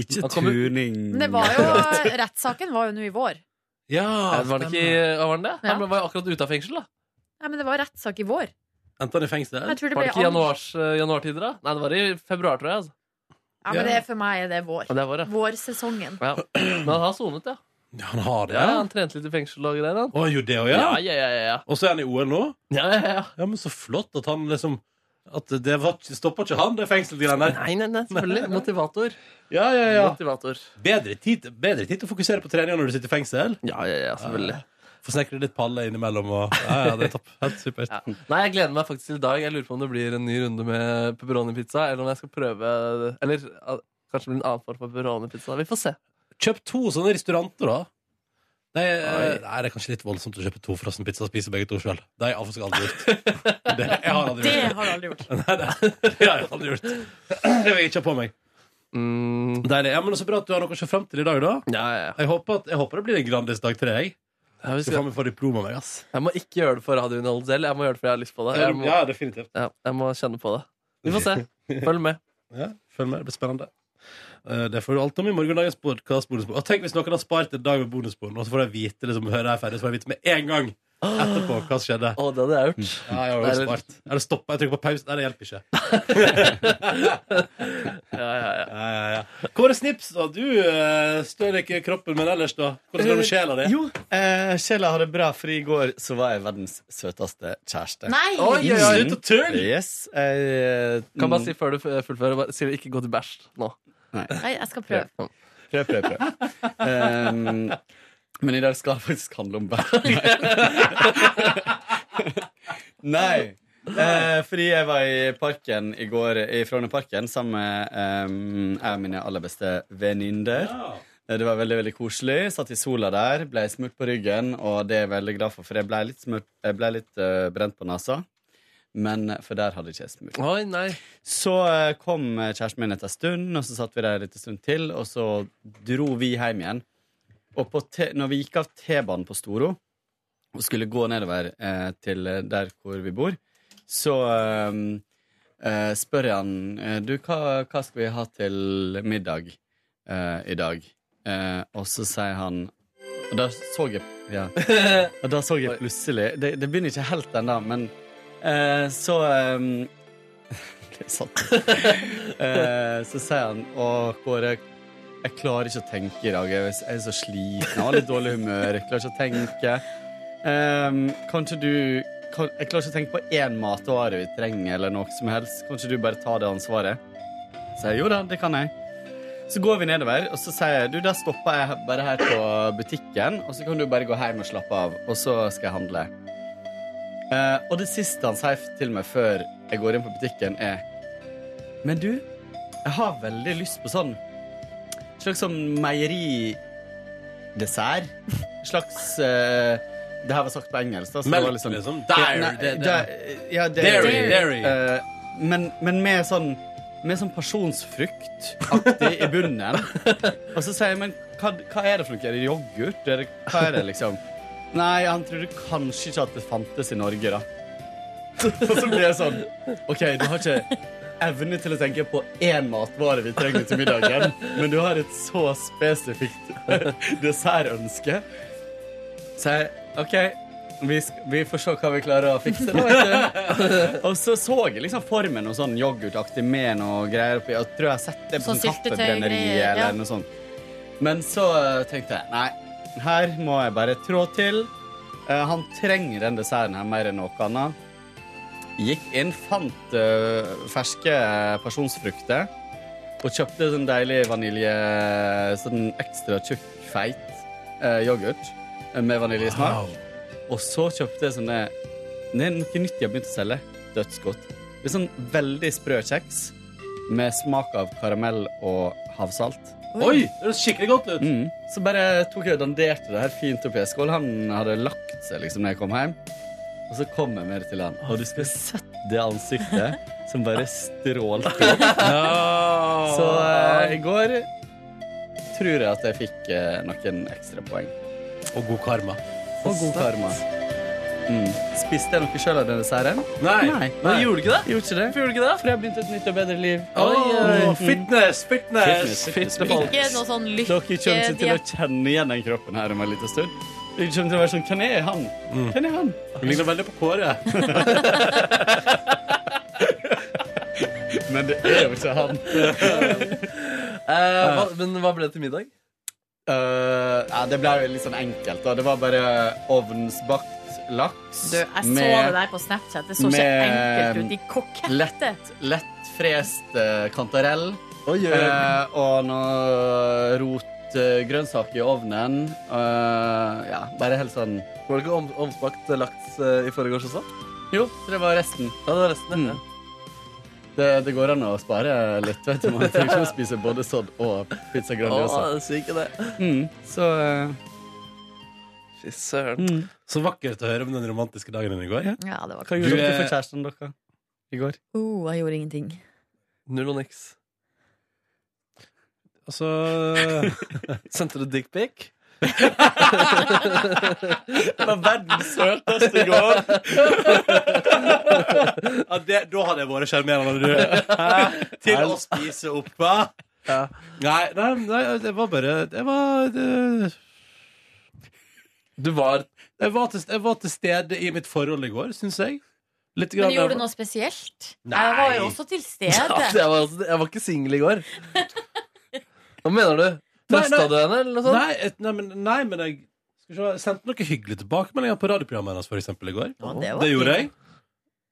[SPEAKER 1] Ikke
[SPEAKER 2] turning.
[SPEAKER 3] Men
[SPEAKER 14] Mm.
[SPEAKER 3] det var jo, rettssaken var jo nå i vår.
[SPEAKER 1] Ja,
[SPEAKER 2] var det ikke var det? det? Han var jo akkurat ute av fengsel, da.
[SPEAKER 3] Nei, men det var rettssak i vår.
[SPEAKER 1] Endte han i fengsel?
[SPEAKER 3] Jeg tror det
[SPEAKER 2] var det
[SPEAKER 3] ble
[SPEAKER 2] ikke i januars, januartider, da? Nei, det var i februar, tror jeg. altså.
[SPEAKER 3] Ja, men det, for meg er det vår.
[SPEAKER 2] Ja, det er vår, ja.
[SPEAKER 3] Vårsesongen.
[SPEAKER 2] Ja. Men han har sonet, ja.
[SPEAKER 1] Han har det?
[SPEAKER 2] Ja, han trente litt i fengsel og greier. han.
[SPEAKER 1] Å, gjorde det òg, ja?
[SPEAKER 2] Ja, ja, ja, ja, ja.
[SPEAKER 1] Og så er han i OL nå?
[SPEAKER 2] Ja, ja, ja.
[SPEAKER 1] men så flott at han liksom At det var, stoppa ikke han, det fengselsgreiene der.
[SPEAKER 2] Nei, nei, nei, <laughs> selvfølgelig. Motivator.
[SPEAKER 1] Ja, ja, ja.
[SPEAKER 2] Motivator.
[SPEAKER 1] Bedre tid, bedre tid til å fokusere på treninga når du sitter i fengsel.
[SPEAKER 2] Ja, ja, ja, selvfølgelig.
[SPEAKER 1] Få snekre litt palle innimellom og Ja, ja, det er topp. Helt supert.
[SPEAKER 2] Nei, jeg gleder meg faktisk til i dag. Jeg lurer på om det blir en ny runde med pepperoni-pizza, eller om jeg skal prøve Eller ah, kanskje det blir en annen form for pepperoni-pizza. Vi får se.
[SPEAKER 1] Kjøp to sånne restauranter, da. Nei, eh, nei, det er kanskje litt voldsomt å kjøpe to frossenpizza og spise begge to sjøl. Det har jeg faktisk aldri gjort. <laughs> Det, jeg har aldri
[SPEAKER 3] Det
[SPEAKER 1] gjort.
[SPEAKER 3] har du aldri gjort.
[SPEAKER 1] Nei, nei, det <laughs> har jeg aldri gjort. Det vil jeg ikke ha på meg.
[SPEAKER 2] Mm.
[SPEAKER 1] Deilig. Ja, men Så bra at du har noe å se fram til i dag, da. Jeg, håper at, jeg håper det blir en Grandis dag tre, jeg.
[SPEAKER 2] Ja, vi
[SPEAKER 1] skal
[SPEAKER 2] skal-
[SPEAKER 1] faen meg få diplom av meg, ass.
[SPEAKER 2] Jeg må ikke gjøre det for radioen selv. Jeg må gjøre det fordi jeg har lyst på det.
[SPEAKER 1] Ja,
[SPEAKER 2] Jeg må,
[SPEAKER 1] ja, definitivt.
[SPEAKER 2] Ja, jeg må kjenne på det. Vi <laughs> får se. Følg med.
[SPEAKER 1] Ja, følg med. Det blir spennende. Eh, Det får du alt om i morgendagens podkast. Tenk hvis noen har spart en dag med bonusbord, og så får de vite liksom, hører jeg ferdig, så får de vite med en gang etterpå hva som skjedde.
[SPEAKER 2] Å, det hadde jeg gjort.
[SPEAKER 1] Ja, jeg har
[SPEAKER 2] Eller-
[SPEAKER 1] jo spart. Er det stoppa? Jeg trykker på pause. Nei, det hjelper ikke.
[SPEAKER 2] Ja, ja, ja.
[SPEAKER 1] <laughs> Ja, ja, ja. Kåre Snips, da. Du eh, stør ikke kroppen, men ellers, da? Hvordan går det med sjela di?
[SPEAKER 14] Eh, Jo, eh, sjela har det bra, for i går så var jeg verdens søteste kjæreste.
[SPEAKER 2] Nei! Oi, oi, oi. Slutt å tulle!
[SPEAKER 14] Yes. eh,
[SPEAKER 2] Kan bare
[SPEAKER 14] mm,
[SPEAKER 2] si før du f- fullfører, bare si det ikke gå til bæsj nå.
[SPEAKER 14] Nei.
[SPEAKER 3] Nei, jeg skal prøve.
[SPEAKER 14] Prøv, prøv, prøv. Ehm, men i dag skal det faktisk handle om bæsj. <laughs> Nei. Eh, fordi jeg var i parken i går, i Frognerparken, sammen med ehm, jeg og mine aller beste venninner. Eh, Det var veldig veldig koselig. Satt i sola der, ble smurt på ryggen, og det er jeg veldig glad for, for jeg ble litt, smurt, jeg ble litt eh, brent på nesa. Men eh, for der hadde ikke jeg smurt.
[SPEAKER 2] Oi, nei.
[SPEAKER 14] Så eh, kom kjæresten min etter en stund, og så satt vi der en liten stund til, og så dro vi hjem igjen. Og på te når vi gikk av T-banen på Storo og skulle gå nedover eh, til eh, der hvor vi bor, så eh, eh, spør jeg han eh, Du, hva, hva skal vi ha til middag eh, i dag? Eh, og så sier han Og da så jeg ja. Og da så jeg plutselig Det, det begynner ikke helt ennå, men eh, så eh, det er sant. <laughs> Eh, så sier han Å, Kåre, jeg klarer ikke å tenke i dag. Jeg er- jeg er så sliten. Jeg har litt dårlig humør. Jeg klarer ikke å tenke. Um, kanskje du kan, Jeg klarer ikke å tenke på én matvare vi trenger, eller noe som helst. Kanskje du bare tar det ansvaret? Så sier jeg jo da, det kan jeg. Så går vi nedover, og så sier jeg du, da stopper jeg bare her på butikken, og så kan du bare gå hjem og slappe av, og så skal jeg handle. Eh, og det siste han sier til meg før jeg går inn på butikken, er Men du, jeg har veldig lyst på sånn slags sånn meieridessert. Slags eh, Det her var sagt på engelsk. da, så det
[SPEAKER 1] Melk,
[SPEAKER 14] var liksom,
[SPEAKER 1] liksom. Dairy,
[SPEAKER 14] Ja, nei,
[SPEAKER 1] det- det-
[SPEAKER 14] da- ja, dairy.
[SPEAKER 1] Dairy, dairy.
[SPEAKER 14] Eh, men, men med sånn med sånn pasjonsfruktaktig i bunnen. Og så sier jeg, men hva, hva er det for noe? Er det yoghurt? Er det, hva er det, liksom? Nei, han trodde kanskje ikke at det fantes i Norge, da. <laughs> Og så blir jeg sånn OK, du har ikke evne til å tenke på én matvare vi trenger til middagen, men du har et så spesifikt <laughs> dessertønske. Så jeg OK, vi, sk- vi får se hva vi klarer å fikse, da, vet du. Og så så jeg liksom for meg noe sånn yoghurtaktig med noe greier oppi. Jeg tror jeg har sett det på
[SPEAKER 12] Sånn
[SPEAKER 14] sånn
[SPEAKER 12] syltetøy-
[SPEAKER 14] kaffebrenneri eller
[SPEAKER 12] ja.
[SPEAKER 14] noe sånt. Men så eh, tenkte jeg nei, her må jeg bare trå til. Eh, han trenger den desserten her mer enn noe annet. Gikk inn, fant eh, ferske pasjonsfrukter og kjøpte sånn deilig vanilje Sånn ekstra tjukk, feit eh, yoghurt eh, med vaniljesmak. Og så kjøpte jeg sånne Det er noe nytt de har begynt å selge. Dødsgodt. Det er sånn veldig sprø kjeks med smak av karamell og havsalt.
[SPEAKER 1] Oi, det høres skikkelig godt ut.
[SPEAKER 14] Mm. Så bare tok jeg og danderte det her fint opp i en skål. Han hadde lagt seg liksom når jeg kom hjem. Og så kom jeg med det til han. Og du skulle sett det ansiktet <laughs> som bare strålte opp.
[SPEAKER 1] <laughs>
[SPEAKER 14] Så eh, i går tror jeg at jeg fikk eh, noen ekstra poeng.
[SPEAKER 1] Og god karma.
[SPEAKER 14] Og god karma. Mm. Spiste jeg noe sjøl av den desserten?
[SPEAKER 1] Nei. Nei.
[SPEAKER 14] Gjorde du ikke det? Gjorde ikke det? Gjorde ikke det? For jeg har begynt et nytt og bedre liv.
[SPEAKER 1] Åh,
[SPEAKER 14] Mm.
[SPEAKER 1] fitness, fitness!
[SPEAKER 14] Fitness, fitness.
[SPEAKER 3] Ikke noe sånn
[SPEAKER 14] Dere kommer ikke til å
[SPEAKER 3] lykkediett.
[SPEAKER 14] kjenne igjen den kroppen her om en liten stund. Dere kommer til å være sånn Hvem er han? Hvem er han?
[SPEAKER 1] Hun ligner veldig på Kåre.
[SPEAKER 14] <laughs> Men det er jo ikke han.
[SPEAKER 2] Eh, hva, men hva ble det til middag?
[SPEAKER 14] Eh, ja, det ble jo litt sånn enkelt. Og det var bare ovnsbakt laks
[SPEAKER 3] Du, jeg så det der på Snapchat. Det så ikke
[SPEAKER 14] med-
[SPEAKER 3] enkelt ut. De kokette.
[SPEAKER 14] lett, lett frest eh, kantarell.
[SPEAKER 3] oi.
[SPEAKER 14] Eh, og noe rotgrønnsaker i ovnen. Eh, ja, bare helt sånn
[SPEAKER 2] Var det ikke om, omspakt laks eh, i forgårs også? Mm,
[SPEAKER 14] Jo, det var resten.
[SPEAKER 2] Ja, det var resten, ja.
[SPEAKER 14] Mm. Det, det går an å spare litt. Vet du. Man trenger ikke å spise både sodd og pizza grandiosa.
[SPEAKER 2] Å, syk i det.
[SPEAKER 14] Mm, så mm.
[SPEAKER 2] Fy søren.
[SPEAKER 1] Så vakkert å høre om den romantiske dagen din i går.
[SPEAKER 3] Ja, det var
[SPEAKER 14] Hva gjorde dere for kjæresten deres i går?
[SPEAKER 3] Oh, jeg gjorde ingenting.
[SPEAKER 2] Null og niks.
[SPEAKER 1] Altså
[SPEAKER 2] <laughs> Sendte du dickpic?
[SPEAKER 1] <laughs>
[SPEAKER 14] Det var verdens søteste i
[SPEAKER 2] <laughs>
[SPEAKER 14] går.
[SPEAKER 1] ja, det, da hadde jeg vært sjarmerende,
[SPEAKER 2] <laughs>
[SPEAKER 1] du. Hæ? Til å spise opp, hva? Nei, nei, nei, det var bare Det var det...
[SPEAKER 2] Mm. Du var
[SPEAKER 1] jeg var, til, jeg var til stede i mitt forhold i går, syns jeg. Litt
[SPEAKER 3] Men
[SPEAKER 1] grann-
[SPEAKER 3] gjorde du noe spesielt?
[SPEAKER 1] Nei.
[SPEAKER 3] Jeg var jo også til
[SPEAKER 2] <laughs> Ja,
[SPEAKER 3] stede.
[SPEAKER 2] jeg, var, altså- jeg var ikke singel i går. Hva mener du? Trøsta du henne, eller noe sånt?
[SPEAKER 1] Nei, et, nei, men, nei, men jeg skal vi se, jeg sendte noen hyggelige tilbakemeldinger på radioprogrammet hennes for eksempel, i går.
[SPEAKER 2] det var
[SPEAKER 1] gjorde jeg.
[SPEAKER 2] fint.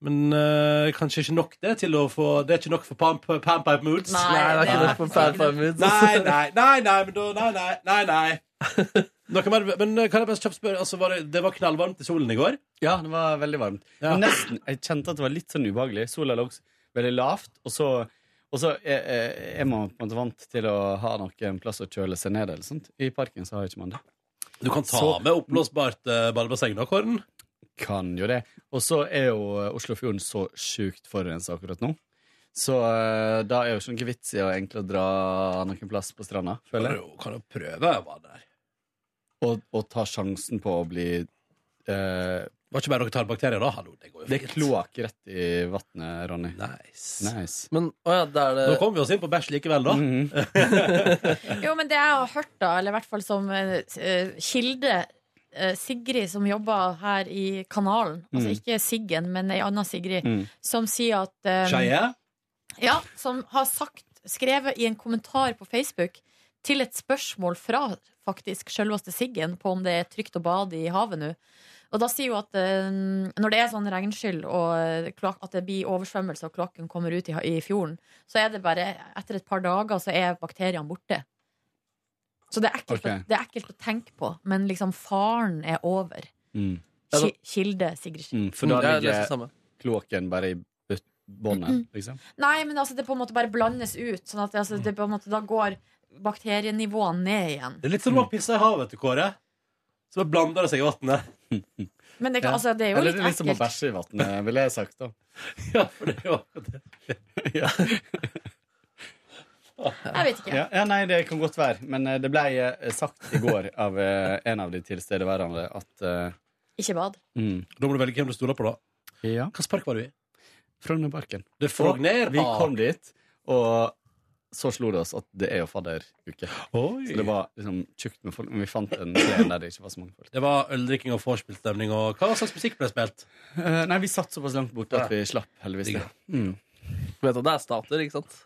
[SPEAKER 1] Men eh, kanskje ikke nok det til å få Det er ikke nok for pamp, pamp pipe moods.
[SPEAKER 2] Nei, Nei, det er det ikke er nok for ikke pamp pipe nok. moods.
[SPEAKER 1] Nei, nei, nei, nei, men da, nei, nei, nei, nei. Noe mer, men eh, kan jeg bare kjapt spørre altså, var det, det var knallvarmt i solen i går?
[SPEAKER 14] Ja, det var veldig varmt.
[SPEAKER 1] Ja.
[SPEAKER 14] Og nesten, jeg kjente at det var litt sånn ubehagelig. Sola lå også veldig lavt, og så, og så er, er- er man på en måte vant til å ha noen plass å kjøle seg ned. Eller sånt. I parken så har ikke man det.
[SPEAKER 1] Du kan ta
[SPEAKER 14] Så-
[SPEAKER 1] med oppblåsbart uh, badebasseng nå, Kåren.
[SPEAKER 14] Kan jo det. Og så er jo eh, Oslofjorden så sjukt forurensa akkurat nå. Så eh, da er jo ikke noen vits i å egentlig dra noen plass på stranda, føler jeg.
[SPEAKER 1] Kan jo- Kan jo prøve å være der.
[SPEAKER 14] Og, og ta sjansen på å bli eh,
[SPEAKER 1] Var ikke bare dere tar bakterier da? Hallo, det går jo
[SPEAKER 14] Det er kloakk rett i vannet, Ronny.
[SPEAKER 1] Nice.
[SPEAKER 2] <laughs> Men, å ja, da er det
[SPEAKER 1] Nå kom vi oss inn på bæsj likevel,
[SPEAKER 14] Mm.
[SPEAKER 1] da.
[SPEAKER 14] Mhm.
[SPEAKER 3] Jo, men det jeg har hørt, da, eller i hvert fall som eh, eh, kilde eh, Sigrid som jobber her i kanalen, altså
[SPEAKER 5] Mm.
[SPEAKER 3] ikke Siggen, men ei anna Sigrid,
[SPEAKER 5] Mm.
[SPEAKER 3] som sier at eh,
[SPEAKER 1] Skeie?
[SPEAKER 3] Ja, som har sagt, skrevet i en kommentar på Facebook til et spørsmål fra faktisk selveste Siggen på om det er trygt å bade i havet nå. Og da sier hun at eh, når det er sånn regnskyll og eh, kloak- at det blir oversvømmelse og kloakken kommer ut i, ha- i fjorden, så er det bare etter et par dager så er bakteriene borte. Så det er ekkelt,
[SPEAKER 2] Ok.
[SPEAKER 3] å, det er ekkelt å tenke på, men liksom faren er over.
[SPEAKER 2] Ja, da-
[SPEAKER 3] Ki- Kilde Sigrid.
[SPEAKER 14] Mm, for da
[SPEAKER 2] Mm, jeg leser
[SPEAKER 14] ligger
[SPEAKER 2] samme.
[SPEAKER 14] kloakken bare i butt- båndet, liksom.
[SPEAKER 3] Nei, men altså, det på en måte bare blandes ut. Sånn at det,
[SPEAKER 14] Mm.
[SPEAKER 3] altså, det på en måte, da går bakterienivåene ned igjen.
[SPEAKER 1] Det er litt som å pisse i havet, vet du, Kåre. Så bare blander det seg i vannet. <laughs>
[SPEAKER 3] Men det, kan-
[SPEAKER 14] Ja.
[SPEAKER 3] altså, det er jo
[SPEAKER 14] Eller
[SPEAKER 3] litt
[SPEAKER 14] det er liksom litt som å
[SPEAKER 3] ekkelt.
[SPEAKER 14] bæsje i vannet, ville jeg sagt da.
[SPEAKER 1] ja, for det er jo
[SPEAKER 14] ja.
[SPEAKER 3] Jeg vet ikke.
[SPEAKER 14] Ja, ja, nei, det kan godt være. Men eh, det ble eh, sagt i går av eh, en av de tilstedeværende at eh, mm.
[SPEAKER 3] Ikke bad.
[SPEAKER 1] Da må du velge hvem du stoler på, da.
[SPEAKER 14] Ja.
[SPEAKER 1] Hvilken park var du i?
[SPEAKER 14] Frognerparken.
[SPEAKER 1] Det er Frogner,
[SPEAKER 14] Og Vi
[SPEAKER 1] ah.
[SPEAKER 14] kom dit, og så slo det oss at det er jo fadderuke.
[SPEAKER 1] Oi.
[SPEAKER 14] Så det var liksom tjukt med folk. Men vi fant en scene der det ikke var så mange folk.
[SPEAKER 1] Det var øldrikking og vorspiel-stemning, og hva slags musikk ble spilt?
[SPEAKER 14] Eh, nei, vi satt såpass langt borte at vi slapp, heldigvis.
[SPEAKER 1] Digg,
[SPEAKER 14] det. Mm.
[SPEAKER 2] Du vet at det er stater, ikke <laughs> sant?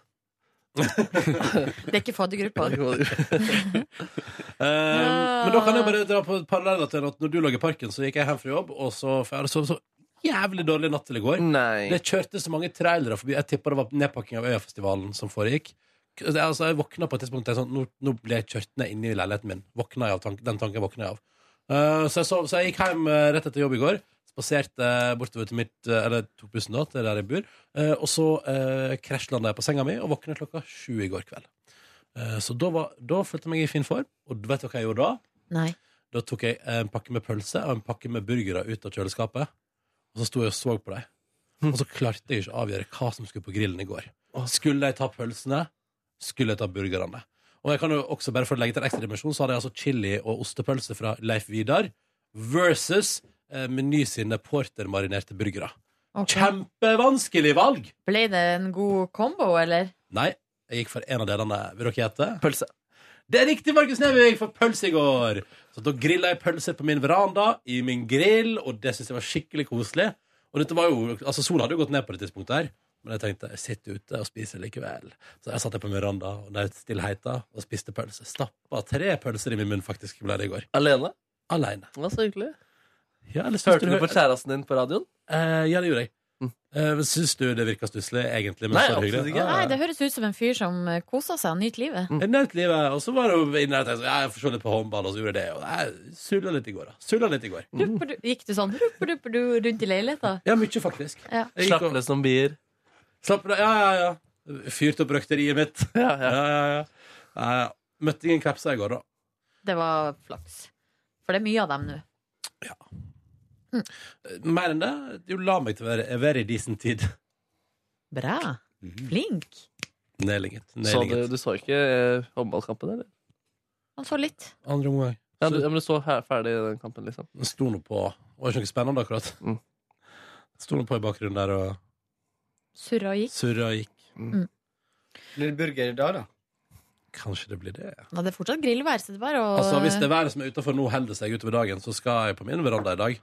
[SPEAKER 3] Det er ikke <laughs> faddergruppa.
[SPEAKER 1] Eh, men da kan jeg bare dra på paralleller til at når du lå i parken, så gikk jeg hjem fra jobb, og så for jeg hadde sovet så jævlig dårlig natt til i går. Det kjørte så mange trailere forbi. Jeg tippa det var nedpakking av Øyafestivalen som foregikk. Det, er altså, jeg våkna på et tidspunkt jeg sånn, nå, nå ble jeg kjørt ned inne i leiligheten min. Våkna jeg av tank, den tanken våkna jeg av. Eh, så, jeg sov, så jeg gikk hjem eh, rett etter jobb i går. Spaserte eh, bortover til mitt eh, Eller tok bussen da, til der jeg bor. eh, og så uh, krasjlanda jeg på senga mi og våkna klokka sju i går kveld. Eh, så da, var, da følte jeg meg i fin form. Og vet du hva jeg gjorde da?
[SPEAKER 3] Nei.
[SPEAKER 1] Da tok jeg en pakke med pølse og en pakke med burgere ut av kjøleskapet. Og så sto jeg og så på dem. Og så klarte jeg ikke å avgjøre hva som skulle på grillen i går. Skulle jeg ta pølsene? Skulle jeg ta burgerne? Og jeg kan jo også bare for å legge til en ekstra dimensjon, så hadde jeg altså chili og ostepølse fra Leif Vidar versus eh, Meny sine portermarinerte burgere.
[SPEAKER 3] Ok.
[SPEAKER 1] Kjempevanskelig valg!
[SPEAKER 3] Ble det en god kombo, eller?
[SPEAKER 1] Nei, jeg gikk for en av delene. Vil dere gjette? Pølse. Det er riktig, Markus Neby! Jeg gikk for pølse i går. Så da grilla jeg pølser på min veranda, i min grill, og det syns jeg var skikkelig koselig. Og dette var jo, altså Sola hadde jo gått ned på det tidspunktet her. Men jeg tenkte jeg sitter ute og spiser likevel. Så jeg satt der på Miranda og nøt stillheten og spiste pølse. Stappa tre pølser i min munn faktisk ble det i går.
[SPEAKER 2] Alene?
[SPEAKER 1] Alene.
[SPEAKER 2] Det var så hyggelig.
[SPEAKER 1] Ja, eller synes
[SPEAKER 2] Hørte du på kjæresten din på radioen?
[SPEAKER 1] Eh, ja, det gjorde jeg. Eh, men syns du det virka stusslig, egentlig? Men
[SPEAKER 2] Nei,
[SPEAKER 1] så var det
[SPEAKER 2] absolutt
[SPEAKER 1] hyggelig?
[SPEAKER 2] ikke.
[SPEAKER 1] Ah,
[SPEAKER 3] Nei,
[SPEAKER 1] ja.
[SPEAKER 3] det høres ut som en fyr som eh, koser seg og nyter livet.
[SPEAKER 1] <laughs> Jeg nøt livet, og så var det jo inne og tenkte sånn, ja, jeg får se litt på håndball, og så gjorde jeg det. Og jeg sulla litt i går, da. Sulla litt i går.
[SPEAKER 3] Rupperdu- Gikk du sånn rupperdu rundt i leiligheta?
[SPEAKER 1] Ja, mye faktisk.
[SPEAKER 3] Ja.
[SPEAKER 1] Slapp løs noen bier. Slapp løs, ja, ja, ja. Fyrt opp røkteriet mitt. <laughs> Ja, ja, ja. Nei, ja. Møtte ingen krepser i går, da.
[SPEAKER 3] Det var flaks. For det er mye av dem nå.
[SPEAKER 1] Mer enn det, du la meg til å være very decent tid. <laughs>
[SPEAKER 3] Bra. Mhm. Flink.
[SPEAKER 1] Nedlinget.
[SPEAKER 2] Så du,
[SPEAKER 1] Nedlinget.
[SPEAKER 2] du så ikke eh, håndballkampen, eller?
[SPEAKER 3] Han så litt.
[SPEAKER 1] Andre omgang.
[SPEAKER 2] Ja, du, ja, men du så her, ferdig den kampen, liksom.
[SPEAKER 1] Den sto nå på. Det var ikke noe spennende akkurat. Mm. Sto nå på i bakgrunnen der og
[SPEAKER 3] Surra og gikk.
[SPEAKER 1] surra og gikk.
[SPEAKER 3] Mm.
[SPEAKER 1] Blir det burger i dag, da? Kanskje det blir det.
[SPEAKER 3] Ja, det er fortsatt grillvær, så det er bare å
[SPEAKER 1] Altså, hvis det været som er utenfor nå holder seg utover dagen, så skal jeg på min veranda i dag.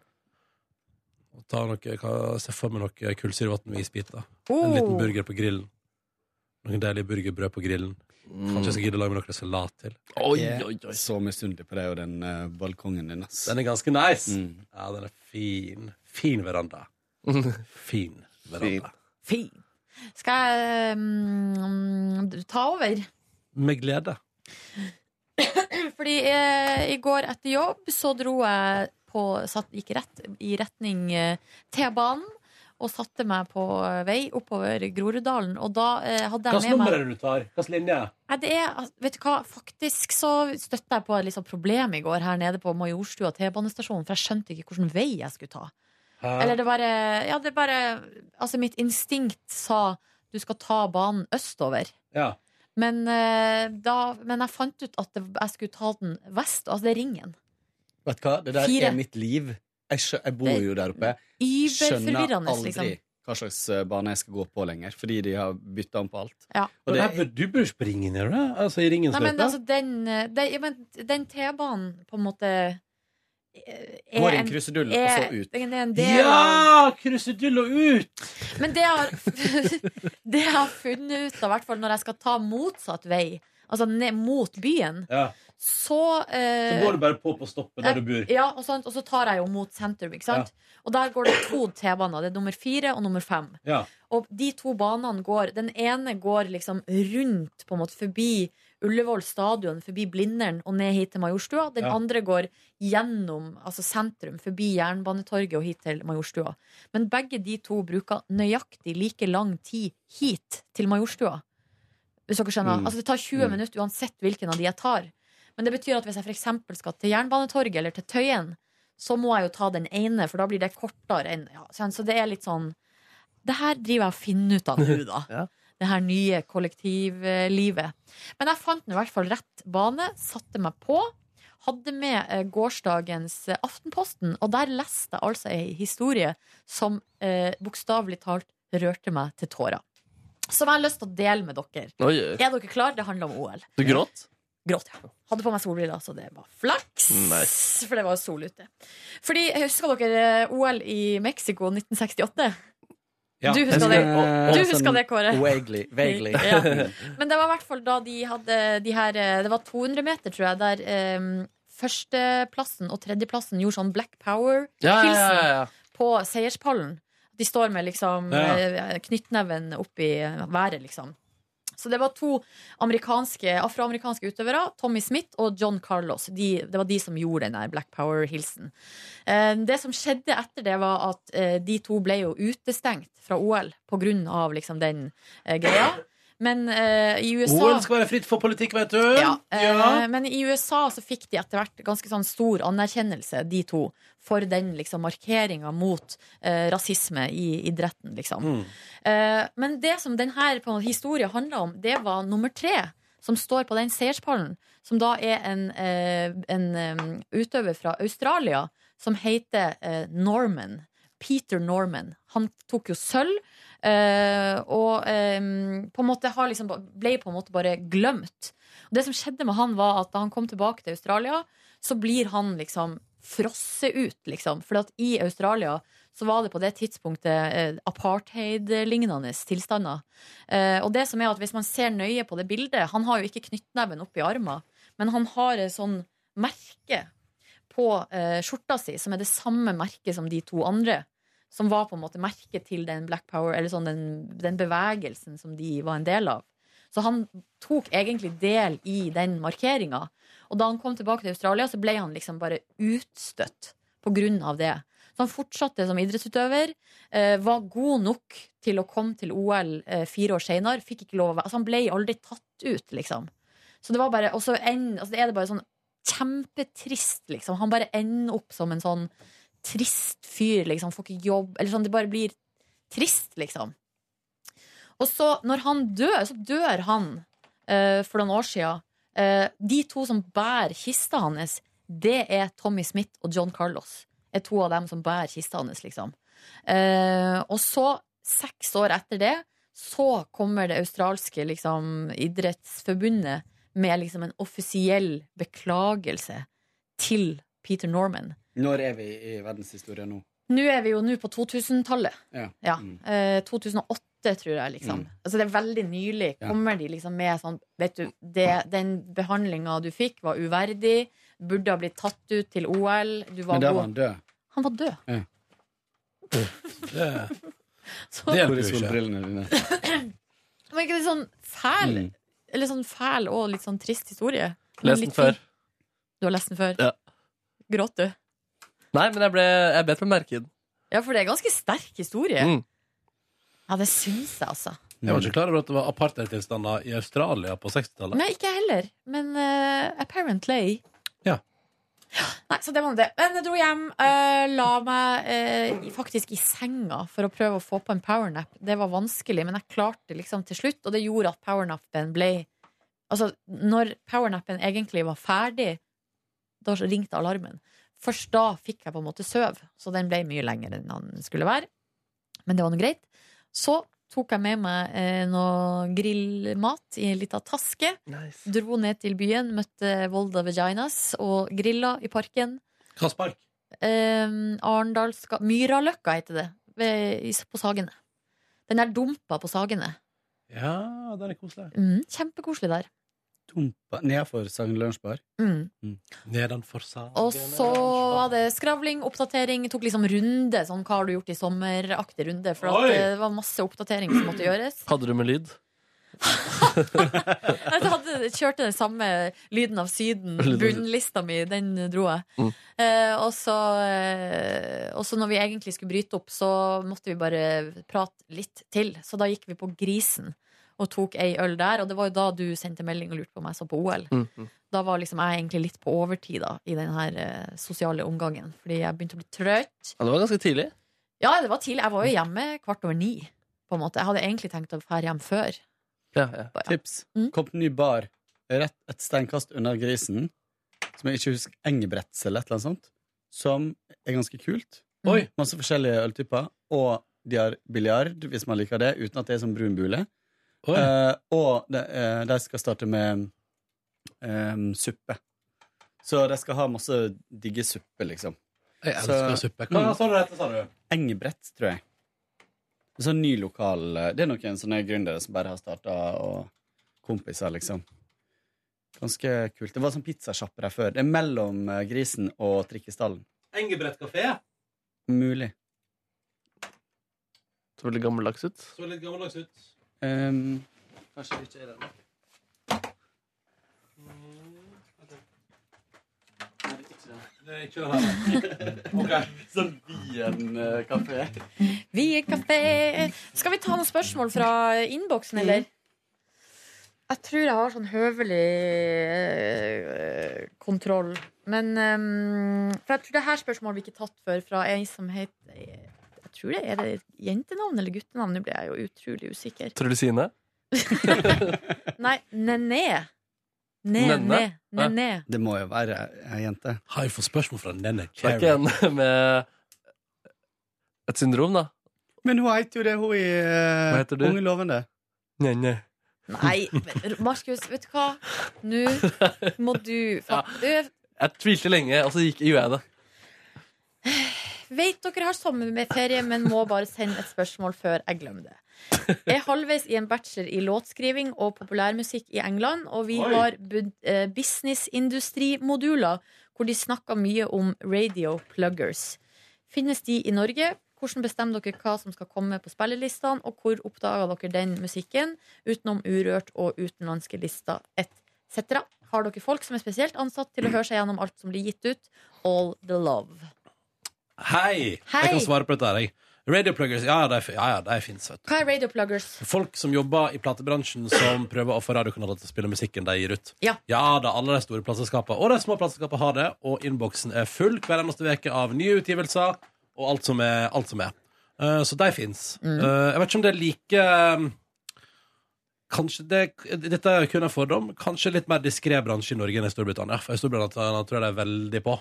[SPEAKER 1] Og ta noe, hva- se for meg noe kullsyrevann med isbiter. En
[SPEAKER 3] Oh.
[SPEAKER 1] liten burger på grillen. Noen deilige burgerbrød på grillen.
[SPEAKER 3] Mm.
[SPEAKER 1] Kanskje jeg skal gidde å lage meg noe salat til.
[SPEAKER 14] Jeg er Så misunnelig på deg og den eh, balkongen din. Ass. Mm.
[SPEAKER 1] Den er ganske nice.
[SPEAKER 3] Mm.
[SPEAKER 1] Ja, den er fin. Fin
[SPEAKER 3] <laughs>
[SPEAKER 1] veranda. Fin veranda.
[SPEAKER 3] Fin. Skal jeg mm, ta over?
[SPEAKER 1] Med glede.
[SPEAKER 3] Fordi eh, i går etter jobb så dro jeg på satt, Gikk rett i retning eh, T-banen. Og satte meg på eh, vei oppover Groruddalen. Og da eh, hadde
[SPEAKER 1] Hvilket
[SPEAKER 3] jeg med
[SPEAKER 1] nummer
[SPEAKER 3] meg
[SPEAKER 1] er det du tar? Hvilken linje?
[SPEAKER 3] Nei, det er, al- vet du hva, faktisk så støtta jeg på et litt sånn problem i går her nede på Majorstua T-banestasjon, for jeg skjønte ikke hvilken vei jeg skulle ta.
[SPEAKER 1] Hæ?
[SPEAKER 3] Eller det bare Ja, det bare Altså, mitt instinkt sa du skal ta banen østover.
[SPEAKER 1] Ja.
[SPEAKER 3] Men, eh, da, men jeg fant ut at det, jeg skulle ta den vest, altså det er Ringen.
[SPEAKER 14] Vet du hva? Det der
[SPEAKER 3] Fire.
[SPEAKER 14] er mitt liv. Jeg, skjø jeg bor
[SPEAKER 3] Det-
[SPEAKER 14] jo der oppe. Skjønner
[SPEAKER 3] Überforvirrende,
[SPEAKER 14] aldri
[SPEAKER 3] liksom.
[SPEAKER 14] hva slags eh, bane jeg skal gå på lenger, fordi de har bytta om på alt.
[SPEAKER 3] Ja.
[SPEAKER 1] Men her bør- du bør springe ned, da. Altså i ringens
[SPEAKER 3] Nei, men
[SPEAKER 14] løype?
[SPEAKER 3] altså, den, eh, den, ja, men den T-banen på en måte eh, er
[SPEAKER 14] Går i en
[SPEAKER 3] en-
[SPEAKER 14] krusedull, og
[SPEAKER 3] er-
[SPEAKER 14] så ut.
[SPEAKER 3] Den er en del av
[SPEAKER 1] Ja! Krusedull og ut!
[SPEAKER 3] Men det jeg har, <laughs> det jeg har funnet ut, da, i hvert fall når jeg skal ta motsatt vei, altså ned mot byen,
[SPEAKER 1] Ja.
[SPEAKER 3] så
[SPEAKER 1] Så
[SPEAKER 3] eh,
[SPEAKER 1] går du bare på på stoppet der du bor.
[SPEAKER 3] Ja, og, sant? og så tar jeg jo mot sentrum, ikke sant? Og der går det to T-baner. Det er nummer fire og nummer fem.
[SPEAKER 1] Ja.
[SPEAKER 3] Og de to banene går Den ene går liksom rundt, på en måte, forbi Ullevål stadion, forbi Blindern og ned hit til Majorstua. Den
[SPEAKER 15] Ja.
[SPEAKER 3] andre går gjennom altså sentrum, forbi Jernbanetorget og hit til Majorstua. Men begge de to bruker nøyaktig like lang tid hit til Majorstua. Hvis dere skjønner.
[SPEAKER 15] Mm.
[SPEAKER 3] Altså Det tar 20
[SPEAKER 15] Mm.
[SPEAKER 3] minutter uansett hvilken av de jeg tar. Men det betyr at hvis jeg for eksempel skal til Jernbanetorget eller til Tøyen, så må jeg jo ta den ene, for da blir det kortere enn ja, sånn, Så det er litt sånn Det her driver jeg og finner
[SPEAKER 15] <laughs>
[SPEAKER 3] ut av nå, da. Det her nye kollektivlivet. Men jeg fant nå i hvert fall rett bane, satte meg på. Hadde med eh, gårsdagens eh, Aftenposten, og der leste jeg altså ei historie som eh, bokstavelig talt rørte meg til tårer. Som jeg har lyst til å dele med dere.
[SPEAKER 2] Oi, oi.
[SPEAKER 3] Er dere klare? Det handler om OL.
[SPEAKER 2] Du gråt?
[SPEAKER 3] Gråt, ja. Hadde på meg solbriller, så det var flaks.
[SPEAKER 2] Nice.
[SPEAKER 3] For det var sol ute. Fordi, Husker dere OL i Mexico 1968?
[SPEAKER 14] Ja.
[SPEAKER 3] Du
[SPEAKER 14] Jeg
[SPEAKER 3] husker
[SPEAKER 14] husker-
[SPEAKER 3] det,
[SPEAKER 14] og- og
[SPEAKER 3] du
[SPEAKER 14] sånn
[SPEAKER 3] husker det Kåre.
[SPEAKER 14] vaguely-
[SPEAKER 2] <laughs>
[SPEAKER 14] vaguely.
[SPEAKER 3] ja. Men det var i hvert fall da de hadde de her eh, Det var 200 meter, tror jeg, der eh, førsteplassen og tredjeplassen gjorde sånn Black Power-hilsen
[SPEAKER 2] Ja, ja, ja, ja.
[SPEAKER 3] på seierspallen. De står med liksom
[SPEAKER 2] Ja.
[SPEAKER 3] eh, knyttneven opp i været, liksom. Så det var to amerikanske, afroamerikanske utøvere, Tommy Smith og John Carlos. De, det var de som gjorde den der Black Power-hilsen. Eh, Det som skjedde etter det, var at eh, de to ble jo utestengt fra OL pga. Liksom den eh, greia. Men eh, i USA
[SPEAKER 1] OL skal være fritt for politikk, vet du.
[SPEAKER 3] ja,
[SPEAKER 1] Ja.
[SPEAKER 3] eh, Men i USA så fikk de etter hvert ganske sånn stor anerkjennelse, de to, for den liksom markeringa mot eh, rasisme i idretten, liksom.
[SPEAKER 15] Mm.
[SPEAKER 3] Eh, men det som denne historien handler om, det var nummer tre, som står på den seierspallen, som da er en, eh, en eh, utøver fra Australia som heter eh, Norman. Peter Norman. Han tok jo sølv, eh, og eh, på en måte har liksom, ba- ble på en måte bare glemt. Og det som skjedde med han, var at da han kom tilbake til Australia, så blir han liksom frosset ut, liksom. For at i Australia så var det på det tidspunktet eh, apartheid-lignende tilstander. Eh, og det som er at hvis man ser nøye på det bildet Han har jo ikke knyttneven opp i armen, men han har et sånn merke på eh, skjorta si som er det samme merket som de to andre. Som var på en måte merket til den Black Power, eller sånn den, den bevegelsen som de var en del av. Så han tok egentlig del i den markeringa. Og da han kom tilbake til Australia, så ble han liksom bare utstøtt på grunn av det. Så han fortsatte som idrettsutøver, eh, var god nok til å komme til OL eh, fire år seinere. Fikk ikke lov å være Altså, han ble aldri tatt ut, liksom. Så det var bare Og så en- altså, er det bare sånn kjempetrist, liksom. Han bare ender opp som en sånn trist fyr, liksom. Får ikke jobb Eller sånn, det bare blir trist, liksom. Og så, når han dør, så dør han eh, for noen år siden. Eh, de to som bærer kista hans, det er Tommy Smith og John Carlos. Er to av dem som bærer kista hans, liksom. Eh, og så, seks år etter det, så kommer det australske liksom, idrettsforbundet med liksom en offisiell beklagelse til Peter Norman.
[SPEAKER 14] Når er vi i verdenshistorien nå?
[SPEAKER 3] Nå er vi jo nå på 2000-tallet.
[SPEAKER 14] Ja.
[SPEAKER 3] Ja.
[SPEAKER 14] Mm.
[SPEAKER 3] Eh, 2008, tror jeg. liksom
[SPEAKER 14] Mm.
[SPEAKER 3] Altså Det er veldig nylig.
[SPEAKER 14] Ja.
[SPEAKER 3] Kommer de liksom med sånn Vet du, det, den behandlinga du fikk, var uverdig. Burde ha blitt tatt ut til OL. Du var
[SPEAKER 14] Men da
[SPEAKER 3] god.
[SPEAKER 14] var han død.
[SPEAKER 3] Han var død. <laughs>
[SPEAKER 14] Ja.
[SPEAKER 3] Så-
[SPEAKER 14] Hvor er solbrillene dine?
[SPEAKER 3] Men er ikke det sånn fæl
[SPEAKER 14] Mm.
[SPEAKER 3] Eller sånn fæl og litt sånn trist historie? Men
[SPEAKER 2] Les den
[SPEAKER 3] litt fin.
[SPEAKER 2] før.
[SPEAKER 3] Du har lest den før?
[SPEAKER 2] Ja.
[SPEAKER 3] Gråt du?
[SPEAKER 2] Nei, men jeg, ble, jeg bet meg merke i den.
[SPEAKER 3] Ja, for det er ganske sterk historie.
[SPEAKER 2] Mm.
[SPEAKER 3] Ja, det syns jeg, altså.
[SPEAKER 1] Jeg var ikke klar over at det var apartheidtilstander i Australia på 60-tallet.
[SPEAKER 3] Nei, ikke jeg heller. Men eh, apparently.
[SPEAKER 1] Ja.
[SPEAKER 3] Nei, så det var nå det. Men jeg dro hjem, eh, la meg eh, i- faktisk i senga for å prøve å få på en powernap. Det var vanskelig, men jeg klarte liksom til slutt, og det gjorde at powernappen ble Altså, når powernappen egentlig var ferdig, da ringte alarmen. Først da fikk jeg på en måte søv, så den ble mye lengre enn den skulle være. Men det var nå greit. Så tok jeg med meg eh, noe grillmat i en lita taske. Dro ned til byen, møtte Volda Vaginas og grilla i parken.
[SPEAKER 1] Hvilket park?
[SPEAKER 3] Eh, Arendalska Myraløkka heter det, ved, i- på Sagene. Den er dumpa på Sagene.
[SPEAKER 1] Ja, den er koselig.
[SPEAKER 3] Mm, kjempekoselig der.
[SPEAKER 14] Nedfor Sagn Lunsjbar.
[SPEAKER 3] Mm.
[SPEAKER 1] Nedenfor Sagene.
[SPEAKER 3] Og så var det skravling, oppdatering. Tok liksom runde, sånn hva har du gjort i sommer-aktig runde. For
[SPEAKER 2] Oi!
[SPEAKER 3] at det var masse oppdatering som måtte gjøres.
[SPEAKER 2] Hadde du med lyd?
[SPEAKER 3] Jeg hadde, kjørte den samme lyden av
[SPEAKER 2] Lyden
[SPEAKER 3] Syden.
[SPEAKER 2] av Syden.
[SPEAKER 3] Bunnlista mi, den dro jeg.
[SPEAKER 2] Mm.
[SPEAKER 3] Eh, og så eh, og så når vi egentlig skulle bryte opp, så måtte vi bare prate litt til. Så da gikk vi på Grisen og tok ei øl der. Og det var jo da du sendte melding og lurte på om jeg så på OL.
[SPEAKER 2] Mm.
[SPEAKER 3] Da var liksom jeg egentlig litt på overtid da, i den her eh, sosiale omgangen. Fordi jeg begynte å bli trøtt.
[SPEAKER 2] Ja, det var ganske tidlig.
[SPEAKER 3] Ja, det var tidlig. Jeg var jo hjemme kvart over ni. På en måte. Jeg hadde egentlig tenkt å dra hjem før.
[SPEAKER 14] Tips. Kom på ny bar rett et steinkast under grisen, som jeg ikke husker Engebretzel eller noe sånt, som er ganske kult.
[SPEAKER 1] Oi.
[SPEAKER 14] Masse forskjellige øltyper. Og de har biljard, hvis man liker det, uten at det er som brun bule.
[SPEAKER 1] Oi.
[SPEAKER 14] Eh, og de, eh, de skal starte med eh, suppe. Så de skal ha masse digge suppe, liksom.
[SPEAKER 1] Jeg elsker suppe. Hva sa du det heter, sa du?
[SPEAKER 14] Mm. Engebrett, tror jeg. En sånn ny lokal Det er noen sånne gründere som bare har starta, og kompiser, liksom. Ganske kult. Det var sånn pizzasjappe der før. Det er mellom eh, Grisen og Trikkestallen.
[SPEAKER 1] Engebrett kafé.
[SPEAKER 14] Mulig.
[SPEAKER 2] Så veldig gammeldags ut.
[SPEAKER 1] Så litt gammeldags ut.
[SPEAKER 14] Um,
[SPEAKER 1] Kanskje det ikke er den. Mm, Det er ikke den her.
[SPEAKER 14] Sånn
[SPEAKER 1] eh,
[SPEAKER 14] Wien-kafé.
[SPEAKER 3] Vi er kafé Skal vi ta noen spørsmål fra innboksen, eller? Mm. Jeg tror jeg har sånn høvelig eh, kontroll. Men ehm, For jeg tror det her spørsmålet vi ikke tatt før fra ei som het Jeg tror det er det jentenavn eller guttenavn. Nå ble jeg jo utrolig usikker.
[SPEAKER 2] Trulusine?
[SPEAKER 3] Nei, Nené. Nené.
[SPEAKER 2] Nenne?
[SPEAKER 3] Nené.
[SPEAKER 14] Det må jo være ei jente.
[SPEAKER 1] Har jeg fått spørsmål fra denne
[SPEAKER 2] Det er ikke en <laughs> med et syndrom, da.
[SPEAKER 14] Men hun heter jo det, hun i
[SPEAKER 2] Hva
[SPEAKER 14] uh,
[SPEAKER 2] heter du?
[SPEAKER 14] Unge lovende.
[SPEAKER 2] Nei, nei.
[SPEAKER 3] Nei, men Markus, vet du hva? Nå må du, fa- du
[SPEAKER 2] Jeg tvilte lenge, og så gikk, gjorde jeg det.
[SPEAKER 3] Vet dere har sommerferie, men må bare sende et spørsmål før jeg glemmer det. Jeg er halvveis i en bachelor i låtskriving og populærmusikk i England, og vi
[SPEAKER 15] Oi.
[SPEAKER 3] har bud- eh, businessindustrimoduler hvor de snakker mye om radio pluggers. Finnes de i Norge? Hvordan bestemmer dere hva som skal komme på spillelistene, og hvor oppdager dere den musikken, utenom Urørt og utenlandske lister etc.? Har dere folk som er spesielt ansatt til å høre seg gjennom alt som blir gitt ut? All the love.
[SPEAKER 1] Hei!
[SPEAKER 3] Hei!
[SPEAKER 1] Jeg kan svare på dette her, jeg. Radiopluggers, ja, ja, de, ja, ja, de fins, vet du.
[SPEAKER 3] Hva er radio pluggers?
[SPEAKER 1] Folk som jobber i platebransjen som prøver å få radiokanaler til å spille musikken de gir ut.
[SPEAKER 3] Ja.
[SPEAKER 1] da, alle de store plateselskapene og de små plateselskapene har det, og innboksen er full hver eneste uke av nye utgivelser og alt som er. Alt som er. Eh, så de fins. jeg vet ikke om det er like Kanskje det, Dette er jo kun en fordom. Kanskje litt mer diskré bransje i Norge enn i Storbritannia. For i Storbritannia tror jeg det er veldig på.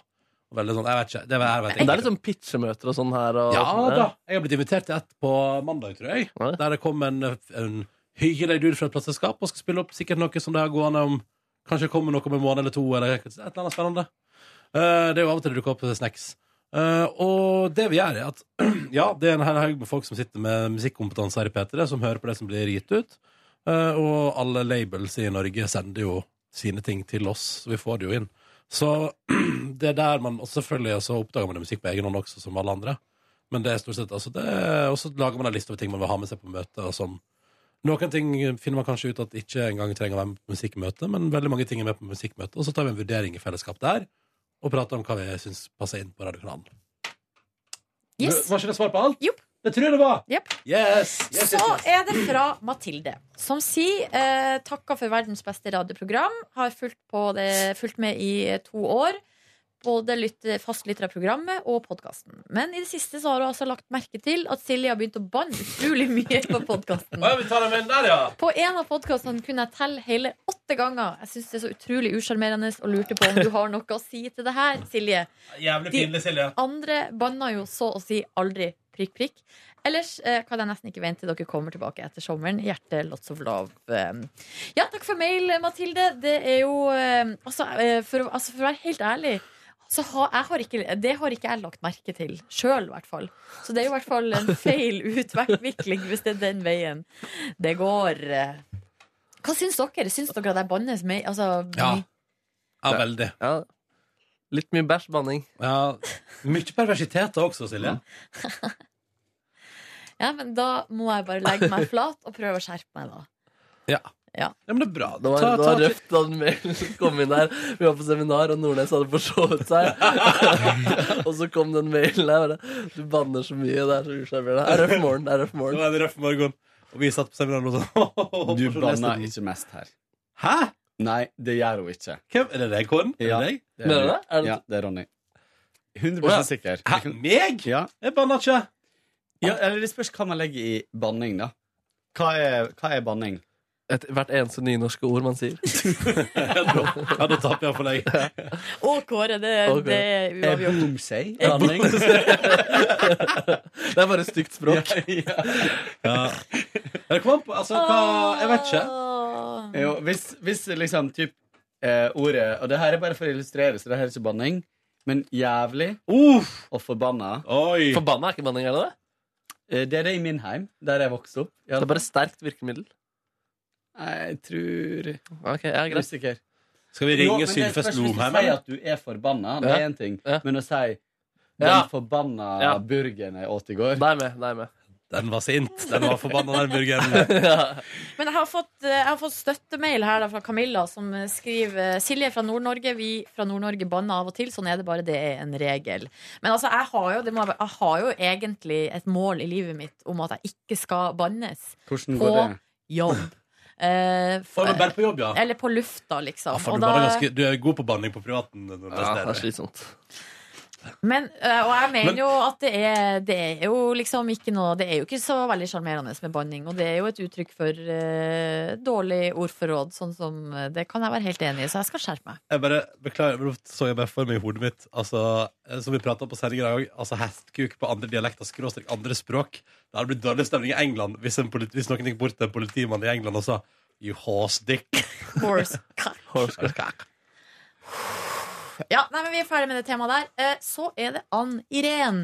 [SPEAKER 1] Og Veldig sånn, jeg vet ikke. Det er, jeg vet
[SPEAKER 2] Men det
[SPEAKER 1] ikke.
[SPEAKER 2] er litt sånn pitchemøter og sånn her. Og
[SPEAKER 1] Ja
[SPEAKER 2] sånn,
[SPEAKER 1] da. Jeg har blitt invitert til ett på mandag, tror jeg. Der det kom en, en hyggelig dude fra et plateselskap og skal spille opp sikkert noe som det har gående om Kanskje det kommer noe om en måned eller to, eller et eller annet spennende. Eh, det er jo av og til det dukker opp snacks. Eh, og det vi gjør, er at <clears throat> ja, det er en hel haug med folk som sitter med musikkompetanse her i P3, som hører på det som blir gitt ut. Eh, og alle labels i Norge sender jo sine ting til oss, så vi får det jo inn. Så <clears throat> det er der man Og selvfølgelig så oppdager man jo musikk på egen hånd også, som alle andre. Men det er stort sett altså det er- Og så lager man en liste over ting man vil ha med seg på møter. Og som, noen ting finner man kanskje ut at ikke engang trenger å være med på musikkmøte, men veldig mange ting er med på musikkmøte. Og så tar vi en vurdering i fellesskap der, og prater om hva vi syns passer inn på radiokanalen.
[SPEAKER 3] Yes.
[SPEAKER 1] Var ikke det svar på alt? Det tror jeg det var. Yes. Yes, yes,
[SPEAKER 3] Så
[SPEAKER 1] yes.
[SPEAKER 3] er det fra Mathilde, som sier eh, takka for verdens beste radioprogram. Har fulgt, på det, fulgt med i eh, to år. Både lytt, fastlytter av programmet og podkasten. Men i det siste så har hun altså lagt merke til at Silje har begynt å banne utrolig mye på podkasten.
[SPEAKER 1] Å, ja, vi tar den med der, ja.
[SPEAKER 3] På en av podkastene kunne jeg telle hele åtte ganger. Jeg syns det er så utrolig usjarmerende og lurte på om du har noe å si til det her, Silje.
[SPEAKER 1] Jævlig
[SPEAKER 3] De-
[SPEAKER 1] pinlig, Silje.
[SPEAKER 3] Andre banner jo så å si aldri prikk, prikk. Ellers eh, kan jeg nesten ikke vente til dere kommer tilbake etter sommeren. Hjerte, lots of love. Eh, Ja, takk for mail, Mathilde. Det er jo eh, altså, eh, for, å- altså, for å være helt ærlig så har, jeg har ikke, det har ikke jeg lagt merke til sjøl, i hvert fall. Så det er jo i hvert fall en feil utvikling hvis det er den veien det går. Hva syns dere? Syns dere at jeg bannes med altså,
[SPEAKER 1] Ja. Ja, veldig.
[SPEAKER 2] Litt mye bæsj, banning.
[SPEAKER 1] Ja, Mye perversitet også, Silje.
[SPEAKER 3] Ja, men da må jeg bare legge meg flat og prøve å skjerpe meg, da.
[SPEAKER 1] Ja.
[SPEAKER 3] ja.
[SPEAKER 1] men det er bra.
[SPEAKER 2] Det var,
[SPEAKER 1] Ta-
[SPEAKER 2] det var
[SPEAKER 1] ta-
[SPEAKER 2] røft da den mailen kom inn her. Vi var på seminar, og Nordnes hadde forsovet <laughs> seg. og så kom den mailen her. og det- Du banner så mye. Det er så usjarmerende. Det er røff morgen. Det er røff morgen.
[SPEAKER 1] Det var en røff morgen. Og vi satt på seminaret og <laughs> sånn.
[SPEAKER 14] Du banner ikke mest her.
[SPEAKER 1] Hæ?
[SPEAKER 14] Nei, det gjør hun ikke.
[SPEAKER 1] Hvem? Er det deg, Kåren? Er det
[SPEAKER 14] Ja,
[SPEAKER 1] deg?
[SPEAKER 14] det er,
[SPEAKER 1] Mener du det? Er
[SPEAKER 14] det?
[SPEAKER 1] det-
[SPEAKER 14] Ja, det er Ronny. 100
[SPEAKER 1] Å ja.
[SPEAKER 14] sikker.
[SPEAKER 1] Hæ, meg?
[SPEAKER 14] Ja.
[SPEAKER 1] Jeg banner ikke.
[SPEAKER 14] Ja, eller Det spørs hva man legger i banning, da. Hva er, hva er banning?
[SPEAKER 2] Et, hvert eneste nynorske ord man sier.
[SPEAKER 1] <laughs> ja, da taper jeg for deg.
[SPEAKER 3] Å, Kåre, det,
[SPEAKER 2] Å, Kåre.
[SPEAKER 3] det
[SPEAKER 1] Eh,
[SPEAKER 3] er uavgjort.
[SPEAKER 14] Bomsei?
[SPEAKER 2] Ja, banning. Det er bare stygt språk.
[SPEAKER 1] Ja. Det kom an på altså, hva, Jeg vet ikke.
[SPEAKER 14] Jo, hvis, hvis liksom typ, eh, ordet Og det her er bare for å illustrere, så det her er ikke banning. Men jævlig og forbanna.
[SPEAKER 2] Forbanna er ikke banning, er det det?
[SPEAKER 14] Eh, Det er det i min heim, der jeg vokste opp.
[SPEAKER 2] Det er bare sterkt virkemiddel.
[SPEAKER 14] Nei, jeg tror
[SPEAKER 2] Ok, ja, greit.
[SPEAKER 14] Usikker.
[SPEAKER 1] Skal vi ringe
[SPEAKER 14] Jo, men det
[SPEAKER 1] Sylfest
[SPEAKER 14] spørs hvis du
[SPEAKER 1] Lomheim,
[SPEAKER 14] sier
[SPEAKER 1] eller?
[SPEAKER 14] at du er forbanna, det
[SPEAKER 1] Ja.
[SPEAKER 14] er én ting. Men å si 'den
[SPEAKER 2] Ja.
[SPEAKER 14] forbanna
[SPEAKER 2] Ja.
[SPEAKER 14] burgeren jeg åt i går'
[SPEAKER 2] Nei, med. Nei, <laughs> med.
[SPEAKER 1] Den var sint. Den var forbanna, den <laughs> burgeren.
[SPEAKER 3] Men jeg har fått, eh, jeg har fått støttemail her da fra Camilla, som eh, skriver Silje er fra Nord-Norge. Vi fra Nord-Norge banner av og til. Sånn er det bare. Det er en regel. Men altså, jeg har, jo, det må jeg, bare- jeg har jo egentlig et mål i livet mitt om at jeg ikke skal bannes.
[SPEAKER 14] Hvordan
[SPEAKER 3] på
[SPEAKER 14] går det?
[SPEAKER 3] jobb. Eh, f-
[SPEAKER 1] Å, men bare på jobb, ja.
[SPEAKER 3] Eller på lufta, liksom.
[SPEAKER 1] Ja, for
[SPEAKER 3] Og
[SPEAKER 1] du,
[SPEAKER 3] da-
[SPEAKER 1] banner ganske, du er god på banning på privaten. Ja,
[SPEAKER 2] det er
[SPEAKER 1] slitsomt.
[SPEAKER 3] Men, eh, og jeg mener
[SPEAKER 1] Men-
[SPEAKER 3] jo at det er, det er jo liksom ikke noe Det er jo ikke så veldig sjarmerende med banning, og det er jo et uttrykk for eh, dårlig ordforråd, sånn som eh, Det kan jeg være helt enig i, så jeg skal skjerpe meg.
[SPEAKER 1] Jeg bare beklager, men nå så jeg bare for meg i hodet mitt altså, eh, Som vi prata på sendinga i dag, altså hestkuk på andre dialekter, skråstrek andre språk. Det hadde blitt dårlig stemning i England hvis, en politi, hvis noen gikk bort til en politimann i England og sa You horse dick. <laughs>
[SPEAKER 3] Horse
[SPEAKER 1] Horse cock.
[SPEAKER 3] Ja, nei, men vi er ferdig med det temaet der. Eh, så er det Ann Irén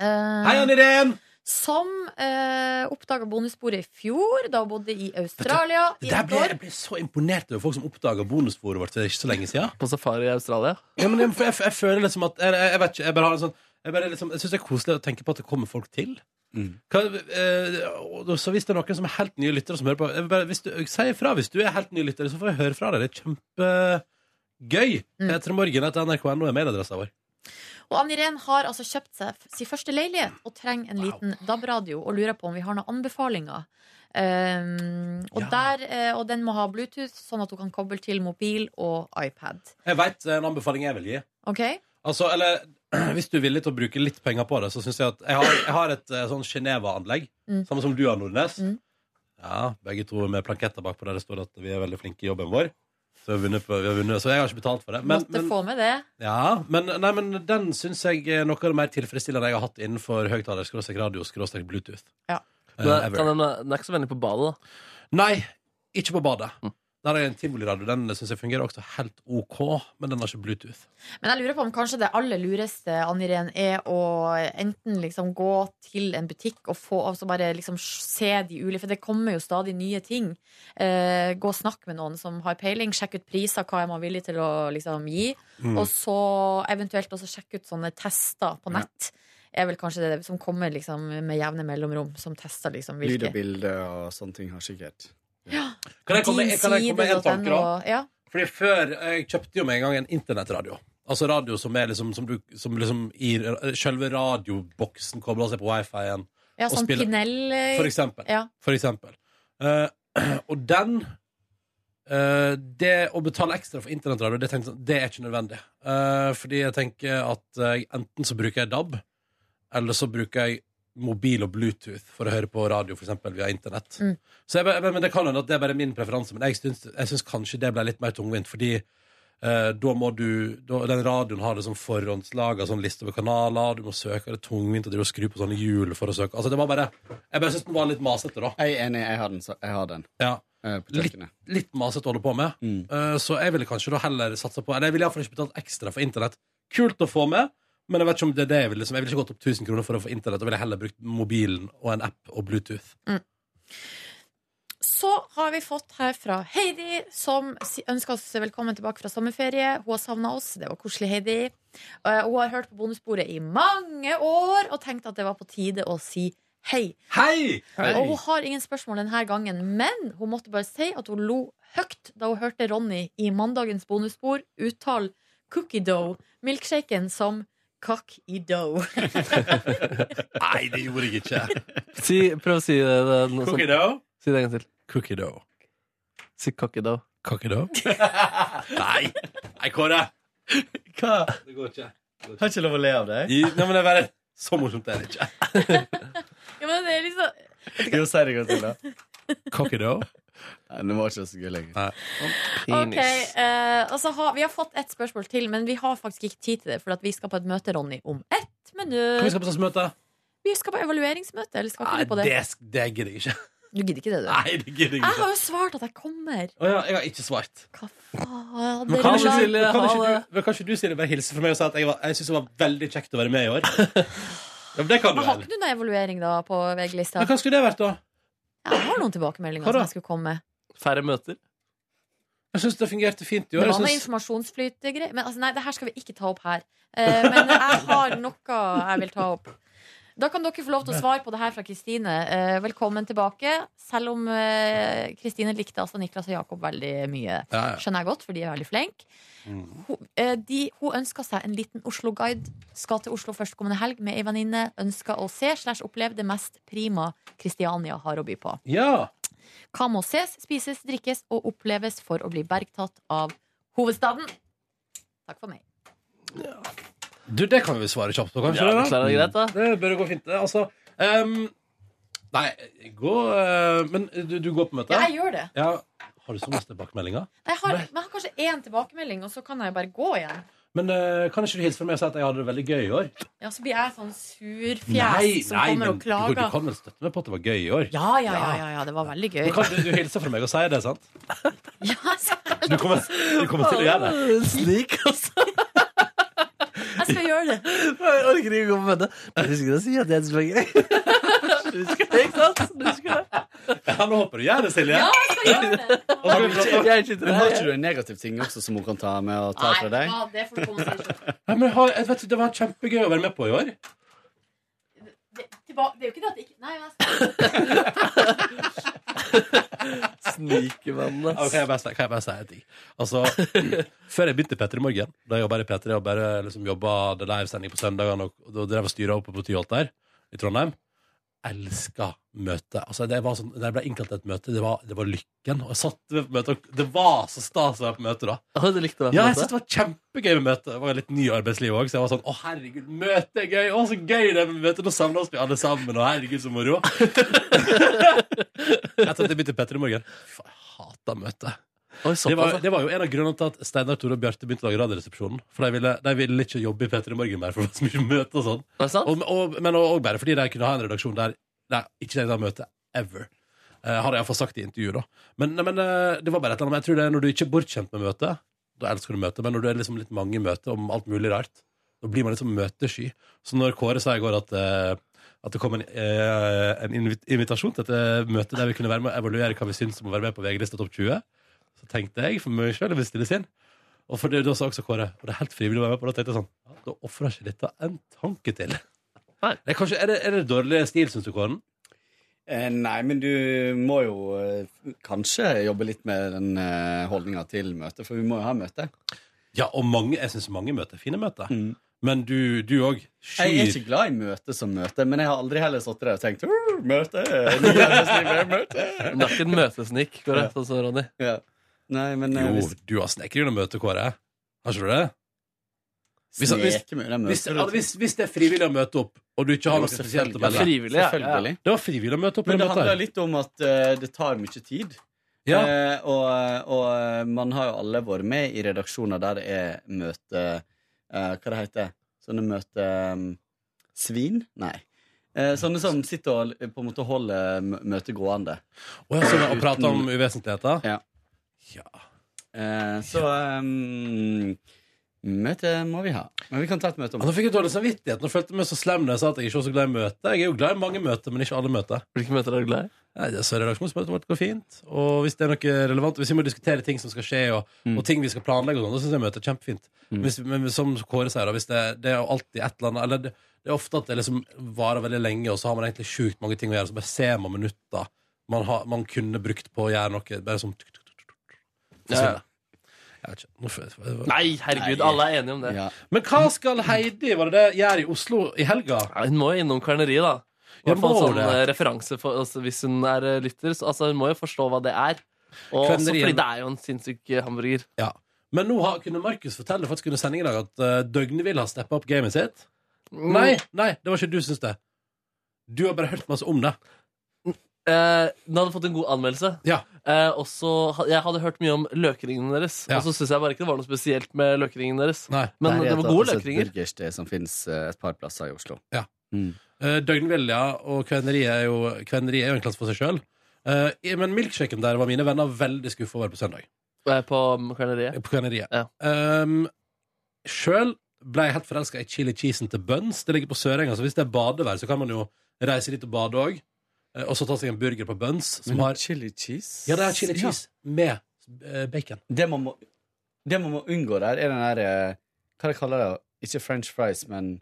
[SPEAKER 1] Hei, Ann Irén!
[SPEAKER 3] Som uh, oppdaga bonussporet i fjor, da hun bodde i Australia.
[SPEAKER 1] Det
[SPEAKER 3] i
[SPEAKER 1] der
[SPEAKER 3] et
[SPEAKER 1] ble,
[SPEAKER 3] år.
[SPEAKER 1] jeg ble så imponert over folk som oppdaga bonussporet vårt for ikke så lenge siden.
[SPEAKER 2] På safari i Australia?
[SPEAKER 1] Ja, men jeg, for jeg, jeg føler liksom at Jeg, jeg, jeg vet ikke, jeg bare har en sånn Jeg, bare liksom, jeg syns det er koselig å tenke på at det kommer folk til. Hva, eh, og så hvis det er noen som er helt nye lyttere som hører på jeg vil bare, hvis du, Si ifra hvis du er helt ny lytter, så får jeg høre fra deg. Det er kjempegøy. Mm. Etter morgen etter nrk.no er mailadressa vår.
[SPEAKER 3] Og Ann Irén har altså kjøpt seg f- sin første leilighet og trenger en liten DAB-radio og lurer på om vi har noen anbefalinger. Um, og, der, eh, og den må ha Bluetooth, sånn at hun kan koble til mobil og iPad.
[SPEAKER 1] Jeg veit en anbefaling jeg vil gi.
[SPEAKER 3] Ok?
[SPEAKER 1] Altså, eller <clears throat> hvis du er villig til å bruke litt penger på det, så syns jeg at Jeg har, jeg har et eh, sånn Geneva-anlegg,
[SPEAKER 3] Mm.
[SPEAKER 1] samme som du har, Nordnes. Ja, begge to med planketter bakpå der det står at vi er veldig flinke i jobben vår. Så, vi har vunnet på, vi har vunnet, så jeg har ikke betalt for det. Men,
[SPEAKER 3] Måtte
[SPEAKER 1] men,
[SPEAKER 3] få med det.
[SPEAKER 1] ja, men, nei, men den syns jeg er noe av det mer tilfredsstillende jeg har hatt innenfor høyttaler, skråstrek radio, skråstrek Bluetooth. Eh,
[SPEAKER 3] Ja.
[SPEAKER 2] Men er- kan den, den er ikke så vennlig på badet, da?
[SPEAKER 1] Nei, ikke på badet.
[SPEAKER 2] Mm.
[SPEAKER 1] Der er en tivoliradio. Den syns jeg fungerer også helt OK, men den har ikke Bluetooth.
[SPEAKER 3] Men jeg lurer på om kanskje det aller lureste Ann Irén er å enten liksom gå til en butikk og få, altså bare liksom se de ulike For det kommer jo stadig nye ting. Eh, gå og snakk med noen som har peiling. Sjekk ut priser, hva er man villig til å liksom gi.
[SPEAKER 15] Mm.
[SPEAKER 3] Og så eventuelt også sjekke ut sånne tester på nett. Er vel kanskje det som kommer liksom med jevne mellomrom, som tester liksom
[SPEAKER 14] Lyd og
[SPEAKER 3] hvilke
[SPEAKER 14] bilde og sånne ting har sikkert
[SPEAKER 1] Kan jeg komme med kan jeg komme med en tanke, da?
[SPEAKER 3] Dinside.no, ja.
[SPEAKER 1] Fordi før eh, Jeg kjøpte jo med en gang en internettradio. Altså radio som er liksom Som, du, som liksom i Selve radioboksen kobler seg på wifi-en.
[SPEAKER 3] Ja,
[SPEAKER 1] og
[SPEAKER 3] sånn
[SPEAKER 1] spiller.
[SPEAKER 3] Pinell eh,
[SPEAKER 1] For eksempel.
[SPEAKER 3] Ja.
[SPEAKER 1] For eksempel. Eh, <clears throat> og den eh, Det å betale ekstra for internettradio, det, tenkte jeg sånn, det er ikke nødvendig. Eh, fordi jeg tenker at eh, enten så bruker jeg DAB, eller så bruker jeg mobil og Bluetooth for å høre på radio, for eksempel via internett.
[SPEAKER 3] Mm.
[SPEAKER 1] Så jeg, bare- men det kan hende at det er bare min preferanse, men jeg syns, jeg syns kanskje det ble litt mer tungvint, fordi eh, da må du da, Den radioen har det som forhåndslaga sånn liste over kanaler, du må søke, det er tungvint å drive og skru på sånne hjul for å søke Altså, det var bare Jeg bare syns den var litt masete, da.
[SPEAKER 14] Jeg er enig, jeg har den, så jeg har den
[SPEAKER 1] Ja.
[SPEAKER 14] eh, på
[SPEAKER 1] Litt,
[SPEAKER 14] kjøkkenet.
[SPEAKER 1] litt masete å holde på med. Eh, så jeg ville kanskje da heller satsa på Eller jeg ville iallfall ikke betalt ekstra for internett. Kult å få med, men jeg vet ikke om det er det jeg ville liksom. Jeg ville ikke gått opp 1000 kroner for å få internett, da ville jeg heller brukt mobilen og en app og Bluetooth.
[SPEAKER 3] Så har vi fått her fra Heidi, som si- ønsker oss velkommen tilbake fra sommerferie. Hun har savna oss. Det var koselig, Heidi. Eh, Hun har hørt på bonussporet i mange år og tenkt at det var på tide å si hei.
[SPEAKER 1] Hei!
[SPEAKER 3] Og hun har ingen spørsmål denne gangen, men hun måtte bare si at hun lo høyt da hun hørte Ronny i mandagens bonusspor uttale cookie dough, milkshaken, som cock i dough.
[SPEAKER 1] Nei, det gjorde jeg <laughs> ikke.
[SPEAKER 2] Si, prøv å si det. det er noe sånn-
[SPEAKER 1] Cookie dough?
[SPEAKER 2] Si det en gang til.
[SPEAKER 1] Cookie dough.
[SPEAKER 2] Si cocky dough.
[SPEAKER 1] Cocky dough? <laughs> Nei! Nei, Kåre! Hva? Det går ikke.
[SPEAKER 14] Har ikke lov å le av deg?
[SPEAKER 1] I, nei, men det er bare Så morsomt er det ikke.
[SPEAKER 3] Ja, men det er liksom
[SPEAKER 14] <laughs> Jo, si det en gang til, da.
[SPEAKER 1] Cocky dough?
[SPEAKER 14] Nei, den var ikke så gøy lenger.
[SPEAKER 3] Ok, eh, altså, ha, Vi har fått ett spørsmål til, men vi har faktisk ikke tid til det. For at vi skal på et møte Ronny, om ett minutt.
[SPEAKER 1] Hva vi skal på slags møte?
[SPEAKER 3] Vi skal på evalueringsmøte. Eller skal ikke
[SPEAKER 1] Nei,
[SPEAKER 3] du på det?
[SPEAKER 1] det, sk- det gidder jeg ikke.
[SPEAKER 3] Du gidder ikke det, du?
[SPEAKER 1] Nei, det gidder jeg
[SPEAKER 3] Jeg har
[SPEAKER 1] ikke.
[SPEAKER 3] jo svart at jeg kommer.
[SPEAKER 1] Å ja, jeg har ikke svart.
[SPEAKER 3] Fader,
[SPEAKER 1] Men kan, ikke,
[SPEAKER 3] Lars.
[SPEAKER 1] du- kan, ikke, du, men kan ikke du Silje, bare hilse for meg og si at jeg, var, jeg synes det var veldig kjekt å være
[SPEAKER 3] <laughs>
[SPEAKER 1] med i år? Ja, men det kan du
[SPEAKER 3] Men har
[SPEAKER 1] vel?
[SPEAKER 3] ikke du noe evaluering da på VG-lista?
[SPEAKER 1] Men hva skulle det vært, da?
[SPEAKER 3] Jeg har noen tilbakemeldinger som jeg skulle komme med.
[SPEAKER 2] Færre møter?
[SPEAKER 1] Jeg syns det fungerte fint i
[SPEAKER 3] Det
[SPEAKER 1] år.
[SPEAKER 3] var noe
[SPEAKER 1] Jeg synes,
[SPEAKER 3] informasjonsflytgreier. Men altså, nei, det her skal vi ikke ta opp her. Eh, men jeg har noe jeg vil ta opp. Da kan dere få lov til å svare på det her fra Kristine. Eh, velkommen tilbake. Selv om eh, Kristine likte altså Niklas og Jakob veldig mye.
[SPEAKER 15] Ja, ja.
[SPEAKER 3] Skjønner jeg godt, for de er veldig flinke. Hun, eh, de, hun ønska seg en liten Oslo-guide. Skal til Oslo førstkommende helg med ei venninne. Ønska å se slash oppleve det mest prima Kristiania har å by på.
[SPEAKER 1] Ja.
[SPEAKER 3] Hva må ses, spises, drikkes og oppleves for å bli bergtatt av hovedstaden? Takk for meg.
[SPEAKER 1] du, det kan vi svare kjapt på, kanskje?
[SPEAKER 2] Ja,
[SPEAKER 1] det,
[SPEAKER 2] det klarer jeg greit, da.
[SPEAKER 1] det bør gå fint. det. Altså, ehm, nei, gå eh, Men du, du går på møte?
[SPEAKER 3] Ja, jeg gjør det.
[SPEAKER 1] Ja. Har du så masse tilbakemeldinger?
[SPEAKER 3] Jeg har, men jeg har kanskje én tilbakemelding, og så kan jeg bare gå igjen.
[SPEAKER 1] Men eh, kan ikke du hilse for meg og si at jeg hadde det veldig gøy i år?
[SPEAKER 3] Ja, Så blir jeg sånn surfjes som
[SPEAKER 1] nei,
[SPEAKER 3] kommer
[SPEAKER 1] men
[SPEAKER 3] og
[SPEAKER 1] du, du
[SPEAKER 3] klager.
[SPEAKER 1] kan vel støtte meg på at det var gøy i år?
[SPEAKER 3] Ja, ja, ja, ja, ja, det var veldig gøy. <laughs>
[SPEAKER 1] Men kan du, du hilse for meg og si det, sant? Du kommer, du kommer til å gjøre det.
[SPEAKER 2] Slik, altså.
[SPEAKER 3] Jeg
[SPEAKER 12] Jeg skal gjøre det.
[SPEAKER 2] Jeg orker ikke å komme med det. Men husker du å si at jeg er så gøy? Husker det, ikke sant? Du husker det?
[SPEAKER 1] Ja, nå håper du gjør det, Silje.
[SPEAKER 2] Ja,
[SPEAKER 14] Har du ikke,
[SPEAKER 2] Jeg er ikke
[SPEAKER 14] men har ikke du en negativ ting også som hun kan ta med og ta fra deg?
[SPEAKER 3] Ja, det får du komme og si.
[SPEAKER 1] Ja, men ha- jeg vet, det var kjempegøy å være med på i år.
[SPEAKER 3] Det, tilba- det er jo ikke det at det ikke Nei, men
[SPEAKER 2] Snikevenn,
[SPEAKER 1] Ja, kan jeg bare si- kan jeg bare si en ting? Altså, <laughs> før jeg begynte i P3 Morgen, da jeg jobba i P3 og bare liksom jobba det livesending på søndagene og, og drev og styra oppe på Tyholt der i Trondheim Elska møtet. Altså, det var sånn, da jeg ble innkalt til et møte, det var, det var lykken. Og jeg satt ved møtet, og det var så stas å være på møte da.
[SPEAKER 2] du likte å være på
[SPEAKER 1] ja, jeg
[SPEAKER 2] møte?
[SPEAKER 1] synes det var kjempegøy med møte. Det var litt ny i arbeidslivet òg, så jeg var sånn Å, herregud, møte er gøy! Å, så gøy det er med møte! Nå samler vi alle sammen, og herregud, så <laughs> moro! Etter at jeg begynte i P3 Morgen. Fy faen, jeg hata møte.
[SPEAKER 2] såpass,
[SPEAKER 1] det, var,
[SPEAKER 2] ja.
[SPEAKER 1] det var jo en av grunnene til at Steinar, Tore og Bjarte begynte å lage Radioresepsjonen. For de ville, de ville ikke jobbe i P3 Morgen mer, for det var så mye møte og sånn. Og, og, men òg bare fordi de kunne ha en redaksjon der de ikke trengte å ha møte ever. Eh, har jeg iallfall sagt i intervjuet, da. Men, nei, men eh, det var bare et eller annet. Men Jeg tror det er når du ikke er bortskjemt med møte, da elsker du møte. Men når du er liksom litt mange møter om alt mulig rart, da blir man liksom møtesky. Så når Kåre sa i går at eh, at det kom en, eh, en invit invitasjon til et møte der vi kunne være med og evaluere hva vi syns om å være med på VG-lista Topp 20. Så tenkte jeg for meg selv å bestille sin. Og for det, da sa også Kåre Og det er helt frivillig å være med på. Da tenkte jeg sånn ja, Da ofrer jeg ikke dette en tanke til. Det er, kanskje, er, det, er det dårlig stil, syns du, Kåren?
[SPEAKER 14] Eh, nei, men du må jo eh, kanskje jobbe litt med den eh, holdninga til møtet, for vi må jo ha møte.
[SPEAKER 1] Ja, og mange, jeg syns mange møter er fine møter. Men du òg skyr
[SPEAKER 14] Mm. Jeg er ikke glad i møte som møte, men jeg har aldri heller sittet der og tenkt «Uh, møte, nye arbeidslivet, møte.
[SPEAKER 2] Men det er ikke en møtesnik, går det, sånn som Ronny.
[SPEAKER 14] Nei, men eh,
[SPEAKER 1] Jo,
[SPEAKER 14] hvis
[SPEAKER 1] du har snekret under møte, Kåre. Har ikke du det? Hvis, hvis,
[SPEAKER 14] Sneker med deg møter,
[SPEAKER 1] hvis,
[SPEAKER 14] vet
[SPEAKER 1] ja,
[SPEAKER 14] du.
[SPEAKER 1] hvis, hvis det er frivillig å møte opp, og du ikke har
[SPEAKER 14] Jo,
[SPEAKER 1] noe spesielt å
[SPEAKER 14] selvfølgelig.
[SPEAKER 1] melde
[SPEAKER 14] Frivillig, ja, Selvfølgelig. ja.
[SPEAKER 1] Det var frivillig å møte opp.
[SPEAKER 14] Men det
[SPEAKER 1] møte her.
[SPEAKER 14] handler litt om at eh, det tar mye tid.
[SPEAKER 1] Ja.
[SPEAKER 14] Eh, og, og eh, man har jo alle vært med i redaksjoner der det er møte eh, Hva det heter Sånne møte um, Svin? Nei. Eh, sånne som sitter og eh, på en måte holder mø- møtet gående.
[SPEAKER 1] Å ja, sånn, og prater om uvesentligheter?
[SPEAKER 14] Ja. Eh, så um, møte må vi ha. Men vi kan ta et møte om
[SPEAKER 1] Ja, Nå fikk jeg dårlig samvittighet. Nå følte jeg meg så slem når jeg sa at jeg ikke var så glad i møter. Jeg er jo glad i mange møter, men ikke alle møter.
[SPEAKER 2] Hvilke møter er du glad i?
[SPEAKER 1] Nei, det er så Redaksjonsmøtet vårt går fint. Og hvis det er noe relevant Hvis vi må diskutere ting som skal skje, og, og ting vi skal planlegge, og sånn, da syns jeg møtet er kjempefint. Hvis, men som Kåre sier, da, hvis det, det er jo alltid et eller annet Eller det, det er ofte at det liksom varer veldig lenge, og så har man egentlig sjukt mange ting å gjøre, så bare ser man minutter man, har, man kunne brukt på å gjøre noe. Bare sånn tuk, tuk, tuk, tuk, tuk. Forsvinner. Jeg vet ikke. Nå føler jeg-
[SPEAKER 2] Nei, herregud, alle er enige om det.
[SPEAKER 1] Men hva skal Heidi var det det gjøre i Oslo i helga?
[SPEAKER 2] hun må jo innom kverneriet, da.
[SPEAKER 1] Ja,
[SPEAKER 2] I hvert fall
[SPEAKER 1] må
[SPEAKER 2] sånn
[SPEAKER 1] det.
[SPEAKER 2] eh, referanse for, altså, Hvis hun er eh, lytter, så altså, hun må jo forstå hva det er. Og også
[SPEAKER 1] Kverneriet-
[SPEAKER 2] fordi det er jo en sinnssyk eh, hamburger.
[SPEAKER 1] Ja. Men nå har, kunne Markus fortelle faktisk under sending i dag at uh, Døgnevill har steppa opp gamet sitt.
[SPEAKER 2] Mm.
[SPEAKER 1] Nei, nei, det var ikke du syns det. Du har bare hørt masse om det.
[SPEAKER 2] Eh, den hadde fått en god anmeldelse. Eh, og så ha- jeg hadde hørt mye om løkringene deres.
[SPEAKER 14] Ja.
[SPEAKER 2] Og så syns jeg bare ikke det var noe spesielt med løkringene deres. Men
[SPEAKER 14] Der er
[SPEAKER 2] det
[SPEAKER 14] et-
[SPEAKER 2] var gode
[SPEAKER 14] altså et
[SPEAKER 2] løkringer.
[SPEAKER 14] burgersted som fins et par plasser i Oslo.
[SPEAKER 1] Ja. Uh, Døgnvill, ja, og kveneriet er, jo, kveneri er jo en klasse for seg sjøl. Uh, i- men milkshaken der var mine venner veldig skuffa over på søndag.
[SPEAKER 2] Eh, På kverneriet.
[SPEAKER 1] På kveneriet. Um, sjøl ble jeg helt forelska i chili cheesen til Buns. Det ligger på Sørenga, så hvis det er badevær, så kan man jo reise dit og bade òg. Og så ta seg en burger på Buns. Som
[SPEAKER 14] Men
[SPEAKER 1] har
[SPEAKER 14] chili cheese?
[SPEAKER 1] Ja, det er chili cheese med eh, bacon.
[SPEAKER 14] Det man, må, det man må unngå der, er den der eh, Hva de kaller det? Ikke french fries, men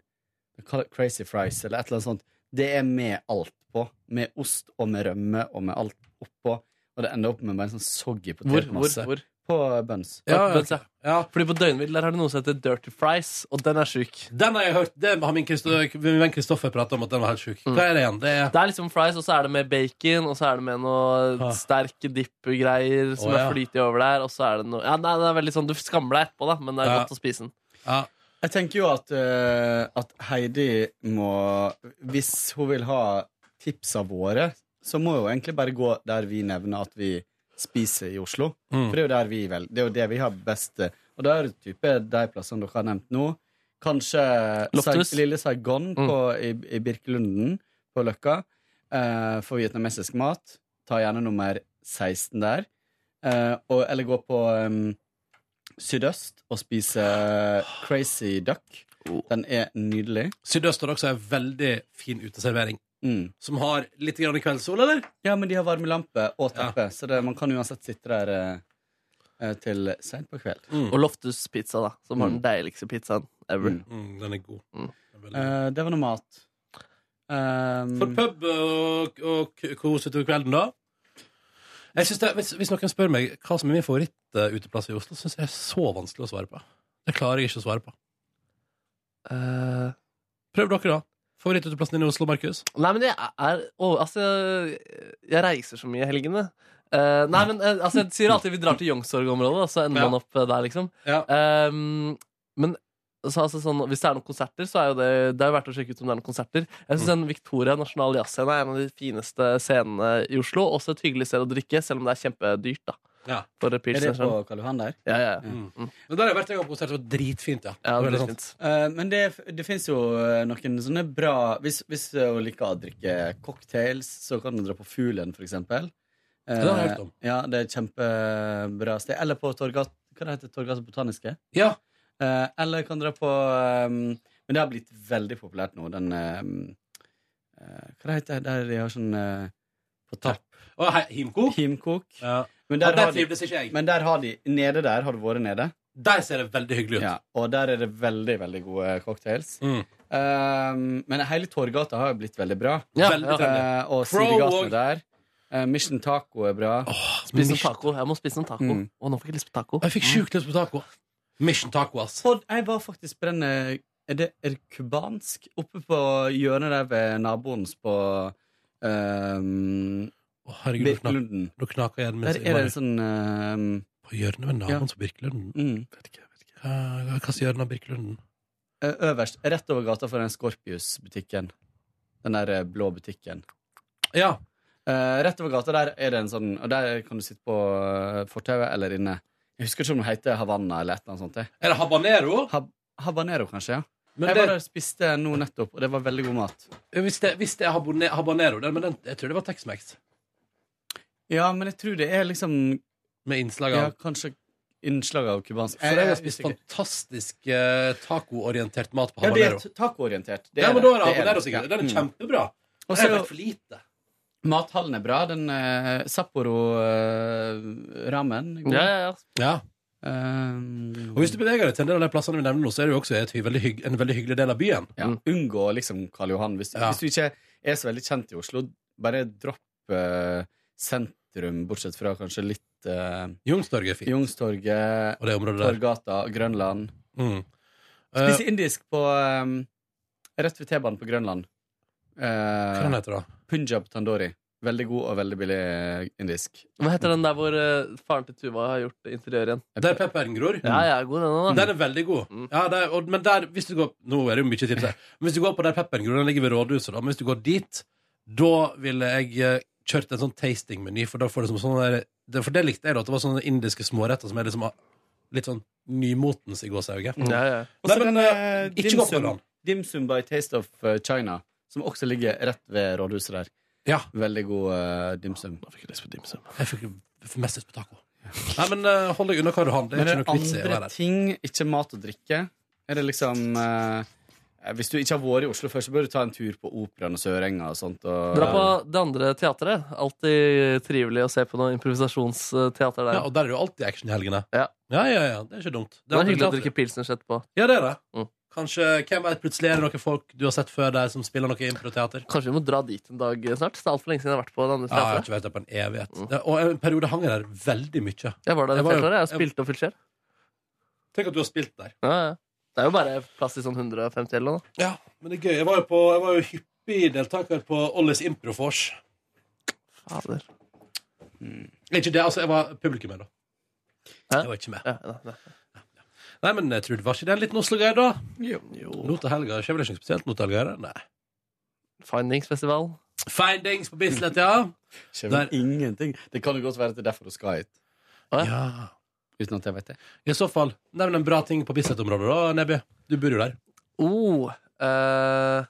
[SPEAKER 14] de kaller det crazy fries, eller et eller annet sånt. Det er med alt på. Med ost og med rømme og med alt oppå. Og det ender opp med bare en sånn soggy potetmasse.
[SPEAKER 2] hvor?
[SPEAKER 14] På buns.
[SPEAKER 2] Ja, Buns, ja. Fordi på Døgnvill der har de noe som heter Dirty Fries, og den er sjuk.
[SPEAKER 1] Den har jeg hørt. Det har min, Christo, min venn Kristoffer prata om at den var helt sjuk. Hva er det igjen? Det er
[SPEAKER 2] liksom fries, og så er det med bacon, og så er det med noe sterke dippegreier som
[SPEAKER 1] Å, ja.
[SPEAKER 2] er flytig over der, og så er det noe Ja, nei, det er veldig sånn, du skammer deg etterpå, da, men det er
[SPEAKER 14] Ja.
[SPEAKER 2] godt å spise den.
[SPEAKER 14] Jeg tenker jo at, eh, at Heidi må Hvis hun vil ha tipsa våre, så må hun egentlig bare gå der vi nevner at vi spiser i Oslo.
[SPEAKER 1] Mm.
[SPEAKER 14] For det er jo der vi vel, det er jo det vi har best eh, Og da er det type de plassene dere har nevnt nå. Kanskje
[SPEAKER 2] Loftus.
[SPEAKER 14] Sai- Lille Saigon på, i, i Birkelunden på Løkka. Uh, Få vietnamesisk mat. Ta gjerne nummer 16 der. Eh, og, eller gå på um, sydøst og spise crazy duck.
[SPEAKER 1] Oh.
[SPEAKER 14] Den er nydelig.
[SPEAKER 1] Sydøst har også en veldig fin uteservering.
[SPEAKER 14] Mm.
[SPEAKER 1] Som har litt grann kveldssol, eller?
[SPEAKER 14] Ja, men de har varmelampe og teppe, så det, man kan uansett sitte der eh, eh, til seint på kveld.
[SPEAKER 2] Og Loftus Pizza, da, som har den
[SPEAKER 14] Mm.
[SPEAKER 2] deiligste pizzaen ever.
[SPEAKER 1] Mm, den er god.
[SPEAKER 14] Eh, det var noe mat. Um,
[SPEAKER 1] For pub og, og k- kos utover kvelden, da? Jeg synes det, hvis, hvis noen spør meg hva som er min favorittuteplass i Oslo, syns jeg er så vanskelig å svare på. Det klarer jeg ikke å svare på.
[SPEAKER 2] Eh,
[SPEAKER 1] Prøv dere, da. Favorittuteplassen din i Oslo, Markus?
[SPEAKER 2] Nei, men jeg er å, Altså, jeg reiser så mye i helgene. Eh, nei, men eh, altså, jeg sier alltid vi drar til Youngstorg-området, og så ender
[SPEAKER 1] Ja.
[SPEAKER 2] man opp eh, der, liksom. Ehm, men så, altså, sånn, hvis det er noen konserter, så er jo det Det er jo verdt å sjekke ut om det er noen konserter. Jeg syns den Victoria Nasjonal Jazzscene er en av de fineste scenene i Oslo. Også et hyggelig sted å drikke, selv om det er kjempedyrt, da.
[SPEAKER 1] Ja.
[SPEAKER 2] For
[SPEAKER 14] er det
[SPEAKER 2] pilsner.
[SPEAKER 14] på
[SPEAKER 2] sånn.
[SPEAKER 14] Karl Johan der?
[SPEAKER 2] Ja, ja. ja.
[SPEAKER 1] Mm. Men der har jeg vært en gang på konsert. Det var dritfint, ja.
[SPEAKER 2] Ja,
[SPEAKER 1] Det var
[SPEAKER 2] det
[SPEAKER 1] veldig
[SPEAKER 2] er
[SPEAKER 1] sant.
[SPEAKER 2] fint.
[SPEAKER 14] Eh, men det, det fins jo eh, noen sånne bra Hvis, hvis du liker å drikke cocktails, så kan du dra på Fuglen, for eksempel. Eh,
[SPEAKER 1] Det har jeg hørt om.
[SPEAKER 14] Ja, det er et kjempebra sted. Eller på Torgat, hva det heter Torgata Botaniske.
[SPEAKER 1] sånn, Ja.
[SPEAKER 14] Eh, eller kan dra på eh, Men det har blitt veldig populært nå, den eh, eh, Hva det heter det der de har sånn eh, på tapp?
[SPEAKER 1] Å, he- Himkok?
[SPEAKER 14] Men
[SPEAKER 1] Ja,
[SPEAKER 14] der,
[SPEAKER 1] der
[SPEAKER 14] har de,
[SPEAKER 1] trivdes ikke jeg.
[SPEAKER 14] men der har de Nede der, har du vært nede?
[SPEAKER 1] Der ser det veldig hyggelig ut.
[SPEAKER 14] Ja, og der er det veldig, veldig gode cocktails.
[SPEAKER 1] Mm.
[SPEAKER 14] Um, men hele Torgata har jo blitt veldig bra.
[SPEAKER 2] Ja, Veldig trevlig.
[SPEAKER 14] Eh, og
[SPEAKER 2] Crow og-
[SPEAKER 14] sidegatene der. Eh, Mission Taco er bra.
[SPEAKER 2] Spis en taco. Jeg må spise en taco.
[SPEAKER 14] Mm.
[SPEAKER 2] Å, nå fikk jeg lyst på taco. Mm.
[SPEAKER 1] Jeg fikk sjukt lyst på taco. Mission taco, ass.
[SPEAKER 14] Og jeg var faktisk på den eh, Er det, er det kubansk? Oppe på hjørnet der ved naboens på um,
[SPEAKER 1] herregud, nå knak-
[SPEAKER 14] Birkelunden.
[SPEAKER 1] Nå knaker jeg den med
[SPEAKER 14] Der er det en sånn eh, mm,
[SPEAKER 1] På hjørnet ved naboen som Birkelunden? Hva slags hjørne av Birkelunden?
[SPEAKER 14] Eh, Øverst, rett over gata for den Scorpius-butikken. Den der eh, blå butikken. Eh,
[SPEAKER 1] Ja.
[SPEAKER 14] rett over gata der er det en sånn Og der kan du sitte på eh, fortauet eller inne. Jeg husker ikke om den heter Havanna eller et eller annet sånt. jeg.
[SPEAKER 1] Er det habanero?
[SPEAKER 14] Hab habanero, kanskje, ja.
[SPEAKER 1] Men
[SPEAKER 14] jeg
[SPEAKER 1] det-
[SPEAKER 14] var der og spiste nå nettopp, og det var veldig god mat.
[SPEAKER 1] Hvis det, hvis det er habone- habanero der, men den, jeg tror det var Tex-Mex.
[SPEAKER 14] Ja, men jeg tror det er liksom
[SPEAKER 1] Med innslag av-
[SPEAKER 14] Ja, kanskje innslag av cubansk.
[SPEAKER 1] For Eh, jeg har spist fantastisk eh, tacoorientert mat på
[SPEAKER 14] Ja, det er
[SPEAKER 1] habanero.
[SPEAKER 14] t- tacoorientert.
[SPEAKER 1] Ja, Mm. men da er det
[SPEAKER 14] det Mm.
[SPEAKER 1] habanero, sikkert. Den er kjempebra.
[SPEAKER 14] Og
[SPEAKER 1] Den
[SPEAKER 14] så
[SPEAKER 1] er
[SPEAKER 14] er
[SPEAKER 1] vært
[SPEAKER 14] jo-
[SPEAKER 1] for lite.
[SPEAKER 14] Mathallen er bra. Den eh, Sapporo-ramen.
[SPEAKER 1] Ja.
[SPEAKER 14] Eh,
[SPEAKER 1] Og hvis du beveger deg til en del av de plassene vi nevner nå, så er det jo også et hy- veldig hygg, en veldig hyggelig del av byen.
[SPEAKER 14] Ja. Unngå liksom Karl Johan. Hvis,
[SPEAKER 1] Ja.
[SPEAKER 14] hvis du ikke er så veldig kjent i Oslo, bare dropp eh, sentrum, bortsett fra kanskje litt uh,
[SPEAKER 1] Youngstorget er fint.
[SPEAKER 14] Youngstorget,
[SPEAKER 1] Og det området der.
[SPEAKER 14] Torgata, Grønland.
[SPEAKER 1] Mm.
[SPEAKER 14] Spise indisk på eh, rett ved T-banen på Grønland. Hva
[SPEAKER 1] den heter da?
[SPEAKER 14] Punjab Tandori. Veldig god og veldig billig eh, indisk.
[SPEAKER 2] Hva heter den der hvor eh, faren til Tuva har gjort interiør igjen?
[SPEAKER 1] Der pepperen gror.
[SPEAKER 2] Ja, ja, god den også, da.
[SPEAKER 1] Den er veldig god. Ja, der, og, men der, hvis du går Nå er det jo mye tips
[SPEAKER 14] <laughs>
[SPEAKER 1] her. Men hvis du går på der pepperen gror, den ligger ved rådhuset, da. Men hvis du går dit, da ville jeg eh, kjørt en sånn tastingmeny, for da får du som sånn der det, For det likte jeg, da. At det var sånne indiske småretter som er liksom ah, litt sånn nymotens i gåseøyet.
[SPEAKER 14] Mm. Og
[SPEAKER 1] Nei,
[SPEAKER 14] så
[SPEAKER 1] men
[SPEAKER 14] den,
[SPEAKER 1] eh,
[SPEAKER 14] eh,
[SPEAKER 1] ikke
[SPEAKER 14] dim
[SPEAKER 1] gå på
[SPEAKER 14] sum-
[SPEAKER 1] den.
[SPEAKER 14] Dim Sum by Taste of eh, China, som også ligger rett ved rådhuset der. Veldig god eh, dim sum. Da
[SPEAKER 2] fikk jeg lyst på dim sum.
[SPEAKER 1] Jeg fikk mest lyst på taco. Nei, men eh, hold deg unna hva du har. Det
[SPEAKER 14] Men
[SPEAKER 1] er
[SPEAKER 14] det
[SPEAKER 1] ikke
[SPEAKER 14] er
[SPEAKER 1] noe vits i å
[SPEAKER 14] andre
[SPEAKER 1] være her.
[SPEAKER 14] ting, ikke mat og drikke. Er det liksom eh, Hvis du ikke har vært i Oslo før, så bør du ta en tur på Operaen og Sørenga og sånt. Og,
[SPEAKER 2] Dra på det andre teatret. Alltid trivelig å se på noe improvisasjonsteater der.
[SPEAKER 1] Ja, og der er det jo alltid action i helgene.
[SPEAKER 2] Ja.
[SPEAKER 1] Ja, ja, ja. Det er ikke dumt.
[SPEAKER 2] Det er hyggelig å
[SPEAKER 1] teater.
[SPEAKER 2] drikke pilsners etterpå.
[SPEAKER 1] Ja, det er det.
[SPEAKER 2] Mm.
[SPEAKER 1] Kanskje, hvem vet, plutselig er det noen folk du har sett før der som spiller noe improteater.
[SPEAKER 2] Kanskje vi må dra dit en dag snart? Det er altfor lenge siden jeg har vært på det andre
[SPEAKER 1] Ja, jeg har
[SPEAKER 2] teatret.
[SPEAKER 1] ikke vært der på en evighet.
[SPEAKER 2] Mm.
[SPEAKER 1] Det- Og en periode hang jeg der veldig mye.
[SPEAKER 2] Jeg var der et
[SPEAKER 1] var jo-
[SPEAKER 2] helt år. Jeg har spilt og fylt skjell.
[SPEAKER 1] Tenk at du har spilt der.
[SPEAKER 2] Ja, ja. Det er jo bare plass til sånn 150 eller noe.
[SPEAKER 1] Ja, men det er gøy. Jeg var jo, på, jeg var jo hyppig deltaker på Ollis Improfors.
[SPEAKER 2] Fader.
[SPEAKER 1] Ikke det, altså, jeg var publikummer da. Jeg var ikke med. Ja, ja. Nei, men jeg tror det var ikke det en liten Oslo-greie da.
[SPEAKER 2] Jo,
[SPEAKER 1] Nå til helga, skjer vel ikke noe spesielt nå til helga? er det? Nei.
[SPEAKER 2] Findingsfestival.
[SPEAKER 1] Findings på Bislett, ja.
[SPEAKER 14] Skjer vel ingenting. Det kan jo godt være at det er derfor du skal hit.
[SPEAKER 1] Ja.
[SPEAKER 14] Uten at jeg vet det.
[SPEAKER 1] I så fall, nevn en bra ting på Bislett-området da, Nebby. Du bor jo der.
[SPEAKER 2] Oh, eh,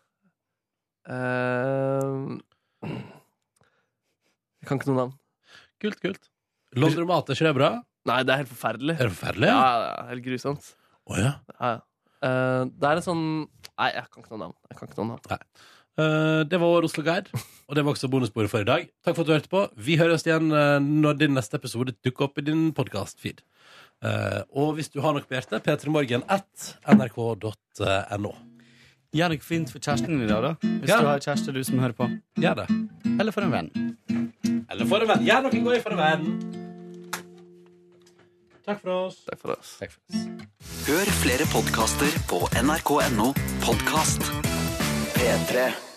[SPEAKER 2] eh, Jeg kan ikke noe navn.
[SPEAKER 1] Kult, kult. Londromat, er ikke det bra?
[SPEAKER 2] Nei, det er helt forferdelig.
[SPEAKER 1] Er det forferdelig?
[SPEAKER 2] Ja, ja, helt grusomt.
[SPEAKER 1] Å ja.
[SPEAKER 2] Ja, ja. Eh, det er en sånn Nei, jeg kan ikke noe navn. Jeg kan ikke noe navn.
[SPEAKER 1] Eh, det var vår Oslo Guide, og det var også bonusbordet for i dag. Takk for at du hørte på. Vi hører oss igjen eh, når din neste episode dukker opp i din podkast-feed. Eh, og hvis du har noe på hjertet, p3morgen at nrk.no.
[SPEAKER 14] Gjør det fint for kjæresten din i dag, da. Hvis
[SPEAKER 1] Ja.
[SPEAKER 14] du har kjæreste, du som hører på.
[SPEAKER 1] Gjør det.
[SPEAKER 14] Eller for en venn.
[SPEAKER 1] Eller for en venn. Gjør noe gøy for en venn. Takk for oss.
[SPEAKER 2] Takk for oss.
[SPEAKER 15] Hør flere podkaster på nrk.no podkast. P3.